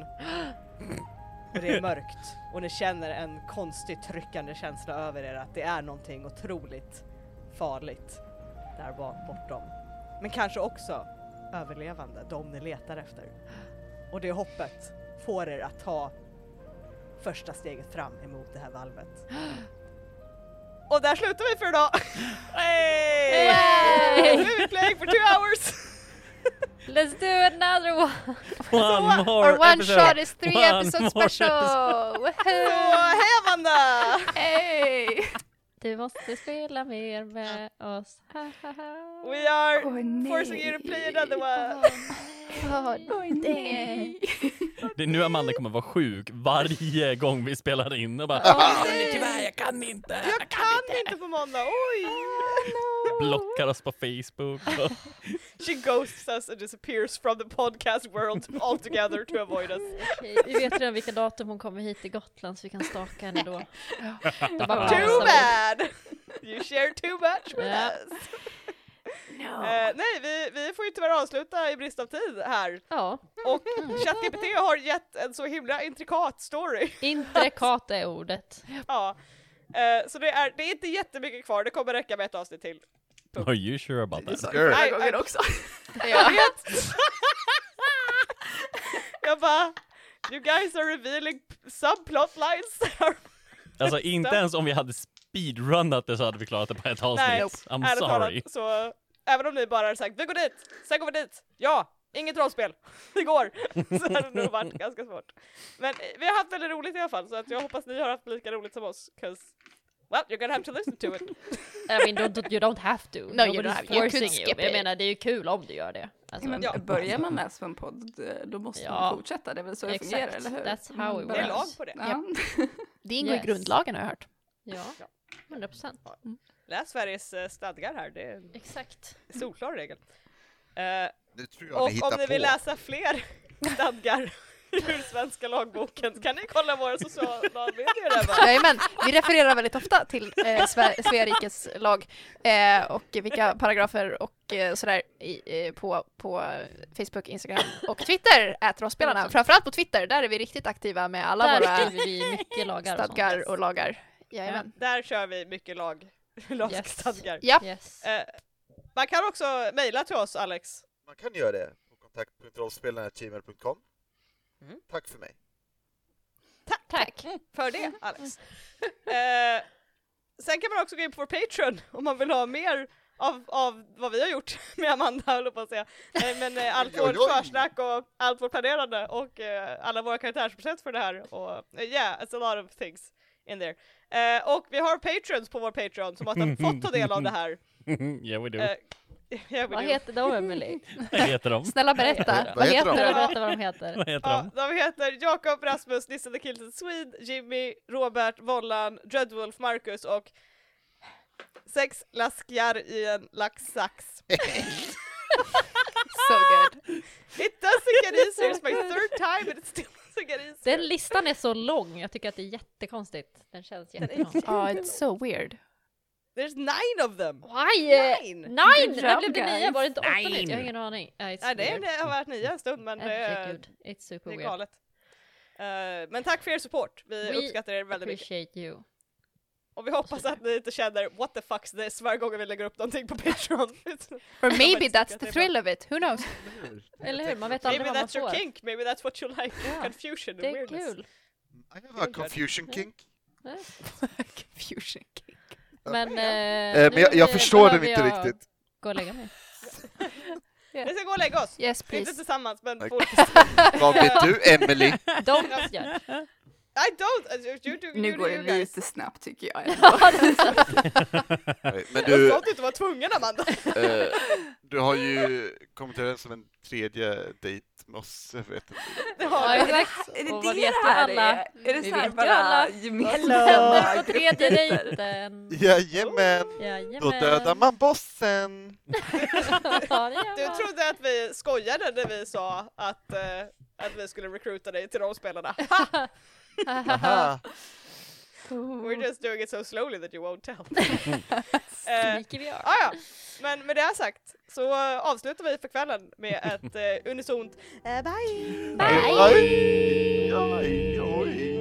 Och det är mörkt och ni känner en konstigt tryckande känsla över er att det är någonting otroligt farligt där bak bortom. Men kanske också överlevande, de ni letar efter. Och det hoppet får er att ta första steget fram emot det här valvet. Och där slutar vi för idag! Hey! Yay! We've been playing for two hours! Let's do another one! One more Or one episode. shot is three One episode more special! Så Woohoo! hej Amanda! Hey! Du måste spela mer med oss. We are Åh, nej. forcing you to play another one! God dang! Det är nu Amanda kommer vara sjuk varje gång vi spelar in och bara nej. Tyvärr, jag kan inte! Jag kan inte på måndag, oj! Blockar oss på Facebook. och- She ghosts us and disappears from the podcast world altogether to avoid us. Okej, vi vet redan vilka datum hon kommer hit till Gotland så vi kan staka henne då. Det bara Too pausar vi. bad! You share too much with Ja. us! Ah. Eh, nej, vi, vi får ju tyvärr avsluta i brist av tid här. Ja, Och ChatGPT har gett en så himla intrikat story. intrikat är ordet. Ja. Eh, så det är, det är inte jättemycket kvar, det kommer räcka med ett avsnitt till. Are you sure about Girl. that? Förra Nej, gången nej. också. Jag vet! jag bara, you guys are revealing p- subplot lines. Alltså inte ens om vi hade speedrunnat det så hade vi klarat det på ett Nej, avsnitt. I'm ärligt sorry. talat, så även om ni bara har sagt vi går dit, sen går vi dit, ja, inget rollspel, det går, så hade det nog varit ganska svårt. Men eh, vi har haft väldigt roligt i alla fall, så att jag hoppas ni har haft lika roligt som oss, 'cause well, you're gonna have to listen to it. I mean, don't, you don't have to. you don't Nobody's have- you could forcing skip Jag it. menar, det är ju kul om du gör det. Alltså, Men Ja. Börjar man läsa på en podd, eh, då måste Ja. man fortsätta. Det är väl så det Exakt. fungerar, eller hur? That's how it Mm, Det är bra. lag på det. Ja. Det ingår Yes. i grundlagen har jag hört. ja, 100 procent. Läs Sveriges eh, stadgar här, det är en Exakt. solklar regel. Eh, Nu tror och om ni vill läsa fler stadgar ur Svenska lagboken kan ni kolla våra sociala medier där va? Jajamän, vi refererar väldigt ofta till eh, Sve- Svea rikes lag eh, och vilka paragrafer och eh, sådär i, eh, på, på Facebook, Instagram och Twitter, ät rollspelarna. Framförallt på Twitter, där är vi riktigt aktiva med alla Där våra skriver vi mycket lagar och stadgar och lagar. Jajamän. Där kör vi mycket lag, lagstadgar. Ja, sånt. Yes. Eh, man kan också mejla till oss Alex. Man kan göra det på kontakt.rollspelarna.gmail.com. Mm. Tack för mig. Tack. För Mm. det Alex. Eh, sen kan man också gå in på vår Patreon om man vill ha mer av, av vad vi har gjort med Amanda höll jag på att säga. Nej men eh, allt Oj, oj, vårt oj. försnack och allt vårt planerande och eh, alla våra karaktärsprojekt för det här och eh, yeah, it's a lot of things in there. Eh, och vi har patrons på vår Patreon som har fått ta del av det här yeah we do. Eh, jag vill Vad ju- heter de Emily? Vad heter de? Snälla berätta. Vad Vad heter de? heter Snälla de? berätta vad de heter. Vad heter Ja, de de? heter Jakob, Rasmus, Nisse the Kilton Swede, Jimmy, Robert, Vollan, Dreadwolf, Marcus och sex laskjar i en laxsax. So good. It doesn't get easier, it's my third time and it still doesn't get easier. Den listan är så lång, jag tycker att det är jättekonstigt. Den känns jättekonstig. Ja, Oh, it's so weird. There's nine of them! Why? Nine! Nine! Good När job, blev det nio? guys. Var det inte åtta Nine. nytt? Jag har ingen aning. Ja, it's Nej, det är- weird. det har varit nio en stund men det är, Herregud, it's super det är weird. galet. Eh, men tack för er support, vi We uppskattar er väldigt mycket. Appreciate you. Och vi hoppas att ni inte känner what the fuck's this varje gång vi lägger upp någonting på Patreon. Or Jag maybe faktiskt that's the tycker att det är thrill of it. Who knows? Eller hur? Man vet aldrig Maybe vad man that's your får. kink, maybe that's what you like, Ja, confusion and Det är weirdness. kul. I have a confusion kink. Confusion. Men, Eh, men jag, jag förstår den inte riktigt. Gå och lägga mig. Vi ska gå och lägga oss! Yes, Inte please. tillsammans men Tack. på olika sätt. Vad vet du, Emily? Don't gör det. I don't! uh, You do, Nu you do går you det guys. lite snabbt tycker jag. Nej, Men Jag du, sa att du inte var tvungen Amanda! eh, du har ju kommit överens om en tredje dejt med oss. Jag vet inte. Det Ja, har vi. exakt. Är det Och det vad vet det ju här alla? är? Är det Vi så här vet ju alla. bara Sönder gemensamma på tredje gruppdejter? dejten. Jajamän! Jajamän. Då dödar man bossen! Ja, det gör Du man. trodde att vi skojade när vi sa att, eh, att vi skulle recruita dig till de spelarna. Ha! Aha. Mm. We're just doing it so slowly that you won't tell. Eh, Skriker vi av. Ah, ja. Men med det här sagt så eh, avslutar vi för kvällen med ett eh, unisont eh, bye! Aj, aj, aj, oj.